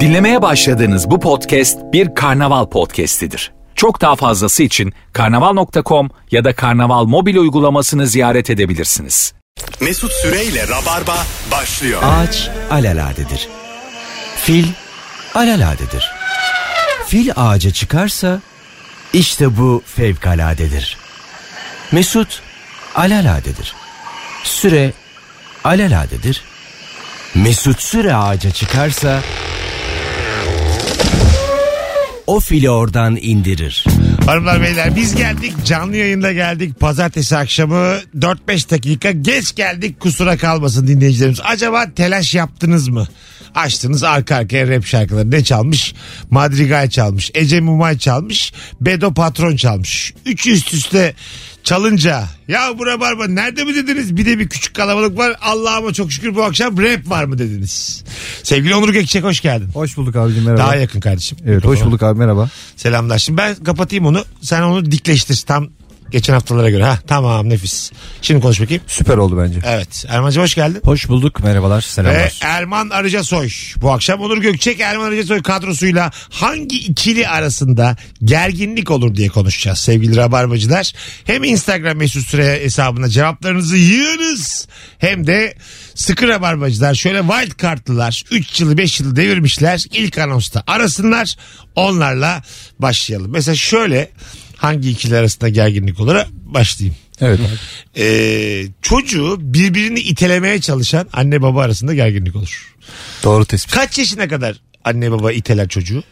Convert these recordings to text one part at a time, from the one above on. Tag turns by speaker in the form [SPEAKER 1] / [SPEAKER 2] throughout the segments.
[SPEAKER 1] Dinlemeye başladığınız bu podcast bir karnaval podcastidir. Çok daha fazlası için karnaval.com ya da karnaval mobil uygulamasını ziyaret edebilirsiniz.
[SPEAKER 2] Mesut Süreyle Rabarba başlıyor.
[SPEAKER 3] Ağaç alaladedir. Fil alaladedir. Fil ağaca çıkarsa işte bu fevkaladedir. Mesut alaladedir. Süre alaladedir. Mesut Süre ağaca çıkarsa o fili oradan indirir.
[SPEAKER 4] Hanımlar beyler biz geldik canlı yayında geldik pazartesi akşamı 4-5 dakika geç geldik kusura kalmasın dinleyicilerimiz. Acaba telaş yaptınız mı? Açtınız arka arkaya rap şarkıları ne çalmış? Madrigal çalmış, Ece Mumay çalmış, Bedo Patron çalmış. Üçü üst üste çalınca ya bu rabarba nerede mi dediniz? Bir de bir küçük kalabalık var Allah'ıma çok şükür bu akşam rap var mı dediniz? Sevgili Onur Gökçek hoş geldin.
[SPEAKER 5] Hoş bulduk abicim merhaba.
[SPEAKER 4] Daha yakın kardeşim.
[SPEAKER 5] Evet hoş bulduk abi merhaba.
[SPEAKER 4] Selamlar. Şimdi ben kapatayım onu. Sen onu dikleştir tam geçen haftalara göre. Ha tamam nefis. Şimdi konuş bakayım.
[SPEAKER 5] Süper oldu bence.
[SPEAKER 4] Evet. Erman'cığım hoş geldin.
[SPEAKER 3] Hoş bulduk merhabalar
[SPEAKER 4] Ve
[SPEAKER 3] selamlar.
[SPEAKER 4] Erman Arıcasoy. Bu akşam Onur Gökçek Erman Arıcasoy kadrosuyla hangi ikili arasında gerginlik olur diye konuşacağız sevgili Rabarbacılar. Hem Instagram mesut süre hesabına cevaplarınızı yığınız hem de sıkı Rabarbacılar şöyle wild kartlılar 3 yılı 5 yılı devirmişler ilk anonsta arasınlar onlarla başlayalım. Mesela şöyle hangi ikili arasında gerginlik olur başlayayım
[SPEAKER 5] Evet.
[SPEAKER 4] e, çocuğu birbirini itelemeye çalışan anne baba arasında gerginlik olur.
[SPEAKER 5] Doğru tespit.
[SPEAKER 4] Kaç yaşına kadar anne baba iteler çocuğu?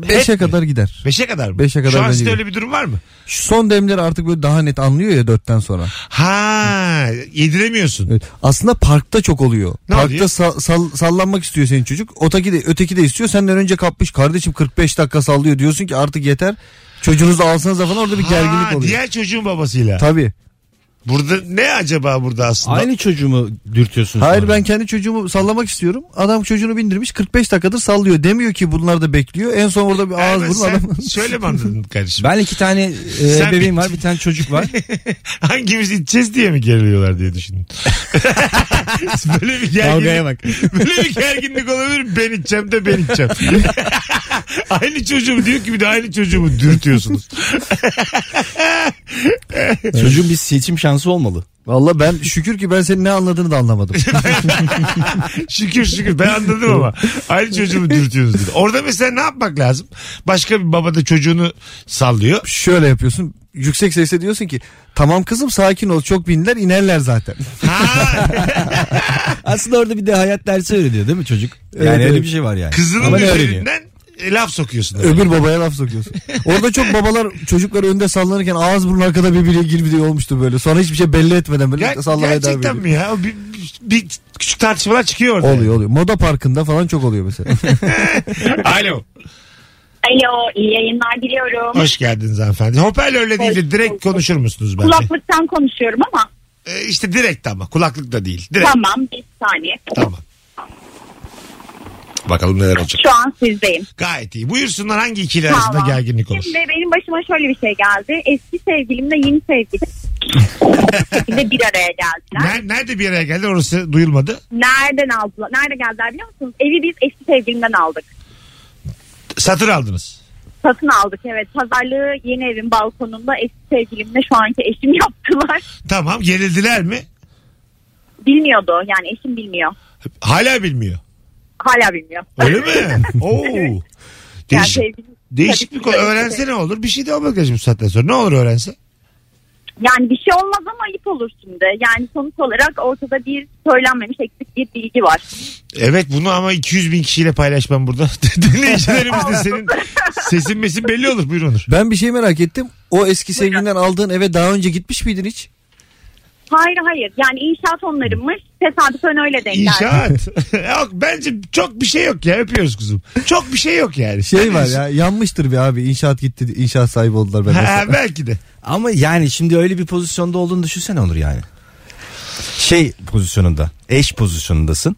[SPEAKER 5] 5'e kadar gider.
[SPEAKER 4] Beşe kadar mı?
[SPEAKER 5] Beşe kadar
[SPEAKER 4] Şu an
[SPEAKER 5] bence
[SPEAKER 4] sizde
[SPEAKER 5] gidiyor.
[SPEAKER 4] öyle bir durum var mı?
[SPEAKER 5] Şu son demler artık böyle daha net anlıyor ya dörtten sonra.
[SPEAKER 4] Ha yediremiyorsun.
[SPEAKER 5] Evet. Aslında parkta çok oluyor.
[SPEAKER 4] Ne
[SPEAKER 5] parkta
[SPEAKER 4] oluyor?
[SPEAKER 5] sa- sal- sallanmak istiyor senin çocuk. Otaki de öteki de istiyor. Senden önce kapmış. Kardeşim 45 dakika sallıyor diyorsun ki artık yeter. Çocuğunuzu alsanız falan orada bir gerginlik
[SPEAKER 4] Ha,
[SPEAKER 5] oluyor.
[SPEAKER 4] Diğer çocuğun babasıyla.
[SPEAKER 5] Tabii.
[SPEAKER 4] Burada ne acaba burada aslında?
[SPEAKER 3] Aynı çocuğumu dürtüyorsun
[SPEAKER 5] Hayır ben kendi çocuğumu sallamak istiyorum. Adam çocuğunu bindirmiş 45 dakikadır sallıyor. Demiyor ki bunlar da bekliyor. En son orada bir ağız
[SPEAKER 4] Erman,
[SPEAKER 5] burun
[SPEAKER 4] sen
[SPEAKER 5] adam.
[SPEAKER 4] şöyle mi anladın kardeşim?
[SPEAKER 3] Ben iki tane e,
[SPEAKER 4] Sen
[SPEAKER 3] bebeğim var bir tane çocuk var.
[SPEAKER 4] Hangimiz iteceğiz diye mi geriliyorlar diye düşündüm. böyle bir gerginlik,
[SPEAKER 3] Kavgaya bak.
[SPEAKER 4] böyle bir gerginlik olabilir. Ben iteceğim de ben iteceğim. aynı çocuğumu diyor ki bir de aynı çocuğumu dürtüyorsunuz.
[SPEAKER 3] Çocuğun bir seçim şansı olmalı.
[SPEAKER 5] Valla ben şükür ki ben senin ne anladığını da anlamadım.
[SPEAKER 4] Şükür şükür ben anladım ama aynı çocuğumu dürtüyorsunuz dedi. Orada mesela ne yapmak lazım? Başka bir baba da çocuğunu sallıyor.
[SPEAKER 5] şöyle yapıyorsun. Yüksek sesle diyorsun ki tamam kızım sakin ol çok binler inerler zaten.
[SPEAKER 4] Ha,
[SPEAKER 3] Aslında orada bir de hayat dersi öğreniyor değil mi çocuk? Yani
[SPEAKER 5] Evet,
[SPEAKER 3] öyle
[SPEAKER 5] evet.
[SPEAKER 3] bir şey var yani.
[SPEAKER 4] kızının
[SPEAKER 3] Ama ne öğreniyor?
[SPEAKER 4] üzerinden e, laf sokuyorsun. demek.
[SPEAKER 5] Öbür babaya laf sokuyorsun. Orada çok babalar çocuklar önde sallanırken ağız burun arkada birbirine girmediği olmuştu böyle. Sonra hiçbir şey belli etmeden böyle
[SPEAKER 4] Ger-
[SPEAKER 5] sallamaya devam
[SPEAKER 4] gerçekten
[SPEAKER 5] ediyor.
[SPEAKER 4] mi ya? O Bir, bir- bir küçük tartışmalar çıkıyor orada.
[SPEAKER 5] Oluyor oluyor. Moda parkında falan çok oluyor mesela.
[SPEAKER 4] Alo.
[SPEAKER 6] Alo, iyi yayınlar diliyorum.
[SPEAKER 4] Hoş geldiniz hanımefendi. Hoparlörle değil de direkt konuşur musunuz bence?
[SPEAKER 6] Kulaklıktan konuşuyorum ama
[SPEAKER 4] Ee, işte direkt ama kulaklık da değil. Direkt. Tamam.
[SPEAKER 6] tamam bir saniye.
[SPEAKER 4] Bakalım neler olacak.
[SPEAKER 6] Şu an sizdeyim.
[SPEAKER 4] Gayet iyi. Buyursunlar hangi ikili arasında
[SPEAKER 6] Tamam.
[SPEAKER 4] gerginlik olur?
[SPEAKER 6] Şimdi benim başıma şöyle bir şey geldi. Eski sevgilimle yeni sevgilim. Bu şekilde bir araya geldiler.
[SPEAKER 4] Ner- nerede bir araya geldi orası duyulmadı.
[SPEAKER 6] Nereden aldılar? Nerede geldiler biliyor musunuz? Evi biz eski sevgilimden aldık.
[SPEAKER 4] Satır aldınız.
[SPEAKER 6] Satın aldık evet. Pazarlığı yeni evin balkonunda eski sevgilimle şu anki eşim yaptılar.
[SPEAKER 4] Tamam gerildiler mi?
[SPEAKER 6] Bilmiyordu yani eşim bilmiyor.
[SPEAKER 4] Hala bilmiyor.
[SPEAKER 6] Hala bilmiyor.
[SPEAKER 4] Öyle mi? Oo.
[SPEAKER 6] Yani
[SPEAKER 4] Değişik,
[SPEAKER 6] sevgilim-
[SPEAKER 4] değişik
[SPEAKER 6] şey, Tabii
[SPEAKER 4] bir konu.
[SPEAKER 6] ki öyle
[SPEAKER 4] Öğrense ne olur? Bir şey de olmaz kardeşim bu saatten sonra. Ne olur öğrense?
[SPEAKER 6] Yani bir şey olmaz ama ayıp olur şimdi. Yani sonuç olarak ortada bir söylenmemiş eksik bir bilgi var.
[SPEAKER 4] Evet bunu ama 200 bin kişiyle paylaşmam burada. Dinleyicilerimiz de senin sesin mesin belli olur. Buyur Onur.
[SPEAKER 5] ben bir şey merak ettim. O eski sevgilinden aldığın eve daha önce gitmiş miydin hiç?
[SPEAKER 6] Hayır hayır yani inşaat onlarınmış. Tesadüfen öyle denk geldi.
[SPEAKER 4] İnşaat. yok, bence çok bir şey yok ya. Öpüyoruz kuzum. Çok bir şey yok yani.
[SPEAKER 5] Şey var ya yanmıştır bir abi inşaat gitti inşaat sahibi oldular ben
[SPEAKER 4] Ha,
[SPEAKER 5] mesela.
[SPEAKER 4] belki de.
[SPEAKER 3] Ama yani şimdi öyle bir pozisyonda olduğunu düşünsene Onur yani. Şey pozisyonunda, eş pozisyonundasın.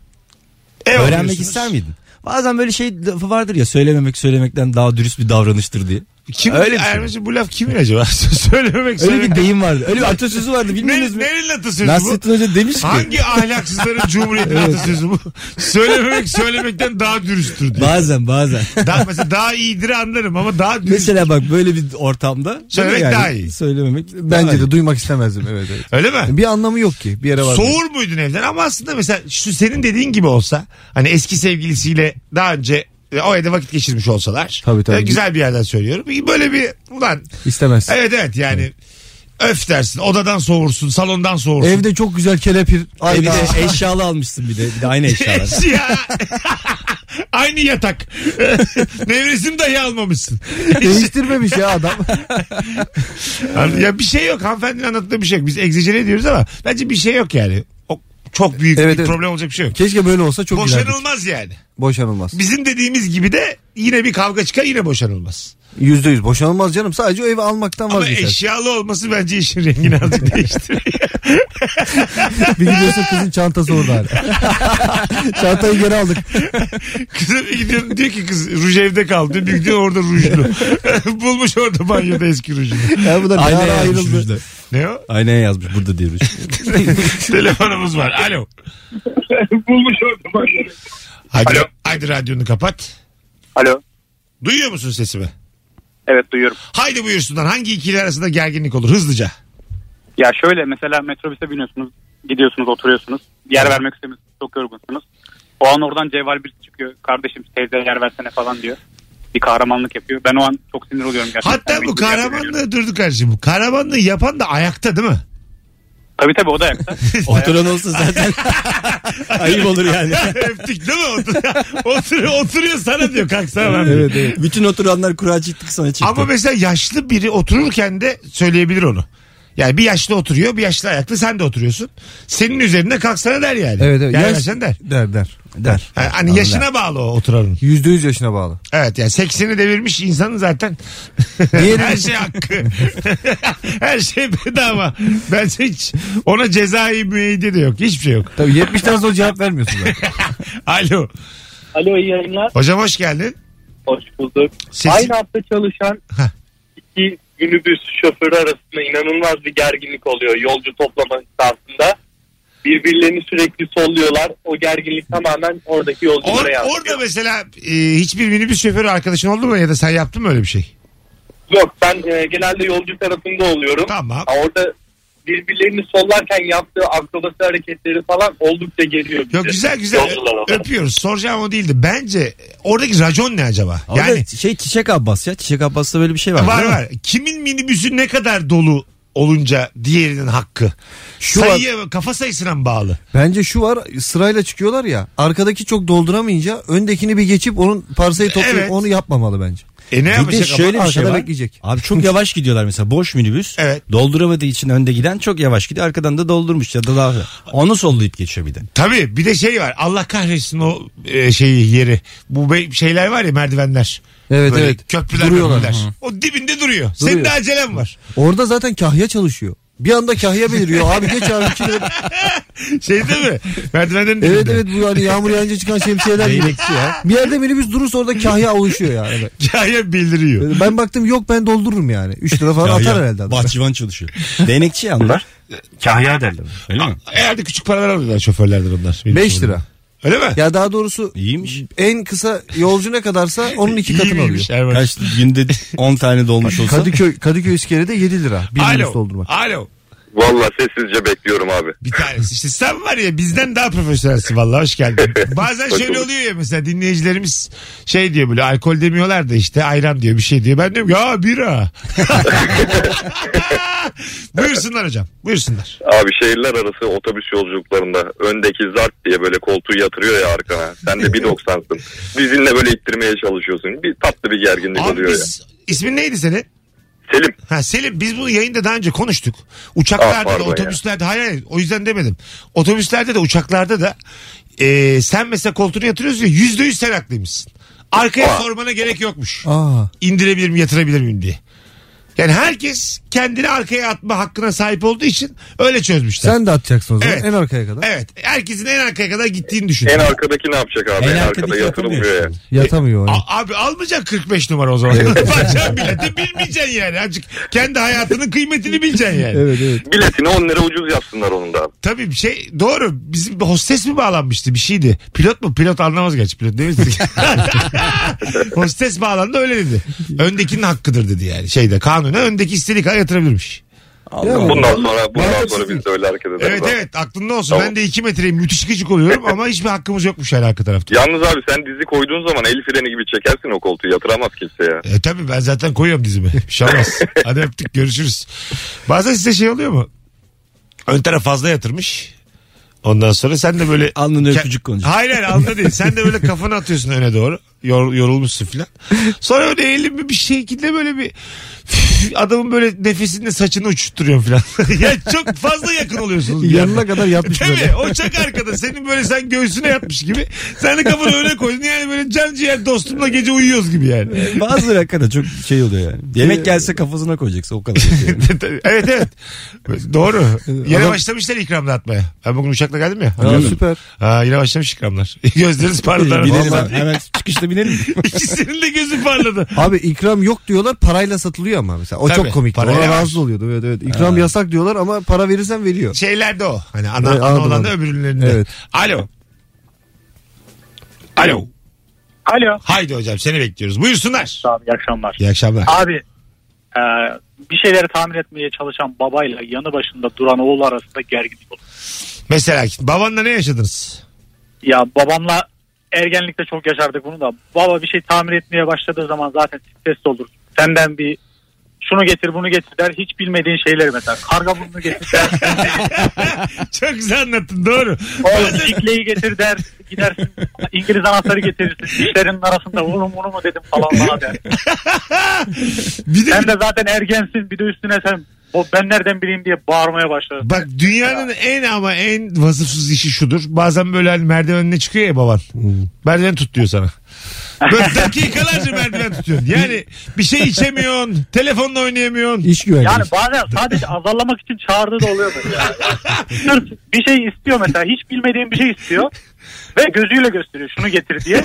[SPEAKER 4] E,
[SPEAKER 3] Öğrenmek
[SPEAKER 4] oluyorsunuz.
[SPEAKER 3] ister miydin? Bazen böyle şey lafı vardır ya söylememek söylemekten daha dürüst bir davranıştır diye.
[SPEAKER 4] Kim,
[SPEAKER 3] Öyle bir şey
[SPEAKER 4] Ermiş'in bu laf kimin acaba? Söylememek
[SPEAKER 3] Öyle
[SPEAKER 4] söylemek-
[SPEAKER 3] bir deyim vardı. Öyle bir atasözü vardı bilmiyorsunuz
[SPEAKER 4] Ne,
[SPEAKER 3] mu?
[SPEAKER 4] nerenin atasözü bu?
[SPEAKER 3] Nasrettin Hoca demiş ki.
[SPEAKER 4] Hangi ahlaksızların cumhuriyetin atasözü bu? Söylememek söylemekten daha dürüsttür diyor.
[SPEAKER 3] Bazen bazen.
[SPEAKER 4] Daha, mesela daha iyidir anlarım ama daha dürüst.
[SPEAKER 3] Mesela bak böyle bir ortamda.
[SPEAKER 4] Söylemek
[SPEAKER 3] yani
[SPEAKER 4] daha iyi.
[SPEAKER 3] Söylememek daha
[SPEAKER 5] Bence
[SPEAKER 3] iyi.
[SPEAKER 5] de duymak istemezdim evet. evet.
[SPEAKER 4] Öyle mi?
[SPEAKER 5] Bir anlamı yok ki bir yere var.
[SPEAKER 4] Soğur muydun evden ama aslında mesela şu senin dediğin gibi olsa hani eski sevgilisiyle daha önce e, o evde vakit geçirmiş olsalar.
[SPEAKER 5] Tabii, tabii.
[SPEAKER 4] E, Güzel bir yerden söylüyorum. Böyle bir ulan
[SPEAKER 5] İstemez.
[SPEAKER 4] evet evet yani öf dersin odadan soğursun salondan soğursun.
[SPEAKER 5] Evde çok güzel kelepir.
[SPEAKER 3] E bir
[SPEAKER 5] Ayda.
[SPEAKER 3] de eşyalı almışsın bir de. Bir de aynı eşyalar.
[SPEAKER 4] ya. Aynı yatak. Nevresim dahi almamışsın.
[SPEAKER 5] Değiştirmemiş ya adam.
[SPEAKER 4] Anladın? Ya bir şey yok. Hanımefendinin anlattığı bir şey yok. Biz egzecere ediyoruz ama bence bir şey yok yani. O çok büyük
[SPEAKER 5] Evet,
[SPEAKER 4] bir
[SPEAKER 5] evet.
[SPEAKER 4] problem olacak bir şey yok.
[SPEAKER 5] Keşke böyle olsa çok gülerdik.
[SPEAKER 4] Boşanılmaz yani.
[SPEAKER 5] Boşanılmaz.
[SPEAKER 4] Bizim dediğimiz gibi de yine bir kavga çıkar yine boşanılmaz.
[SPEAKER 5] Yüzde yüz boşanılmaz canım. Sadece o evi almaktan
[SPEAKER 4] Ama
[SPEAKER 5] vazgeçer.
[SPEAKER 4] eşyalı olması bence işin rengini azıcık değiştiriyor.
[SPEAKER 5] bir gidiyorsun kızın çantası orada. hala. Çantayı geri aldık.
[SPEAKER 4] Kızım bir gidiyorum diyor ki kız ruj evde kaldı. Bir gidiyor orada rujlu. Bulmuş orada banyoda eski rujunu.
[SPEAKER 5] Ya bu da ne
[SPEAKER 3] Aynaya
[SPEAKER 5] ara
[SPEAKER 3] yazmış burada.
[SPEAKER 5] ayrıldı.
[SPEAKER 4] Ne o?
[SPEAKER 3] Aynaya yazmış burada diyormuş.
[SPEAKER 4] Telefonumuz var. Alo.
[SPEAKER 2] Bulmuş oldum.
[SPEAKER 4] Hadi,
[SPEAKER 2] Alo.
[SPEAKER 4] hadi radyonu kapat.
[SPEAKER 2] Alo.
[SPEAKER 4] Duyuyor musun sesimi?
[SPEAKER 2] Evet duyuyorum.
[SPEAKER 4] Haydi buyursunlar. Hangi ikili arasında gerginlik olur hızlıca?
[SPEAKER 2] Ya şöyle mesela metrobüse biniyorsunuz. Gidiyorsunuz oturuyorsunuz. Yer vermek istemiyorsunuz. Çok yorgunsunuz. O an oradan cevval birisi çıkıyor. Kardeşim teyze yer versene falan diyor. Bir kahramanlık yapıyor. Ben o an çok sinir oluyorum gerçekten.
[SPEAKER 4] Hatta
[SPEAKER 2] Ben
[SPEAKER 4] bu
[SPEAKER 2] bir yerde görüyorum.
[SPEAKER 4] kahramanlığı durdu kardeşim. Bu kahramanlığı yapan da ayakta değil mi?
[SPEAKER 2] Tabii tabii o da ayakta.
[SPEAKER 3] Oturan olsa zaten ayıp olur yani.
[SPEAKER 4] Öptük değil mi? Otur, otur, oturuyor sana diyor kalksana lan. diyor.
[SPEAKER 3] evet, evet. Bütün oturanlar kura çıktık sonra çıktı.
[SPEAKER 4] Ama mesela yaşlı biri otururken de söyleyebilir onu. Yani bir yaşlı oturuyor, bir yaşlı ayakta sen de oturuyorsun. Senin üzerinde kalksana der yani.
[SPEAKER 5] Evet evet.
[SPEAKER 4] Yer
[SPEAKER 5] Yaş-
[SPEAKER 4] versen der.
[SPEAKER 5] Der der. Der.
[SPEAKER 4] Ha, hani yaşına bağlı o oturanın.
[SPEAKER 5] Yüzde yüz yaşına bağlı.
[SPEAKER 4] Evet yani 80'i devirmiş insanın zaten
[SPEAKER 5] Diğeri-
[SPEAKER 4] her şey hakkı. her şey bedava. Bence hiç ona cezai müeyyide de yok. Hiçbir şey yok.
[SPEAKER 5] Tabii 70'ten sonra cevap vermiyorsun zaten.
[SPEAKER 4] Alo.
[SPEAKER 7] Alo iyi yayınlar.
[SPEAKER 4] Hocam hoş geldin.
[SPEAKER 7] Hoş bulduk.
[SPEAKER 4] Sesin-
[SPEAKER 7] Aynı hafta çalışan
[SPEAKER 4] Heh.
[SPEAKER 7] iki minibüs şoförü arasında inanılmaz bir gerginlik oluyor yolcu toplama esnasında. Birbirlerini sürekli solluyorlar. O gerginlik tamamen oradaki
[SPEAKER 4] Or-
[SPEAKER 7] yolculara
[SPEAKER 4] orada
[SPEAKER 7] yansıyor.
[SPEAKER 4] mesela e, hiçbir minibüs şoförü arkadaşın oldu mu ya da sen yaptın mı öyle bir şey?
[SPEAKER 7] Yok ben e, genelde yolcu tarafında oluyorum.
[SPEAKER 4] Tamam.
[SPEAKER 7] Ha, Orada birbirlerini sollarken yaptığı akrobasi hareketleri falan oldukça geliyor. bize.
[SPEAKER 4] Yok güzel güzel
[SPEAKER 7] Yolcular olarak.
[SPEAKER 4] öpüyoruz. Soracağım o değildi. Bence oradaki racon ne acaba?
[SPEAKER 3] Orada
[SPEAKER 4] yani
[SPEAKER 3] şey Çiçek Abbas ya. Çiçek Abbas'ta böyle bir şey var.
[SPEAKER 4] var
[SPEAKER 3] değil mi?
[SPEAKER 4] var. Kimin minibüsü ne kadar dolu olunca diğerinin hakkı.
[SPEAKER 5] Şu var,
[SPEAKER 4] Sayıya, kafa sayısına mı bağlı?
[SPEAKER 5] bence şu var sırayla çıkıyorlar ya arkadaki çok dolduramayınca öndekini bir geçip onun parsayı toplayıp
[SPEAKER 4] Evet.
[SPEAKER 5] onu yapmamalı bence.
[SPEAKER 4] E ne
[SPEAKER 3] Bir de
[SPEAKER 4] yapacak ama?
[SPEAKER 3] şöyle bir şey
[SPEAKER 5] Arkada
[SPEAKER 3] var.
[SPEAKER 5] bekleyecek.
[SPEAKER 3] Abi çok yavaş gidiyorlar mesela boş minibüs.
[SPEAKER 4] Evet.
[SPEAKER 3] Dolduramadığı için önde giden çok yavaş gidiyor. Arkadan da doldurmuş ya da daha. Onu sollayıp geçiyor bir de.
[SPEAKER 4] Tabii bir de şey var. Allah kahretsin o e, şeyi yeri. Bu be- şeyler var ya merdivenler.
[SPEAKER 5] Evet
[SPEAKER 4] Böyle
[SPEAKER 5] evet.
[SPEAKER 4] Köprüler,
[SPEAKER 5] Duruyorlar.
[SPEAKER 4] merdivenler.
[SPEAKER 5] Hı.
[SPEAKER 4] O dibinde duruyor. Senin
[SPEAKER 5] Duruyor.
[SPEAKER 4] de acelen var.
[SPEAKER 5] Orada zaten kahya çalışıyor. Bir anda kahya beliriyor. Abi geç abi. içine-
[SPEAKER 4] Şey değil mi? Merdivenlerin dibinde.
[SPEAKER 5] evet evet bu hani yağmur yağınca çıkan şemsiyeler gibi.
[SPEAKER 3] ya.
[SPEAKER 5] Bir yerde minibüs durursa orada kahya oluşuyor yani.
[SPEAKER 4] Hikaye bildiriyor.
[SPEAKER 5] Ben baktım yok ben doldururum yani. 3 lira falan atar herhalde. adam.
[SPEAKER 3] Bahçıvan çalışıyor. Denekçi ya onlar. Kahya derler. Öyle mi?
[SPEAKER 4] Herhalde küçük paralar alıyorlar şoförlerden onlar. Benim
[SPEAKER 5] 5
[SPEAKER 4] sorunum.
[SPEAKER 5] lira.
[SPEAKER 4] Öyle mi?
[SPEAKER 5] Ya daha doğrusu
[SPEAKER 3] İyiymiş.
[SPEAKER 5] en kısa yolcu ne kadarsa onun iki
[SPEAKER 4] İyi
[SPEAKER 5] katını alıyor.
[SPEAKER 4] miymiş Erman?
[SPEAKER 3] Kaç günde 10 tane dolmuş olsa.
[SPEAKER 5] Kadıköy, Kadıköy iskelede 7 lira. Bir minibüs
[SPEAKER 4] Alo.
[SPEAKER 5] doldurmak.
[SPEAKER 4] Alo.
[SPEAKER 8] Valla sessizce bekliyorum abi.
[SPEAKER 4] Bir tanesi. İşte sen var ya bizden daha profesyonelsin vallahi hoş geldin. Bazen şöyle oluyor ya mesela dinleyicilerimiz şey diyor böyle alkol demiyorlar da işte ayran diyor bir şey diyor. Ben diyorum ya bira. buyursunlar hocam buyursunlar.
[SPEAKER 8] Abi şehirler arası otobüs yolculuklarında öndeki zart diye böyle koltuğu yatırıyor ya arkana. Sen de 1.90'sın. Dizinle böyle ittirmeye çalışıyorsun. Bir tatlı bir gerginlik
[SPEAKER 4] Abi
[SPEAKER 8] oluyor ya.
[SPEAKER 4] biz ismin neydi senin?
[SPEAKER 8] Selim
[SPEAKER 4] Ha Selim biz bunu yayında daha önce konuştuk.
[SPEAKER 8] Ah,
[SPEAKER 4] Uçaklarda da
[SPEAKER 8] pardon ya.
[SPEAKER 4] otobüslerde hayır hayır o yüzden demedim. Otobüslerde de uçaklarda da e, sen mesela koltuğuna yatırıyorsun ya yüzde yüz sen haklıymışsın. Arkaya
[SPEAKER 8] Aa.
[SPEAKER 4] sormana gerek yokmuş.
[SPEAKER 5] Aa.
[SPEAKER 4] İndirebilir miyim yatırabilir miyim diye. Yani herkes kendini arkaya atma hakkına sahip olduğu için öyle çözmüşler.
[SPEAKER 5] Sen de atacaksın o zaman
[SPEAKER 4] Evet.
[SPEAKER 5] en arkaya kadar.
[SPEAKER 4] Evet. Herkesin en arkaya kadar gittiğini düşün.
[SPEAKER 8] En arkadaki ne yapacak abi? En, arkada
[SPEAKER 3] arkadaki
[SPEAKER 8] yatırılmıyor ya.
[SPEAKER 3] yapamıyorsun.
[SPEAKER 5] Yatamıyor. o.
[SPEAKER 4] A- abi almayacaksın 45 numara o zaman. Bacağın bileti bilmeyeceksin yani. Azıcık kendi hayatının kıymetini bileceksin yani.
[SPEAKER 5] Evet evet.
[SPEAKER 8] Biletini 10 lira ucuz yapsınlar onun da abi.
[SPEAKER 4] Tabii bir şey doğru. Bizim bir hostes mi bağlanmıştı bir şeydi. Pilot mu? Pilot anlamaz gerçi pilot değil mi? hostes bağlandı öyle dedi. Öndekinin hakkıdır dedi yani şeyde kanuna öndeki istediği kadar yatırabilirmiş.
[SPEAKER 5] Ya.
[SPEAKER 8] Bundan sonra bundan
[SPEAKER 5] Mantıksız
[SPEAKER 8] sonra
[SPEAKER 5] değil.
[SPEAKER 8] biz de öyle hareket ederiz.
[SPEAKER 4] Evet
[SPEAKER 8] abi.
[SPEAKER 4] evet aklında olsun.
[SPEAKER 8] Tamam.
[SPEAKER 4] Ben de 2 metreyim müthiş gıcık oluyorum ama hiçbir hakkımız yokmuş yani arka tarafta.
[SPEAKER 8] Yalnız abi sen dizi koyduğun zaman el freni gibi çekersin o koltuğu yatıramaz kimse ya.
[SPEAKER 4] E tabii ben zaten koyuyorum dizimi. Bir şey olmaz. Hadi öptük görüşürüz. Bazen size şey oluyor mu? Ön taraf fazla yatırmış. Ondan sonra sen de böyle...
[SPEAKER 3] Alnını
[SPEAKER 4] Ke-
[SPEAKER 3] öpücük konuşuyor.
[SPEAKER 4] Hayır hayır alnına değil. Sen de böyle kafanı atıyorsun öne doğru. Yor, yorulmuşsun filan. Sonra öyle elimi bir şekilde böyle bir... Adamın böyle nefesinde saçını uçutturuyorsun filan. ya çok fazla yakın oluyorsunuz. bir anda.
[SPEAKER 5] Yanına kadar yatmış
[SPEAKER 4] Tabii
[SPEAKER 5] böyle.
[SPEAKER 4] o çak arkada senin böyle sen göğsüne yatmış gibi. Sen de kafanı öne koydun yani böyle can ciğer dostumla gece uyuyoruz gibi yani.
[SPEAKER 3] Bazıları hakikaten çok şey oluyor yani.
[SPEAKER 5] Ee,
[SPEAKER 3] Yemek gelse kafasına koyacaksın o kadar. Yani.
[SPEAKER 4] evet evet. Doğru. Yine
[SPEAKER 5] Adam-
[SPEAKER 4] başlamışlar ikramla atmaya. Ben bugün uçakla geldim ya.
[SPEAKER 5] Ya, süper.
[SPEAKER 4] Ha, yine başlamış ikramlar. Gözleriniz parladı.
[SPEAKER 3] Binelim
[SPEAKER 4] Vallahi.
[SPEAKER 3] abi. hemen çıkışta binelim. mi?
[SPEAKER 4] İkisinin de gözü parladı.
[SPEAKER 5] Abi ikram yok diyorlar parayla satılıyor ama mesela. O
[SPEAKER 4] Tabii,
[SPEAKER 5] çok komikti.
[SPEAKER 4] parayla
[SPEAKER 5] Ona
[SPEAKER 4] var.
[SPEAKER 5] rahatsız oluyordu. Evet evet. İkram yasak diyorlar ama para verirsen veriyor.
[SPEAKER 4] Şeyler de o. Hani ana,
[SPEAKER 5] Evet,
[SPEAKER 4] ana
[SPEAKER 5] anladım,
[SPEAKER 4] olan da
[SPEAKER 5] anladım.
[SPEAKER 4] öbürlerinde.
[SPEAKER 5] Evet.
[SPEAKER 4] Alo. Alo.
[SPEAKER 7] Alo.
[SPEAKER 4] Haydi hocam seni bekliyoruz. Buyursunlar.
[SPEAKER 7] Abi iyi akşamlar.
[SPEAKER 4] İyi akşamlar.
[SPEAKER 7] Abi e, bir şeyleri tamir etmeye çalışan babayla yanı başında duran oğlu arasında gerginlik olur.
[SPEAKER 4] Mesela babanla ne yaşadınız?
[SPEAKER 7] Ya babamla ergenlikte çok yaşardık bunu da. Baba bir şey tamir etmeye başladığı zaman zaten stresli olur. Senden bir şunu getir bunu getir der. Hiç bilmediğin şeyleri mesela. Karga burnunu getir der.
[SPEAKER 4] Çok güzel anlattın doğru.
[SPEAKER 7] Oğlum ikleyi getir der. Gidersin İngiliz anahtarı getirirsin. Dişlerin arasında oğlum bunu mu dedim falan bana der.
[SPEAKER 4] Bir de
[SPEAKER 7] Sen de zaten ergensin bir de üstüne sen "O ben nereden bileyim diye bağırmaya başlarsın.
[SPEAKER 4] Bak dünyanın en ama en vasıfsız işi şudur. Bazen böyle hani merdivenine çıkıyor ya baban.
[SPEAKER 5] Hmm.
[SPEAKER 4] Merdiven tut diyor sana. Böyle dakikalarca merdiven tutuyorsun. Yani bir şey içemiyorsun. Telefonla oynayamıyorsun.
[SPEAKER 5] İş güvenliği.
[SPEAKER 7] Yani bazen sadece azarlamak için çağırdığı da oluyor böyle. Yani. Sırf bir şey istiyor mesela. Hiç bilmediğim bir şey istiyor. Ve gözüyle gösteriyor şunu getir diye.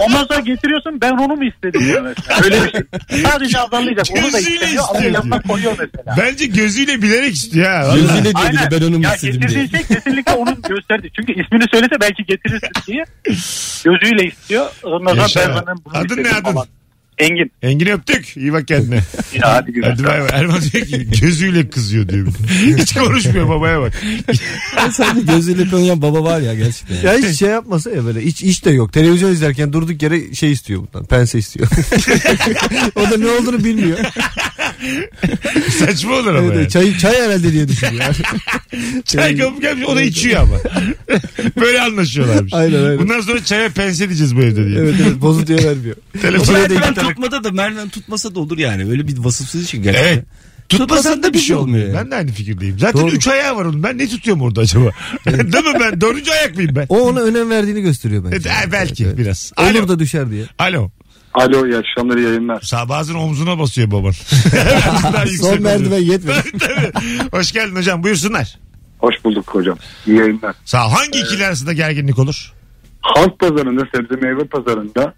[SPEAKER 7] Ondan sonra getiriyorsun ben onu mu istedim diyor mesela. Öyle bir şey. Sadece azarlayacak. Onu da
[SPEAKER 4] Gözüyle
[SPEAKER 7] istemiyor. Ama
[SPEAKER 4] istiyor
[SPEAKER 7] yanına
[SPEAKER 4] diyor.
[SPEAKER 7] koyuyor mesela.
[SPEAKER 4] Bence gözüyle bilerek istiyor ha. Vallahi.
[SPEAKER 3] Gözüyle diyor bir de
[SPEAKER 7] Aynen.
[SPEAKER 3] ben onu mu
[SPEAKER 7] ya
[SPEAKER 3] istedim diye.
[SPEAKER 7] getirdiği şey kesinlikle onun gösterdi. Çünkü ismini söylese belki getirirsin diye. Gözüyle istiyor. Ondan
[SPEAKER 4] Yaşa.
[SPEAKER 7] sonra ben zaten bunu
[SPEAKER 4] Adın
[SPEAKER 7] istedim
[SPEAKER 4] ne adın?
[SPEAKER 7] falan. Engin.
[SPEAKER 4] Engin öptük. İyi bak kendine.
[SPEAKER 7] Ya hadi güzel.
[SPEAKER 4] Hadi bay bay. Erman diyor ki gözüyle kızıyor diyor. bir de. Hiç konuşmuyor babaya bak.
[SPEAKER 3] Ben sadece gözüyle konuyan baba var ya gerçekten.
[SPEAKER 5] Ya hiç şey yapmasa ya böyle hiç iş de yok. Televizyon izlerken durduk yere şey istiyor bundan. Pense istiyor. o da ne olduğunu bilmiyor.
[SPEAKER 4] Saçma olur ama.
[SPEAKER 5] Evet,
[SPEAKER 4] yani.
[SPEAKER 5] evet, çay, çay herhalde diye düşünüyor.
[SPEAKER 4] Çay kapı gelmiş o da içiyor ama. Böyle anlaşıyorlarmış.
[SPEAKER 5] Aynen, aynen.
[SPEAKER 4] Bundan sonra çaya pense edeceğiz bu evde diye.
[SPEAKER 5] evet evet bozuntuya vermiyor.
[SPEAKER 4] Telefon
[SPEAKER 3] Merdiven tutmada da merdiven tutmasa da olur yani. Öyle bir vasıfsız için gerçekten.
[SPEAKER 4] Evet. Tutmasan da bir şey olmuyor.
[SPEAKER 3] yani.
[SPEAKER 4] Ben de aynı fikirdeyim. Zaten
[SPEAKER 5] Doğru.
[SPEAKER 4] 3 ayağı var onun. Ben ne tutuyorum orada acaba? Değil mi ben? Dördüncü ayak mıyım ben?
[SPEAKER 5] O ona önem verdiğini gösteriyor bence.
[SPEAKER 4] E, belki
[SPEAKER 5] Evet.
[SPEAKER 4] biraz. Alo.
[SPEAKER 5] Olur da düşer diye.
[SPEAKER 4] Alo.
[SPEAKER 9] Alo iyi akşamlar iyi yayınlar.
[SPEAKER 4] Sağ bazen omzuna basıyor baban. Daha yüksek
[SPEAKER 5] Son
[SPEAKER 4] oluyor.
[SPEAKER 5] merdiven yetmedi.
[SPEAKER 4] Tabii, tabii. Hoş geldin hocam. Buyursunlar.
[SPEAKER 9] Hoş bulduk hocam. İyi yayınlar. Ee,
[SPEAKER 4] Sağ ol. Hangi ikili arasında gerginlik olur?
[SPEAKER 9] Halk pazarında sebze meyve pazarında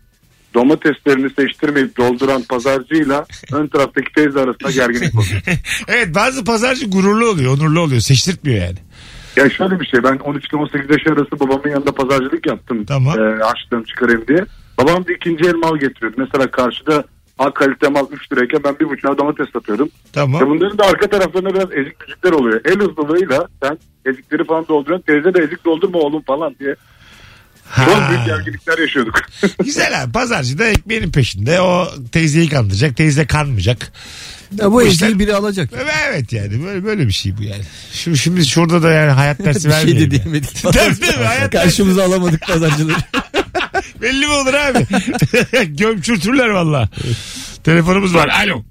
[SPEAKER 9] domateslerini seçtirmeyip dolduran pazarcıyla ön taraftaki teyze arasında gerginlik oluyor.
[SPEAKER 4] evet bazı pazarcı gururlu oluyor, onurlu oluyor. Seçtirtmiyor yani.
[SPEAKER 9] Ya şöyle bir şey ben 13 ile 18 yaş şey arası babamın yanında pazarcılık yaptım.
[SPEAKER 4] Tamam.
[SPEAKER 9] Ee, harçlığımı çıkarayım diye. Babam da ikinci el mal getiriyordu. Mesela karşıda A kalite mal 3 lirayken ben 1,5 domates satıyordum. Ya
[SPEAKER 4] Tamam.
[SPEAKER 9] bunların da arka taraflarında biraz ezik büzükler oluyor. El hızlılığıyla sen ezikleri falan dolduruyorsun. Teyze de ezik doldurma oğlum falan diye. Çok büyük
[SPEAKER 4] Ha.
[SPEAKER 9] gerginlikler yaşıyorduk.
[SPEAKER 4] Güzel abi. Pazarcı da ekmeğinin peşinde. O teyzeyi kandıracak. Teyze kanmayacak.
[SPEAKER 5] Ya bu
[SPEAKER 4] Bu işler-
[SPEAKER 5] eziği biri alacak.
[SPEAKER 4] Evet yani böyle böyle bir şey bu yani. Şimdi, şimdi şurada da yani hayat dersi
[SPEAKER 3] Bir şey
[SPEAKER 4] vermeyelim.
[SPEAKER 3] de
[SPEAKER 4] yani.
[SPEAKER 3] diyemedik.
[SPEAKER 4] Tabii değil mi? Hayat
[SPEAKER 3] Karşımıza alamadık pazarcıları.
[SPEAKER 4] Belli mi olur abi? Gömçürtürler valla. Telefonumuz var. Alo.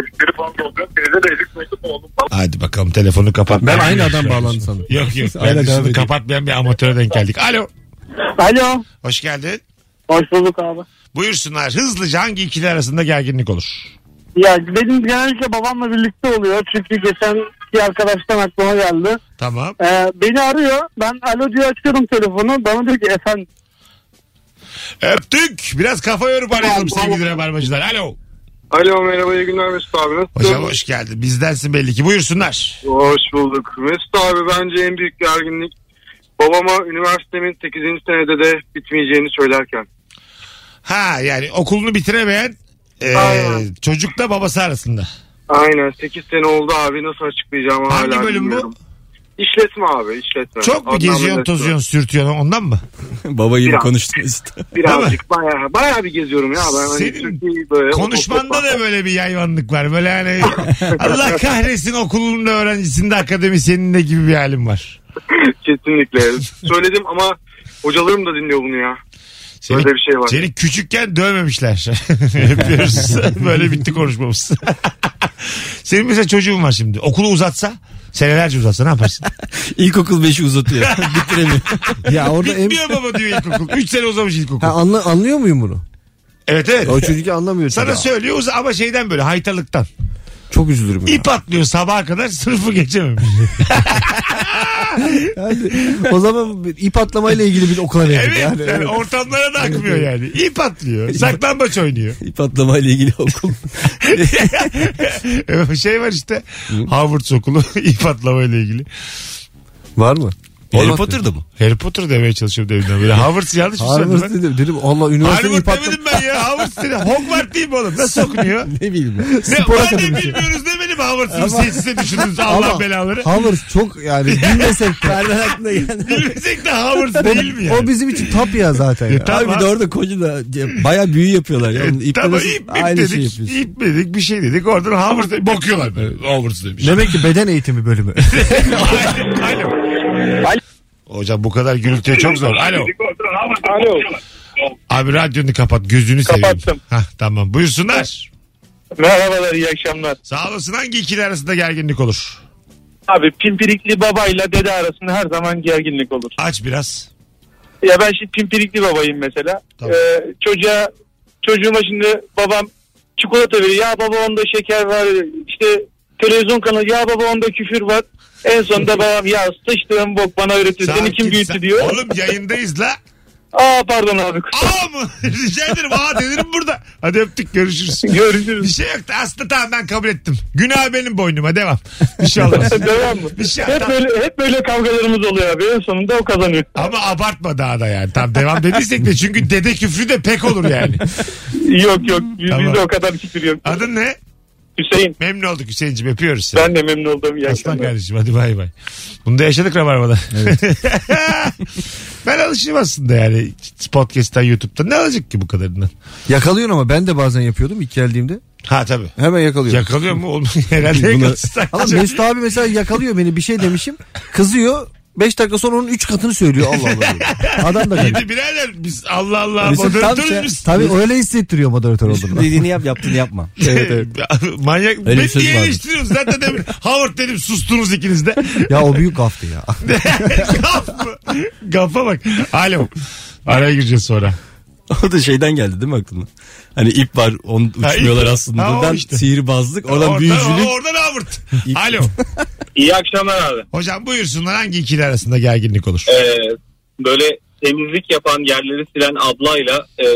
[SPEAKER 9] Ezikleri falan dolduruyorsun. Teyze de ezik doldurma oğlum falan.
[SPEAKER 4] Hadi bakalım telefonu kapat.
[SPEAKER 5] Ben aynı adam bağlandı sandım.
[SPEAKER 4] Yok yok.
[SPEAKER 3] Aynen,
[SPEAKER 4] Ben
[SPEAKER 3] devam
[SPEAKER 4] üstünü
[SPEAKER 3] edeyim.
[SPEAKER 4] kapatmayan bir amatöre denk geldik. Alo.
[SPEAKER 7] Alo.
[SPEAKER 4] Hoş geldin.
[SPEAKER 7] Hoş bulduk abi.
[SPEAKER 4] Buyursunlar. Hızlıca hangi ikili arasında gerginlik olur?
[SPEAKER 7] Ya benim genellikle babamla birlikte oluyor. Çünkü geçen bir arkadaştan aklıma geldi.
[SPEAKER 4] Tamam.
[SPEAKER 7] Ee, beni arıyor. Ben alo diye açıyorum telefonu. Bana diyor ki efendim.
[SPEAKER 4] Öptük. Biraz kafa yorup arayalım sevgili rabarbacılar. Alo.
[SPEAKER 10] Alo merhaba iyi günler Mesut abi nasılsın?
[SPEAKER 4] Hocam hoş geldin. Bizdensin belli ki. Buyursunlar.
[SPEAKER 10] Hoş bulduk. Mesut abi bence en büyük gerginlik babama üniversitemin 8. senede de bitmeyeceğini söylerken.
[SPEAKER 4] Ha yani okulunu bitiremeyen e,
[SPEAKER 10] Aynen.
[SPEAKER 4] çocukla babası arasında.
[SPEAKER 10] Aynen 8 sene oldu abi nasıl açıklayacağım
[SPEAKER 4] Hangi
[SPEAKER 10] hala
[SPEAKER 4] bölüm bu?
[SPEAKER 10] bilmiyorum. İşletme abi işletme.
[SPEAKER 4] Çok mu
[SPEAKER 10] Adnan
[SPEAKER 4] geziyorsun,
[SPEAKER 10] Menderes.
[SPEAKER 4] tozuyorsun, sürtüyorsun ondan mı?
[SPEAKER 5] Baba gibi
[SPEAKER 10] Biraz.
[SPEAKER 5] konuştun işte.
[SPEAKER 10] Birazcık bayağı, bayağı bir geziyorum ya. Ben hani
[SPEAKER 4] Senin
[SPEAKER 10] Türkiye'yi böyle
[SPEAKER 4] Konuşmanda da böyle bir yayvanlık var. Böyle hani Allah kahretsin okulun da öğrencisinde akademisyenin de gibi bir halim var.
[SPEAKER 10] Kesinlikle. Söyledim ama hocalarım da dinliyor bunu ya.
[SPEAKER 4] Seni,
[SPEAKER 10] Böyle bir şey var.
[SPEAKER 4] seni küçükken dövmemişler. Öpüyoruz. böyle bitti konuşmamız. Senin mesela çocuğun var şimdi. Okulu uzatsa, senelerce uzatsa ne yaparsın?
[SPEAKER 5] İlkokul 5'i uzatıyor. Bitiremiyor.
[SPEAKER 3] Ya orada em-
[SPEAKER 4] Bitmiyor baba diyor ilkokul. 3 sene uzamış ilkokul.
[SPEAKER 5] Ha, anla, anlıyor muyum bunu?
[SPEAKER 4] Evet evet.
[SPEAKER 5] Ya O çocuk anlamıyor.
[SPEAKER 4] Sana
[SPEAKER 5] tabii.
[SPEAKER 4] söylüyor uza- ama şeyden böyle haytalıktan.
[SPEAKER 5] Çok üzülürüm ya.
[SPEAKER 4] İp atlıyor sabaha kadar sınıfı geçememiş.
[SPEAKER 5] o zaman bir ip atlamayla ilgili bir okula verelim.
[SPEAKER 4] Evet yani,
[SPEAKER 5] yani.
[SPEAKER 4] ortamlara da akmıyor yani. İp atlıyor. Saklambaç oynuyor.
[SPEAKER 5] İp atlamayla ilgili okul.
[SPEAKER 4] Ee, şey var işte. Harvard okulu ip atlama ile ilgili.
[SPEAKER 5] Var mı?
[SPEAKER 3] Harry
[SPEAKER 5] Olmaz.
[SPEAKER 3] Potter'da mı?
[SPEAKER 4] Harry Potter demeye çalışıyorum deminden böyle. Harvard yanlış mı söyledim
[SPEAKER 5] Harvard
[SPEAKER 4] ben?
[SPEAKER 5] dedim. Dedim Allah üniversite
[SPEAKER 4] Harvard
[SPEAKER 5] ip atla...
[SPEAKER 4] demedim ben ya. Harvard dedim. Hogwarts değil mi oğlum? Nasıl okunuyor?
[SPEAKER 5] Ne bileyim.
[SPEAKER 4] Ne,
[SPEAKER 5] Spora
[SPEAKER 4] madem
[SPEAKER 5] kadar bir şey.
[SPEAKER 4] bilmiyoruz ne benim Harvard'sınız. Siz size düşündünüz Allah
[SPEAKER 5] Ama
[SPEAKER 4] belaları.
[SPEAKER 5] Harvard çok yani bilmesek de. aklına
[SPEAKER 4] Bilmesek de Harvard değil mi yani?
[SPEAKER 5] O bizim için tap ya zaten. Ya.
[SPEAKER 4] tamam.
[SPEAKER 5] Abi bir de orada koca da baya büyü yapıyorlar. Ya. Onun iple
[SPEAKER 4] Tamam
[SPEAKER 5] nasıl-
[SPEAKER 4] ip, ip
[SPEAKER 5] aynı şey
[SPEAKER 4] dedik,
[SPEAKER 5] yapıyorsun.
[SPEAKER 4] ip dedik bir şey dedik. Oradan Harvard bakıyorlar böyle. Harvard demiş.
[SPEAKER 5] Demek ki beden eğitimi bölümü.
[SPEAKER 4] Alo. Hocam bu kadar gürültüye çok zor. Alo.
[SPEAKER 7] Alo.
[SPEAKER 4] Abi radyonu kapat gözünü seveyim.
[SPEAKER 7] Kapattım.
[SPEAKER 4] Hah, tamam buyursunlar.
[SPEAKER 7] Merhabalar iyi akşamlar.
[SPEAKER 4] Sağ olasın hangi ikili arasında gerginlik olur?
[SPEAKER 7] Abi pimpirikli babayla dede arasında her zaman gerginlik olur.
[SPEAKER 4] Aç biraz.
[SPEAKER 7] Ya ben şimdi pimpirikli babayım mesela.
[SPEAKER 4] Tamam.
[SPEAKER 7] Ee, çocuğa çocuğuma şimdi babam çikolata veriyor. Ya baba onda şeker var. İşte televizyon kanalı ya baba onda küfür var. En sonunda babam ya sıçtığım bok bana öğretir. Seni
[SPEAKER 4] Sakin,
[SPEAKER 7] kim
[SPEAKER 4] sa-
[SPEAKER 7] büyüttü diyor.
[SPEAKER 4] Oğlum yayındayız la.
[SPEAKER 7] Aa pardon abi.
[SPEAKER 4] Aa mı? Rica ederim. Aa denirim burada. Hadi öptük görüşürüz. Bir
[SPEAKER 7] Görüşürüz.
[SPEAKER 4] şey yoktu. Aslında tamam ben kabul ettim. Günah benim boynuma devam. Bir şey olmaz.
[SPEAKER 7] Devam mı?
[SPEAKER 4] Bir şey
[SPEAKER 7] hep böyle hep böyle kavgalarımız oluyor abi. En sonunda o kazanıyor.
[SPEAKER 4] Ama abartma daha da yani. Tam devam dediysek de çünkü dede küfrü de pek olur yani.
[SPEAKER 7] Yok yok. Biz-
[SPEAKER 4] Tamam.
[SPEAKER 7] Bizde o kadar küfür yok.
[SPEAKER 4] Adın ne?
[SPEAKER 7] Hüseyin.
[SPEAKER 4] Memnun olduk Hüseyin'cim öpüyoruz seni.
[SPEAKER 7] Ben de memnun oldum. İyi
[SPEAKER 4] Aslan
[SPEAKER 7] akşamlar.
[SPEAKER 4] kardeşim hadi bay bay. Bunu da yaşadık Rabarba'da. ben alışayım aslında yani podcast'tan YouTube'da. Ne alacak ki bu kadarından?
[SPEAKER 5] Yakalıyorsun ama ben de bazen yapıyordum ilk geldiğimde.
[SPEAKER 4] Ha tabii.
[SPEAKER 5] Hemen yakalıyorum.
[SPEAKER 4] Yakalıyor mu? Oğlum, herhalde
[SPEAKER 5] Buna-
[SPEAKER 4] yakalasın.
[SPEAKER 5] Ama Mesut abi mesela yakalıyor beni bir şey demişim. Kızıyor. 5 dakika sonra onun 3 katını söylüyor Allah Allah. diyor. Adam da garip.
[SPEAKER 4] Şimdi birader biz Allah Allah
[SPEAKER 5] Mesut tam
[SPEAKER 4] moderatörüz
[SPEAKER 5] şey-
[SPEAKER 4] biz.
[SPEAKER 5] Tabii öyle hissettiriyor moderatör olduğunu.
[SPEAKER 3] Dediğini yap yaptığını yapma.
[SPEAKER 4] Şey, Manyak.
[SPEAKER 5] bir
[SPEAKER 4] ben
[SPEAKER 5] söz
[SPEAKER 4] niye
[SPEAKER 5] vardı.
[SPEAKER 4] eleştiriyorsun? Zaten demin Howard dedim sustunuz ikiniz de.
[SPEAKER 5] ya o büyük gaftı ya.
[SPEAKER 4] Gaf mı? Gafa bak. Alo. Araya gireceğiz sonra.
[SPEAKER 3] o da şeyden geldi değil mi aklına? Hani ip var onu
[SPEAKER 4] uçmuyorlar aslında. Ha, o Oradan işte.
[SPEAKER 3] sihirbazlık
[SPEAKER 4] Oradan, oradan Howard. Alo.
[SPEAKER 7] İyi akşamlar abi.
[SPEAKER 4] Hocam buyursunlar hangi ikili arasında gerginlik olur?
[SPEAKER 7] Ee, böyle temizlik yapan yerleri silen ablayla e,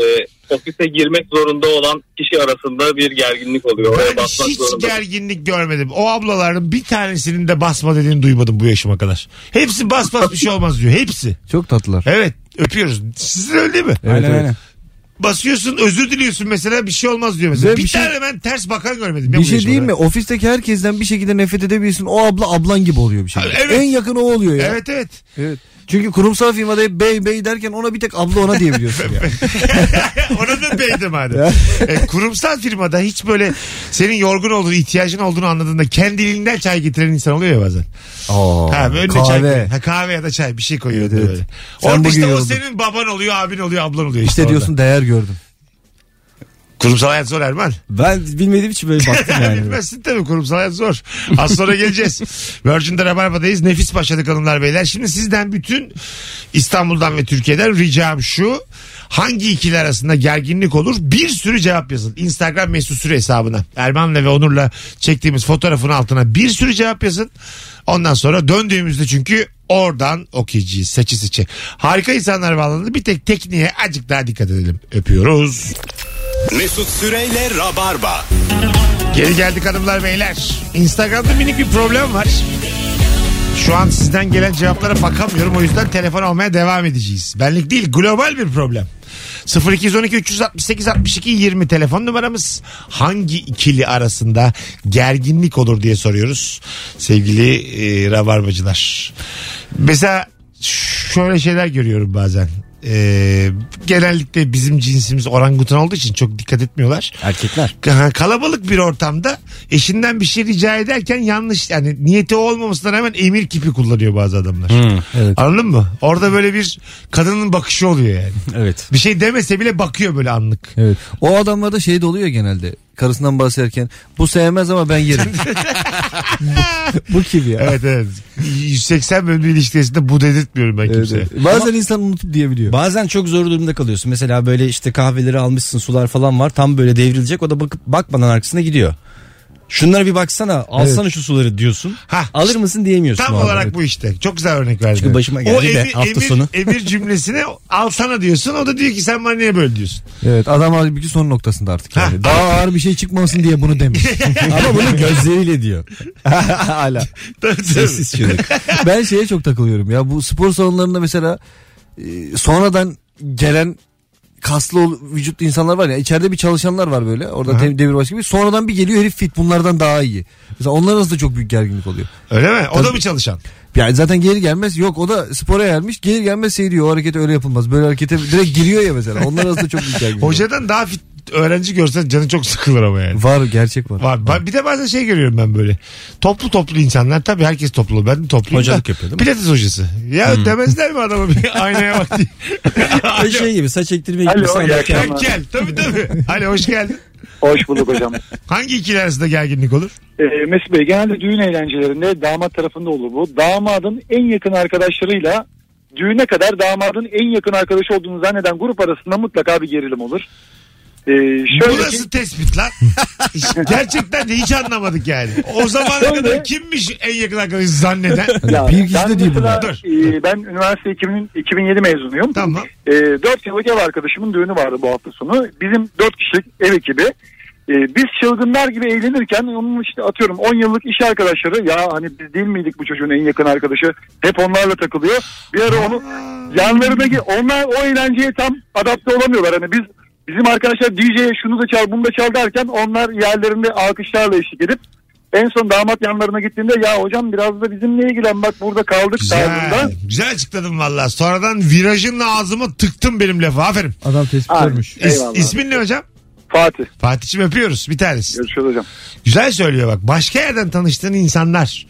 [SPEAKER 7] ofise girmek zorunda olan kişi arasında bir gerginlik oluyor. Oraya
[SPEAKER 4] Ben
[SPEAKER 7] basmak
[SPEAKER 4] hiç
[SPEAKER 7] zorunda.
[SPEAKER 4] gerginlik görmedim. O ablaların bir tanesinin de basma dediğini duymadım bu yaşıma kadar. Hepsi bas bas bir şey olmaz diyor. Hepsi.
[SPEAKER 5] Çok tatlılar. hani
[SPEAKER 4] Evet öpüyoruz. Sizin öyle değil mi?
[SPEAKER 5] Evet, evet.
[SPEAKER 4] Basıyorsun özür diliyorsun mesela bir şey olmaz diyor mesela.
[SPEAKER 5] Ve
[SPEAKER 4] bir
[SPEAKER 5] bir şey-
[SPEAKER 4] tane ben ters bakan görmedim. ya
[SPEAKER 5] Bir
[SPEAKER 4] bu
[SPEAKER 5] şey
[SPEAKER 4] yaşıma
[SPEAKER 5] diyeyim mi?
[SPEAKER 4] kadar.
[SPEAKER 5] Ofisteki herkesten bir şekilde nefret edebilirsin. O abla ablan gibi oluyor bir şey.
[SPEAKER 4] Evet.
[SPEAKER 5] En yakın o oluyor ya.
[SPEAKER 4] Evet evet.
[SPEAKER 5] Evet. Çünkü kurumsal firmada hep bey bey derken ona bir tek abla ona diyebiliyorsun ya.
[SPEAKER 4] Ona da beydi madem. E, kurumsal firmada hiç böyle senin yorgun olduğunu, ihtiyacın olduğunu anladığında kendiliğinden çay getiren insan oluyor ya bazen. Ha, önüne Çay,
[SPEAKER 5] kahve.
[SPEAKER 4] ha, kahve ya da çay bir şey koyuyor.
[SPEAKER 5] Evet,
[SPEAKER 4] Böyle.
[SPEAKER 5] evet. Sen
[SPEAKER 4] Orada
[SPEAKER 5] bugün
[SPEAKER 4] işte o
[SPEAKER 5] yoruldun.
[SPEAKER 4] senin baban oluyor, abin oluyor, ablan oluyor.
[SPEAKER 5] İşte
[SPEAKER 4] orada.
[SPEAKER 5] diyorsun değer gördüm.
[SPEAKER 4] Kurumsal hayat zor Erman.
[SPEAKER 5] Ben bilmediğim için böyle baktım yani.
[SPEAKER 4] Bilmezsin tabii kurumsal hayat zor. Az sonra geleceğiz. Virgin'de Rabarba'dayız. Nefis başladık hanımlar beyler. Şimdi sizden bütün İstanbul'dan ve Türkiye'den ricam şu. Hangi ikili arasında gerginlik olur? Bir sürü cevap yazın. Instagram mesut süre hesabına. Erman'la ve Onur'la çektiğimiz fotoğrafın altına bir sürü cevap yazın. Ondan sonra döndüğümüzde çünkü oradan okuyacağız seçi seçi. Harika insanlar bağlandı. Bir tek tekniğe azıcık daha dikkat edelim. Öpüyoruz.
[SPEAKER 2] Mesut Süreyle Rabarba.
[SPEAKER 4] Geri geldik hanımlar beyler. Instagram'da minik bir problem var. Şu an sizden gelen cevaplara bakamıyorum. O yüzden telefon almaya devam edeceğiz. Benlik değil global bir problem. 0212 368 62 20 telefon numaramız. Hangi ikili arasında gerginlik olur diye soruyoruz. Sevgili e, rabarbacılar. Mesela şöyle şeyler görüyorum bazen. E, genellikle bizim cinsimiz orangutan olduğu için çok dikkat etmiyorlar.
[SPEAKER 3] Erkekler.
[SPEAKER 4] Ka- kalabalık bir ortamda eşinden bir şey rica ederken yanlış yani niyeti o olmamasına rağmen emir kipi kullanıyor bazı adamlar.
[SPEAKER 3] Hmm.
[SPEAKER 5] evet.
[SPEAKER 4] Anladın mı? Orada böyle bir kadının bakışı oluyor yani.
[SPEAKER 5] Evet.
[SPEAKER 4] Bir şey demese bile bakıyor böyle anlık.
[SPEAKER 5] Evet. O adamlarda şey de oluyor genelde. Karısından bahsederken bu sevmez ama ben yerim. bu, bu kim ya?
[SPEAKER 4] Evet evet. 180 bölümlü ilişkisinde bu dedirtmiyorum ben
[SPEAKER 5] Evet,
[SPEAKER 4] kimseye.
[SPEAKER 5] evet. Şey. Bazen insan unutup diyebiliyor.
[SPEAKER 3] Bazen çok zor durumda kalıyorsun. Mesela böyle işte kahveleri almışsın sular falan var. Tam böyle devrilecek. O da bakıp bakmadan arkasına gidiyor. Şunlara bir baksana. Alsana şu suları diyorsun.
[SPEAKER 4] Ha.
[SPEAKER 3] Alır mısın diyemiyorsun.
[SPEAKER 4] Tam
[SPEAKER 3] o anda.
[SPEAKER 4] olarak bu işte. Çok güzel örnek verdin.
[SPEAKER 3] Çünkü başıma
[SPEAKER 4] o
[SPEAKER 3] geldi de
[SPEAKER 4] emir,
[SPEAKER 3] hafta
[SPEAKER 4] emir,
[SPEAKER 3] sonu.
[SPEAKER 4] emir cümlesine alsana diyorsun. O da diyor ki sen bana niye böyle diyorsun.
[SPEAKER 5] Evet adam halbuki son noktasında artık yani.
[SPEAKER 4] Ha.
[SPEAKER 5] Daha ağır bir şey çıkmasın diye bunu demiş.
[SPEAKER 3] Ama bunu gözleriyle diyor.
[SPEAKER 5] Hala.
[SPEAKER 4] Tabii, tabii.
[SPEAKER 3] Sessiz şey. çocuk.
[SPEAKER 5] Ben şeye çok takılıyorum ya bu spor salonlarında mesela e, sonradan gelen kaslı ol- vücutlu insanlar var ya içeride bir çalışanlar var böyle orada te- demirbaşı gibi sonradan bir geliyor herif fit bunlardan daha iyi. Mesela onlar arasında çok büyük gerginlik oluyor.
[SPEAKER 4] Öyle mi? O da
[SPEAKER 5] Tabii.
[SPEAKER 4] mı çalışan?
[SPEAKER 5] Yani zaten gelir gelmez yok o da spora gelmiş gelir gelmez şey diyor o hareket öyle yapılmaz böyle harekete direkt giriyor ya mesela onlar arasında çok büyük gerginlik oluyor.
[SPEAKER 4] Hocadan daha fit öğrenci görsen canı çok sıkılır ama yani.
[SPEAKER 5] Var gerçek var.
[SPEAKER 4] Var. Ba- Bir de bazen şey görüyorum ben böyle. Toplu toplu insanlar. Tabii herkes toplu. Ben de topluyum
[SPEAKER 3] Hocalık
[SPEAKER 4] da.
[SPEAKER 3] yapıyor değil mi? Hmm.
[SPEAKER 4] Pilates hocası. Ya demezler mi adama bir aynaya bak diye.
[SPEAKER 3] Ay şey gibi saç ektirmeye gibi.
[SPEAKER 11] Alo,
[SPEAKER 3] sen
[SPEAKER 11] iyi
[SPEAKER 3] de-
[SPEAKER 11] akşamlar.
[SPEAKER 4] Gel, Gel. Tabii tabii. Hani hoş geldin.
[SPEAKER 11] Hoş bulduk hocam.
[SPEAKER 4] Hangi ikili arasında gerginlik olur?
[SPEAKER 12] E, Mesut Bey genelde düğün eğlencelerinde damat tarafında olur bu. Damadın en yakın arkadaşlarıyla düğüne kadar damadın en yakın arkadaşı olduğunu zanneden grup arasında mutlaka bir gerilim olur. E, şöyle ki-
[SPEAKER 4] Burası tespit lan. Gerçekten de hiç anlamadık yani. O zamana
[SPEAKER 12] Öyle.
[SPEAKER 4] kadar kimmiş en yakın arkadaşı zanneden?
[SPEAKER 12] Ya,
[SPEAKER 5] Bir kişi de
[SPEAKER 12] ben
[SPEAKER 5] değil
[SPEAKER 12] mesela,
[SPEAKER 4] bunlar.
[SPEAKER 12] e, ben üniversite 2000, 2007 mezunuyum.
[SPEAKER 4] Tamam.
[SPEAKER 12] E, 4 yıllık ev arkadaşımın düğünü vardı bu hafta sonu. Bizim 4 kişilik ev ekibi. E, biz çılgınlar gibi eğlenirken onun işte atıyorum 10 yıllık iş arkadaşları ya hani biz değil miydik bu çocuğun en yakın arkadaşı hep onlarla takılıyor. Bir ara onu yanlarındaki onlar o eğlenceye tam adapte olamıyorlar. Hani biz bizim arkadaşlar DJ'ye şunu da çal bunu da çal derken onlar yerlerinde alkışlarla eşlik edip en son damat yanlarına gittiğinde ya hocam biraz da bizimle ilgilen bak burada kaldık tarzında.
[SPEAKER 4] Güzel. Güzel açıkladın valla. Sonradan virajınla ağzıma tıktın benim lafı. Aferin.
[SPEAKER 5] Adam tespit
[SPEAKER 12] Aynen.
[SPEAKER 5] olmuş.
[SPEAKER 4] İs-
[SPEAKER 12] Eyvallah.
[SPEAKER 4] ismin ne hocam?
[SPEAKER 12] Fatih
[SPEAKER 4] Fatih'cim öpüyoruz. Bir tanesi.
[SPEAKER 12] görüşürüz hocam.
[SPEAKER 4] Güzel söylüyor bak. Başka yerden tanıştığın insanlar.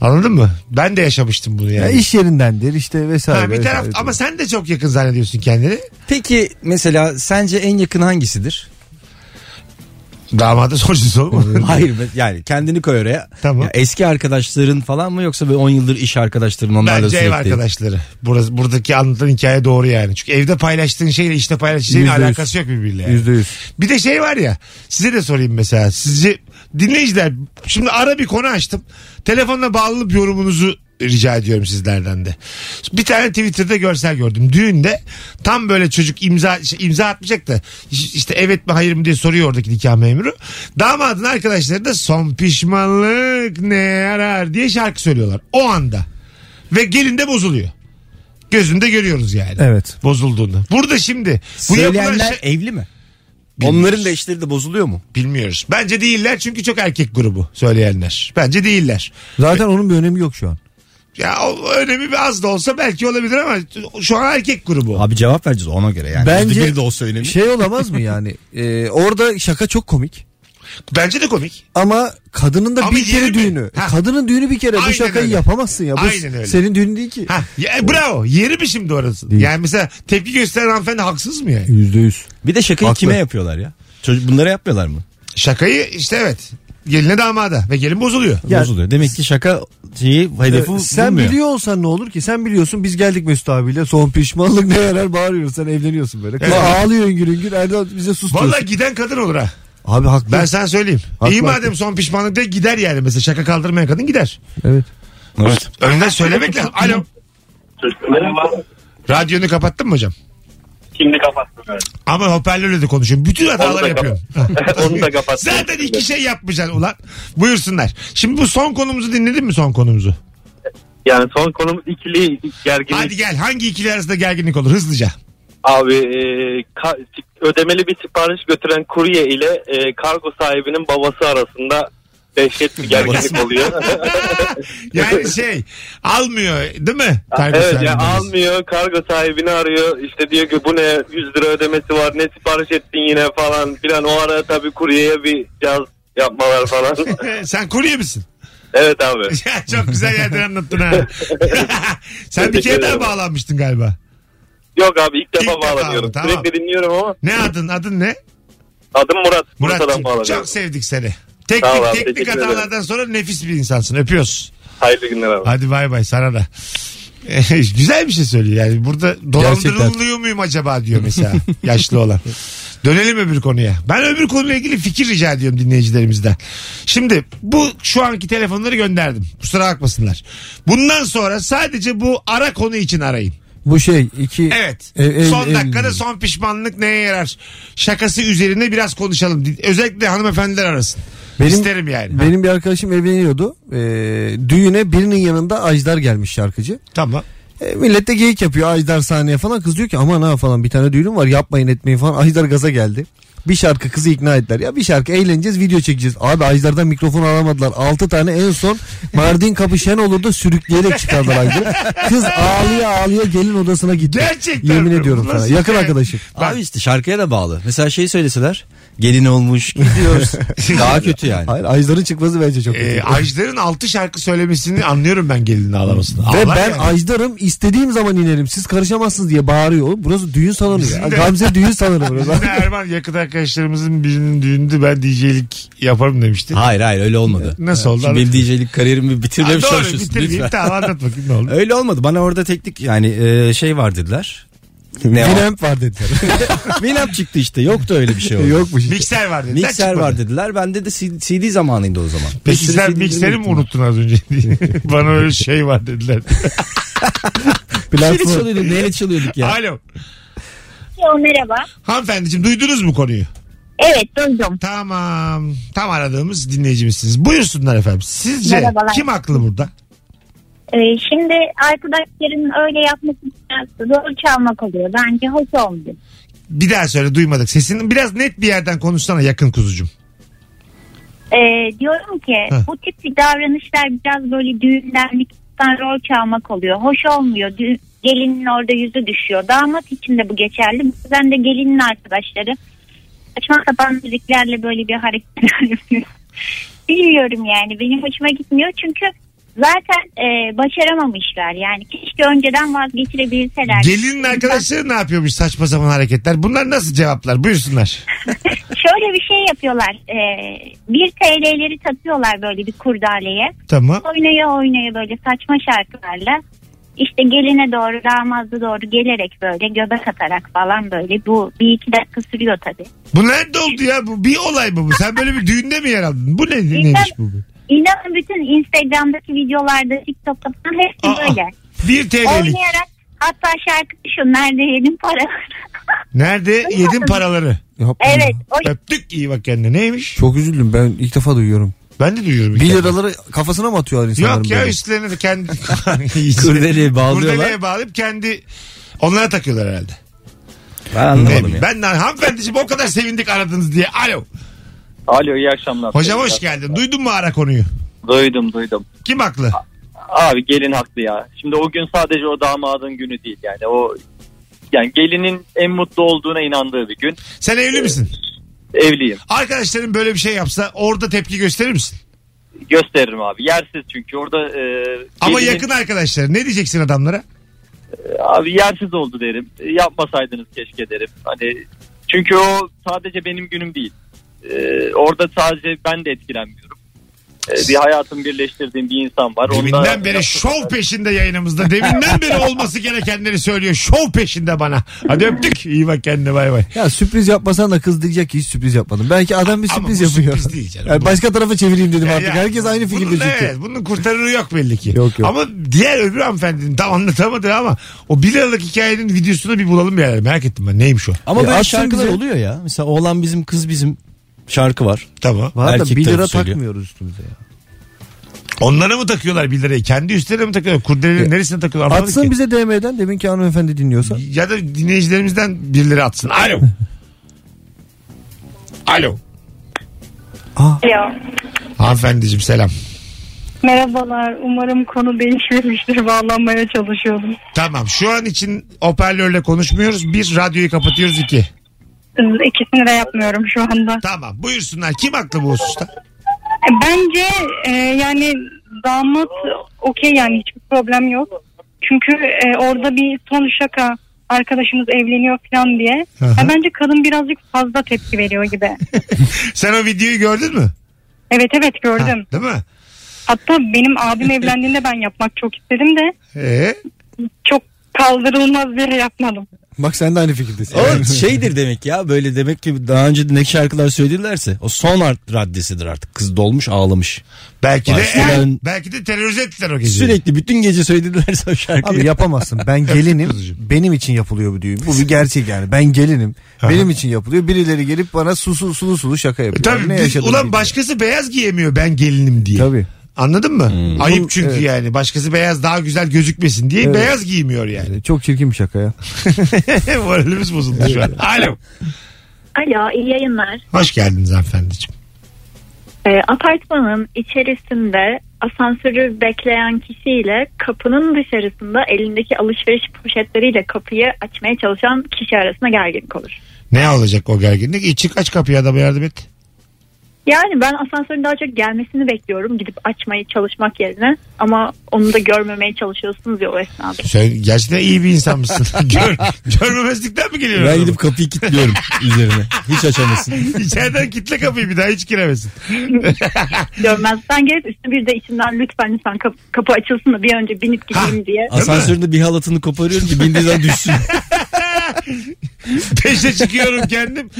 [SPEAKER 4] Anladın mı? Ben de yaşamıştım bunu
[SPEAKER 5] Ya
[SPEAKER 4] yani.
[SPEAKER 5] iş yerindendir işte vesaire.
[SPEAKER 4] ha, bir taraf
[SPEAKER 5] vesaire.
[SPEAKER 4] ama sen de çok yakın zannediyorsun kendini.
[SPEAKER 3] Peki mesela sence en yakın hangisidir?
[SPEAKER 4] Damadı sorucusu olma.
[SPEAKER 3] Hayır be- yani kendini koy oraya.
[SPEAKER 4] Tamam.
[SPEAKER 3] Ya eski arkadaşların falan mı yoksa böyle 10 yıldır iş arkadaşların onlarla
[SPEAKER 4] Bence ev
[SPEAKER 3] sürekli-
[SPEAKER 4] arkadaşları. Burası, buradaki anlatılan hikaye doğru yani. Çünkü evde paylaştığın şeyle işte paylaştığın şeyin
[SPEAKER 5] Yüzde yüz.
[SPEAKER 4] alakası yok birbiriyle. yani.
[SPEAKER 5] Yüzde yüz.
[SPEAKER 4] Bir de şey var ya size de sorayım mesela. Sizce dinleyiciler şimdi ara bir konu açtım. Telefonla bağlanıp yorumunuzu rica ediyorum sizlerden de. Bir tane Twitter'da görsel gördüm. Düğünde tam böyle çocuk imza şey, imza atmayacak da iş- işte evet mi hayır mı diye soruyor oradaki nikah memuru. Damadın arkadaşları da son pişmanlık ne yarar diye şarkı söylüyorlar o anda. Ve gelin de bozuluyor. Gözünde görüyoruz yani.
[SPEAKER 5] Evet.
[SPEAKER 4] Bozulduğunu. Burada şimdi bu yapılan şey...
[SPEAKER 3] Söyleyenler evli mi? Onların da işleri de bozuluyor mu?
[SPEAKER 4] Bilmiyoruz. Bence değiller çünkü çok erkek grubu söyleyenler. Bence değiller.
[SPEAKER 5] Zaten onun bir önemi yok şu an.
[SPEAKER 4] Ya o önemi bir az da olsa belki olabilir ama şu an erkek grubu.
[SPEAKER 3] Abi cevap vereceğiz ona göre yani.
[SPEAKER 5] Bence-
[SPEAKER 3] %1 de olsa önemli.
[SPEAKER 5] Şey olamaz mı yani? Ee, orada şaka çok komik.
[SPEAKER 4] Bence de komik.
[SPEAKER 5] Ama kadının da
[SPEAKER 4] Ama
[SPEAKER 5] bir kere
[SPEAKER 4] yeri mi?
[SPEAKER 5] düğünü.
[SPEAKER 4] Ha.
[SPEAKER 5] Kadının düğünü bir kere.
[SPEAKER 4] Aynen
[SPEAKER 5] bu şakayı
[SPEAKER 4] öyle.
[SPEAKER 5] yapamazsın ya. Bu
[SPEAKER 4] Aynen öyle.
[SPEAKER 5] senin düğünün değil ki.
[SPEAKER 4] Ha, ya, e, bravo. Yeri mi şimdi orası?
[SPEAKER 5] Değil.
[SPEAKER 4] Yani mesela tepki gösteren hanımefendi haksız mı yani?
[SPEAKER 5] Yüzde yüz.
[SPEAKER 3] Bir de şakayı
[SPEAKER 5] Haklı.
[SPEAKER 3] kime yapıyorlar ya? Çocuk bunları yapmıyorlar mı?
[SPEAKER 4] Şakayı işte evet. Geline damada ve gelin bozuluyor.
[SPEAKER 5] Ya-
[SPEAKER 3] Bozuluyor. Demek ki şaka şeyi hedefi
[SPEAKER 5] Evet, E, sen
[SPEAKER 3] bulmuyor.
[SPEAKER 5] biliyor olsan ne olur ki? Sen biliyorsun biz geldik Mesut abiyle. Son pişmanlık ne verer bağırıyoruz. Sen evleniyorsun böyle. Kız
[SPEAKER 4] Evet.
[SPEAKER 5] ağlıyor üngür üngür. Erdal bize sus diyorsun.
[SPEAKER 4] Valla giden kadın olur ha.
[SPEAKER 5] Abi haklı.
[SPEAKER 4] Ben sana söyleyeyim.
[SPEAKER 5] Haklı,
[SPEAKER 4] İyi
[SPEAKER 5] haklı.
[SPEAKER 4] madem son pişmanlık de gider yani mesela şaka kaldırmayan kadın gider.
[SPEAKER 5] Evet.
[SPEAKER 3] Evet.
[SPEAKER 4] Önden söylemek lazım. Alo. Radyonu kapattın mı hocam?
[SPEAKER 11] Şimdi kapattım.
[SPEAKER 4] Ama hoparlörle de konuşuyorum. Bütün
[SPEAKER 13] Onu
[SPEAKER 4] hataları
[SPEAKER 13] da
[SPEAKER 4] yapıyorum.
[SPEAKER 13] kapat- Onu da kapat.
[SPEAKER 4] Zaten iki şey yapmayacaksın ulan. Buyursunlar. Şimdi bu son konumuzu dinledin mi son konumuzu?
[SPEAKER 13] Yani son konumuz ikili gerginlik.
[SPEAKER 4] Hadi gel hangi ikili arasında gerginlik olur hızlıca.
[SPEAKER 13] Abi e, ka- ödemeli bir sipariş götüren kurye ile e, kargo sahibinin babası arasında dehşet bir gerginlik oluyor.
[SPEAKER 4] Yani şey almıyor değil mi? Kargo
[SPEAKER 13] evet ya
[SPEAKER 4] sahibi.
[SPEAKER 13] almıyor kargo sahibini arıyor işte diyor ki bu ne 100 lira ödemesi var ne sipariş ettin yine falan filan o ara tabii kuryeye bir caz yapmalar falan.
[SPEAKER 4] Sen kurye misin?
[SPEAKER 13] evet abi.
[SPEAKER 4] Ya çok güzel yerden anlattın ha. Sen bir kere daha bağlanmıştın galiba.
[SPEAKER 13] Yok abi ilk defa
[SPEAKER 4] defa,
[SPEAKER 13] bağlanıyorum.
[SPEAKER 4] tamam.
[SPEAKER 13] Sürekli dinliyorum ama
[SPEAKER 4] Ne adın? Adın ne?
[SPEAKER 13] adım Murat. Bursa'dan
[SPEAKER 4] Murat'cığım.
[SPEAKER 13] bağlanıyorum.
[SPEAKER 4] Çok sevdik seni.
[SPEAKER 13] Sağ ol
[SPEAKER 4] Teknik,
[SPEAKER 13] abi,
[SPEAKER 4] teknik
[SPEAKER 13] teşekkür ederim.
[SPEAKER 4] hatalardan sonra nefis bir insansın. Öpüyoruz.
[SPEAKER 13] Hayırlı günler abi.
[SPEAKER 4] Hadi bay bay sana da. Güzel bir şey söylüyor yani. Burada dolandırılıyor muyum acaba diyor mesela yaşlı olan. Dönelim öbür konuya. Ben öbür konuyla ilgili fikir rica ediyorum dinleyicilerimizden. Şimdi bu şu anki telefonları gönderdim. Kusura bakmasınlar. Bundan sonra sadece bu ara konu için arayın.
[SPEAKER 5] Bu şey iki...
[SPEAKER 4] Evet.
[SPEAKER 5] Ev- ev-
[SPEAKER 4] son
[SPEAKER 5] ev-
[SPEAKER 4] dakikada son pişmanlık neye yarar? Şakası üzerine biraz konuşalım. Özellikle hanımefendiler arasın.
[SPEAKER 5] Benim-
[SPEAKER 4] İsterim yani.
[SPEAKER 5] Benim bir arkadaşım evleniyordu. Ee, düğüne birinin yanında Ajdar gelmiş şarkıcı.
[SPEAKER 4] Tamam.
[SPEAKER 5] E, millet de geyik yapıyor Ajdar sahneye falan. Kız diyor ki aman ha falan bir tane düğünüm var yapmayın etmeyin falan. Ajdar gaza geldi. Bir şarkı kızı ikna ettiler. Ya bir şarkı eğleneceğiz video çekeceğiz. Abi Ajdar'dan mikrofon alamadılar. 6 tane en son Mardin kapı şen olurdu sürükleyerek çıkardılar Ajdar'ı. Kız ağlaya ağlaya gelin odasına gitti.
[SPEAKER 4] Gerçekten mi?
[SPEAKER 5] Yemin ediyorum
[SPEAKER 4] Ulan
[SPEAKER 5] sana.
[SPEAKER 4] siz
[SPEAKER 5] Yakın
[SPEAKER 4] de-
[SPEAKER 5] arkadaşım.
[SPEAKER 3] Abi işte şarkıya da bağlı. Mesela şey söyleseler. Gelin olmuş gidiyoruz. Daha kötü yani.
[SPEAKER 5] Hayır Ajdar'ın çıkması bence çok
[SPEAKER 4] Ee,
[SPEAKER 5] kötü.
[SPEAKER 4] Ajdar'ın altı şarkı söylemesini anlıyorum ben gelinin ağlamasını.
[SPEAKER 5] Ve
[SPEAKER 4] Ağlar
[SPEAKER 5] ben
[SPEAKER 4] yani.
[SPEAKER 5] Ajdar'ım istediğim zaman inerim. Siz karışamazsınız diye bağırıyor. Oğlum Burası düğün salonu ya.
[SPEAKER 4] de-
[SPEAKER 5] Gamze düğün salonu burası.
[SPEAKER 4] Bizim de Erman yakın arkadaşlarımızın birinin düğününde ben DJ'lik yaparım demişti.
[SPEAKER 3] Hayır hayır öyle olmadı.
[SPEAKER 4] Nasıl oldu?
[SPEAKER 3] Şimdi benim DJ'lik kariyerimi bitirmeye
[SPEAKER 4] Ha, doğru
[SPEAKER 3] çalışıyorsun
[SPEAKER 4] bitirmeyeyim
[SPEAKER 3] lütfen.
[SPEAKER 4] tamam anlat bakayım ne oldu.
[SPEAKER 3] Öyle olmadı. Bana orada teknik yani e, şey var dediler. Ne var?
[SPEAKER 5] Winamp var dediler.
[SPEAKER 3] Winamp çıktı işte. Yoktu öyle bir şey oldu.
[SPEAKER 5] Yokmuş. işte.
[SPEAKER 4] Mikser var dedi.
[SPEAKER 3] Mikser var dediler. Bende de C- CD zamanıydı o zaman. Bir
[SPEAKER 4] Peki
[SPEAKER 3] sürü
[SPEAKER 4] sen
[SPEAKER 3] CD 'lerim
[SPEAKER 4] mikseri mi
[SPEAKER 3] yoktu.
[SPEAKER 4] unuttun az önce? Bana öyle şey var dediler.
[SPEAKER 3] Neyle
[SPEAKER 5] Platform.
[SPEAKER 3] çalıyorduk? Neyle çalıyorduk ya?
[SPEAKER 4] Alo.
[SPEAKER 6] Yo, merhaba.
[SPEAKER 4] Hanımefendiciğim duydunuz mu konuyu?
[SPEAKER 6] Evet duydum.
[SPEAKER 4] Tamam. Tam aradığımız dinleyicimizsiniz. Buyursunlar efendim. Sizce
[SPEAKER 6] Merhabalar.
[SPEAKER 4] kim haklı burada?
[SPEAKER 6] Ee, şimdi arkadaşların öyle yapması biraz zor çalmak oluyor. Bence hoş olmuyor.
[SPEAKER 4] Bir daha söyle duymadık. Sesini biraz net bir yerden konuşsana yakın kuzucum.
[SPEAKER 6] Ee, diyorum ki
[SPEAKER 4] Heh.
[SPEAKER 6] bu tip davranışlar biraz böyle düğündenlikten rol çalmak oluyor. Hoş olmuyor. Dü- gelinin orada yüzü düşüyor. Damat için de bu geçerli. Bazen de gelinin arkadaşları saçma sapan müziklerle böyle bir hareket yapıyor. Bilmiyorum yani benim hoşuma gitmiyor çünkü zaten e, başaramamışlar yani keşke önceden vazgeçirebilseler.
[SPEAKER 4] Gelinin arkadaşları ne yapıyormuş saçma sapan hareketler? Bunlar nasıl cevaplar? Buyursunlar.
[SPEAKER 6] Şöyle bir şey yapıyorlar. E, 1 TL'leri takıyorlar böyle bir kurdaleye.
[SPEAKER 4] Tamam.
[SPEAKER 6] oynaya oynaya böyle saçma şarkılarla işte geline doğru damazlı doğru gelerek böyle göbek atarak falan böyle bu bir iki dakika sürüyor tabi.
[SPEAKER 4] Bu nerede oldu ya? Bu bir olay mı bu? Sen böyle bir düğünde mi yer aldın? Bu ne,
[SPEAKER 6] Bilmem.
[SPEAKER 4] neymiş bu?
[SPEAKER 6] İnanın bütün Instagram'daki videolarda TikTok'ta falan hepsi
[SPEAKER 4] Aa,
[SPEAKER 6] böyle.
[SPEAKER 4] Bir TL'lik.
[SPEAKER 6] Oynayarak hatta şarkı şu nerede yedim para.
[SPEAKER 4] Nerede yedin paraları?
[SPEAKER 5] Yapma ya.
[SPEAKER 6] evet o
[SPEAKER 4] Öptük iyi bak kendine. Neymiş?
[SPEAKER 5] Çok üzüldüm ben ilk defa duyuyorum.
[SPEAKER 4] Ben de duyuyorum. ilk
[SPEAKER 5] 1
[SPEAKER 4] defa.
[SPEAKER 5] liraları kafasına mı atıyorlar insanların?
[SPEAKER 4] Yok ya
[SPEAKER 5] böyle?
[SPEAKER 4] üstlerine de kendi
[SPEAKER 3] Kurdeleye bağlıyorlar.
[SPEAKER 4] Kurdeleye bağlayıp kendi onlara takıyorlar herhalde.
[SPEAKER 3] Ben
[SPEAKER 4] Ne
[SPEAKER 3] anlamadım
[SPEAKER 4] bileyim.
[SPEAKER 3] ya.
[SPEAKER 4] Ben de hanımefendiciğim o kadar sevindik aradınız diye. Alo.
[SPEAKER 11] Alo iyi akşamlar.
[SPEAKER 4] Hocam hoş geldin. Duydun mu ara konuyu?
[SPEAKER 11] Duydum duydum.
[SPEAKER 4] Kim haklı?
[SPEAKER 11] Abi gelin haklı ya. Şimdi o gün sadece o damadın günü değil yani o yani gelinin en mutlu olduğuna inandığı bir gün.
[SPEAKER 4] Sen evli misin?
[SPEAKER 11] Evliyim.
[SPEAKER 4] Arkadaşların böyle bir şey yapsa orada tepki gösterir misin?
[SPEAKER 11] Gösteririm abi. Yersiz çünkü orada e, gelinin,
[SPEAKER 4] Ama yakın arkadaşlar ne diyeceksin adamlara?
[SPEAKER 11] abi yersiz oldu derim. E, Yapmasaydınız keşke derim. Hani
[SPEAKER 7] Çünkü o sadece benim günüm değil. Ee, orada sadece ben de etkilenmiyorum. Ee, bir hayatım birleştirdiğim bir insan var.
[SPEAKER 4] Deminden beri şov peşinde yayınımızda. Deminden beri olması gerekenleri söylüyor. Şov peşinde bana. Hadi öptük. İyi bak kendine bay bay.
[SPEAKER 5] Ya sürpriz yapmasan da kız diyecek ki hiç sürpriz yapmadım. Belki adam bir sürpriz
[SPEAKER 4] bu
[SPEAKER 5] yapıyor.
[SPEAKER 4] sürpriz değil canım.
[SPEAKER 5] Yani başka tarafa çevireyim dedim
[SPEAKER 4] Ya,
[SPEAKER 5] artık.
[SPEAKER 4] ya.
[SPEAKER 5] Herkes aynı
[SPEAKER 4] bunun,
[SPEAKER 5] fikirde çünkü.
[SPEAKER 4] Evet bunun kurtarırı yok belli ki.
[SPEAKER 5] Yok, yok.
[SPEAKER 4] Ama diğer öbür hanımefendinin tam anlatamadı ama o 1 liralık hikayenin videosunu bir bulalım bir yerlere. Merak ettim ben neymiş o.
[SPEAKER 3] Ama
[SPEAKER 5] E,
[SPEAKER 3] böyle
[SPEAKER 5] atsın
[SPEAKER 3] şarkılar
[SPEAKER 5] bize.
[SPEAKER 3] oluyor ya. Mesela oğlan bizim kız bizim şarkı var.
[SPEAKER 4] Tamam.
[SPEAKER 5] Var da
[SPEAKER 3] Erkek
[SPEAKER 5] 1 lira
[SPEAKER 3] tarafı söylüyor.
[SPEAKER 5] takmıyoruz üstümüze ya.
[SPEAKER 4] Onlara mı takıyorlar 1 lirayı? Kendi üstlerine mi takıyorlar? Kurdelerin neresine takıyorlar? Anlamadık
[SPEAKER 5] E, Atsın
[SPEAKER 4] ki.
[SPEAKER 5] bize DM'den demin ki hanımefendi dinliyorsa.
[SPEAKER 4] Ya da dinleyicilerimizden 1 lira atsın. Alo. Alo.
[SPEAKER 6] Alo.
[SPEAKER 4] Hanımefendiciğim selam.
[SPEAKER 6] Merhabalar. Umarım konu değişmemiştir. Bağlanmaya çalışıyordum.
[SPEAKER 4] Tamam şu an için hoparlörle konuşmuyoruz. Bir radyoyu kapatıyoruz iki.
[SPEAKER 6] İkisini de yapmıyorum şu anda.
[SPEAKER 4] Tamam buyursunlar. Kim haklı bu hususta?
[SPEAKER 6] Bence e, yani damat okey yani hiçbir problem yok. Çünkü e, orada bir son şaka arkadaşımız evleniyor falan diye.
[SPEAKER 4] Aha.
[SPEAKER 6] Ya bence kadın birazcık fazla tepki veriyor gibi.
[SPEAKER 4] Sen o videoyu gördün mü?
[SPEAKER 6] Evet evet gördüm.
[SPEAKER 4] Ha, değil mi?
[SPEAKER 6] Hatta benim abim evlendiğinde ben yapmak çok istedim de
[SPEAKER 4] Ee,
[SPEAKER 6] çok kaldırılmaz bir şey yapmadım.
[SPEAKER 5] Bak sen de aynı fikirdesin.
[SPEAKER 3] O şeydir demek ya böyle demek ki daha önce ne şarkılar söyledilerse o son art raddesidir artık. Kız dolmuş ağlamış.
[SPEAKER 4] belki de eh,
[SPEAKER 3] Başkalarının-
[SPEAKER 4] belki de terörize ettiler o geceyi.
[SPEAKER 3] Sürekli bütün gece söyledilerse o şarkıyı.
[SPEAKER 5] Abi yapamazsın. Ben gelinim. benim için yapılıyor bu düğün. Bu bir gerçek yani. Ben gelinim. benim için yapılıyor. Birileri gelip bana susulu sulu sulu şaka
[SPEAKER 4] E
[SPEAKER 5] yapıyor.
[SPEAKER 4] Tabii biz-
[SPEAKER 5] yaşadın
[SPEAKER 4] ulan
[SPEAKER 5] bilmiyorum.
[SPEAKER 4] başkası beyaz giyemiyor ben gelinim diye.
[SPEAKER 5] Tabii. Hmm.
[SPEAKER 4] Anladın mı? Ayıp çünkü
[SPEAKER 5] Evet.
[SPEAKER 4] yani. Başkası beyaz daha güzel gözükmesin diye beyaz giymiyor yani.
[SPEAKER 5] Çok çirkin bir şaka ya.
[SPEAKER 4] Moralimiz bozuldu şu an. Alo.
[SPEAKER 6] Alo iyi yayınlar.
[SPEAKER 4] Hoş geldiniz hanımefendiciğim.
[SPEAKER 6] E, apartmanın içerisinde asansörü bekleyen kişiyle kapının dışarısında elindeki alışveriş poşetleriyle kapıyı açmaya çalışan kişi arasında gerginlik olur.
[SPEAKER 4] Ne olacak o gerginlik? İçi kaç kapıyı adama yardım et.
[SPEAKER 6] Yani ben asansörün daha çok gelmesini bekliyorum gidip açmaya çalışmak yerine ama onu da görmemeye çalışıyorsunuz ya o esnada.
[SPEAKER 4] Sen gerçekten iyi bir insan mısın? Gör, görmemezlikten mi geliyorsun?
[SPEAKER 3] ben gidip kapıyı kilitliyorum üzerine. Hiç açamazsın.
[SPEAKER 4] İçeriden kitle kapıyı bir daha hiç giremesin.
[SPEAKER 6] Görmezden gelip üstüne bir de içinden lütfen lütfen kapı, kapı açılsın da bir an önce binip gideyim diye.
[SPEAKER 3] Asansöründe bir halatını koparıyorum ki bindiği zaman düşsün.
[SPEAKER 4] Beşte çıkıyorum kendim.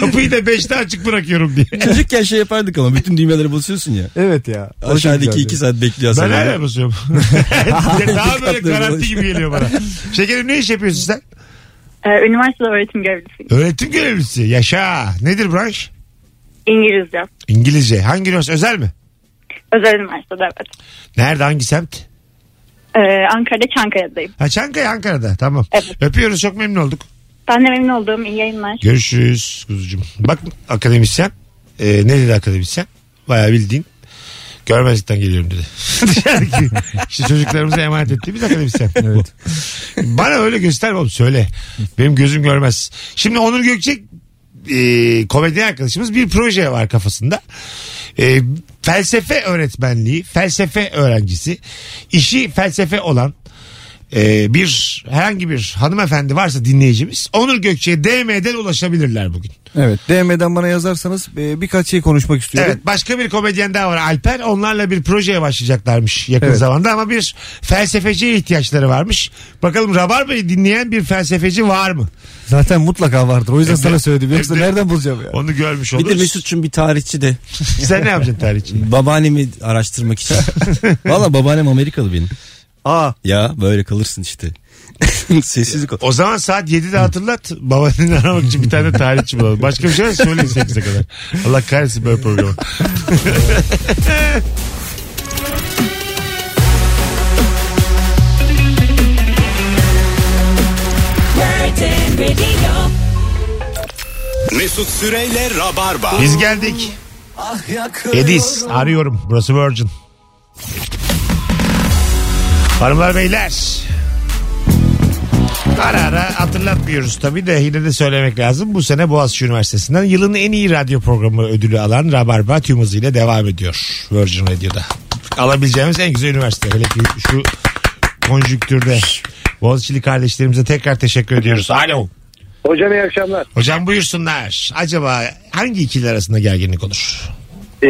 [SPEAKER 4] Kapıyı da beşte açık bırakıyorum diye.
[SPEAKER 3] Çocukken şey yapardık ama bütün düğmelere basıyorsun ya.
[SPEAKER 5] Evet ya. O şey
[SPEAKER 3] Aşağıdaki
[SPEAKER 5] güzeldi.
[SPEAKER 3] iki saat bekliyor
[SPEAKER 4] Ben
[SPEAKER 3] asansörde.
[SPEAKER 4] hala basıyorum. daha böyle garanti gibi geliyor bana. Şekerim ne iş yapıyorsun sen?
[SPEAKER 6] Ee, üniversitede öğretim görevlisiyim.
[SPEAKER 4] Öğretim görevlisi. Yaşa. Nedir branş?
[SPEAKER 6] İngilizce.
[SPEAKER 4] İngilizce. Hangi üniversite? Özel mi?
[SPEAKER 6] Özel üniversitede evet.
[SPEAKER 4] Nerede? Hangi semt?
[SPEAKER 6] Ee, Ankara'da Çankaya'dayım.
[SPEAKER 4] Ha Çankaya Ankara'da. Tamam.
[SPEAKER 6] Evet.
[SPEAKER 4] Öpüyoruz. Çok memnun olduk.
[SPEAKER 6] Ben de memnun olduğum iyi yayınlar.
[SPEAKER 4] Görüşürüz kuzucuğum. Bak akademisyen. Ee, ne dedi akademisyen? Bayağı bildiğin. Görmezlikten geliyorum dedi. Dışarıdaki işte çocuklarımıza emanet ettiğimiz akademisyen.
[SPEAKER 5] Evet.
[SPEAKER 4] Bana öyle gösterme oğlum söyle. Benim gözüm görmez. Şimdi Onur Gökçek e, komedyen arkadaşımız bir proje var kafasında. E, felsefe öğretmenliği, felsefe öğrencisi, işi felsefe olan e, bir herhangi bir hanımefendi varsa dinleyicimiz Onur Gökçe'ye DM'den ulaşabilirler bugün.
[SPEAKER 5] Evet. DM'den bana yazarsanız e, birkaç şey konuşmak istiyorum.
[SPEAKER 4] Evet başka bir komedyen daha var Alper. Onlarla bir projeye başlayacaklarmış yakın
[SPEAKER 5] Evet.
[SPEAKER 4] zamanda ama bir felsefeciye ihtiyaçları varmış. Bakalım Rabarba'yı dinleyen bir felsefeci var mı?
[SPEAKER 5] Zaten mutlaka vardır. O yüzden
[SPEAKER 4] Hem de-
[SPEAKER 5] sana söyledim. Yoksa
[SPEAKER 4] hem de-
[SPEAKER 5] nereden bulacağım ya?
[SPEAKER 4] Onu görmüş
[SPEAKER 3] Bir
[SPEAKER 4] oluruz.
[SPEAKER 3] de Mesut'cum bir tarihçi de
[SPEAKER 4] Sen ne yapacaksın tarihçi?
[SPEAKER 3] babaannemi araştırmak için. Valla babaannem Amerikalı benim.
[SPEAKER 5] Aa.
[SPEAKER 3] Ya böyle kalırsın işte. Sessizlik ol.
[SPEAKER 4] O zaman saat 7'de hatırlat. Babanın aramak için bir tane tarihçi bulalım. Başka bir şey varsa söyleyin 8'e kadar. Allah kahretsin böyle programı.
[SPEAKER 2] Mesut Süreyle Rabarba.
[SPEAKER 4] Biz geldik. Yediz. Arıyorum. Burası Virgin. Hanımlar beyler. Ara ara hatırlatmıyoruz tabii de yine de söylemek lazım. Bu sene Boğaziçi Üniversitesi'nden yılın en iyi radyo programı ödülü alan Rabarba tüm hızıyla devam ediyor Virgin Radio'da. Alabileceğimiz en güzel üniversite. Hele ki şu konjüktürde. Boğaziçi'li kardeşlerimize tekrar teşekkür ediyoruz. Alo.
[SPEAKER 12] Hocam iyi akşamlar.
[SPEAKER 4] Hocam buyursunlar. Acaba hangi ikili arasında gerginlik olur?
[SPEAKER 12] Ee,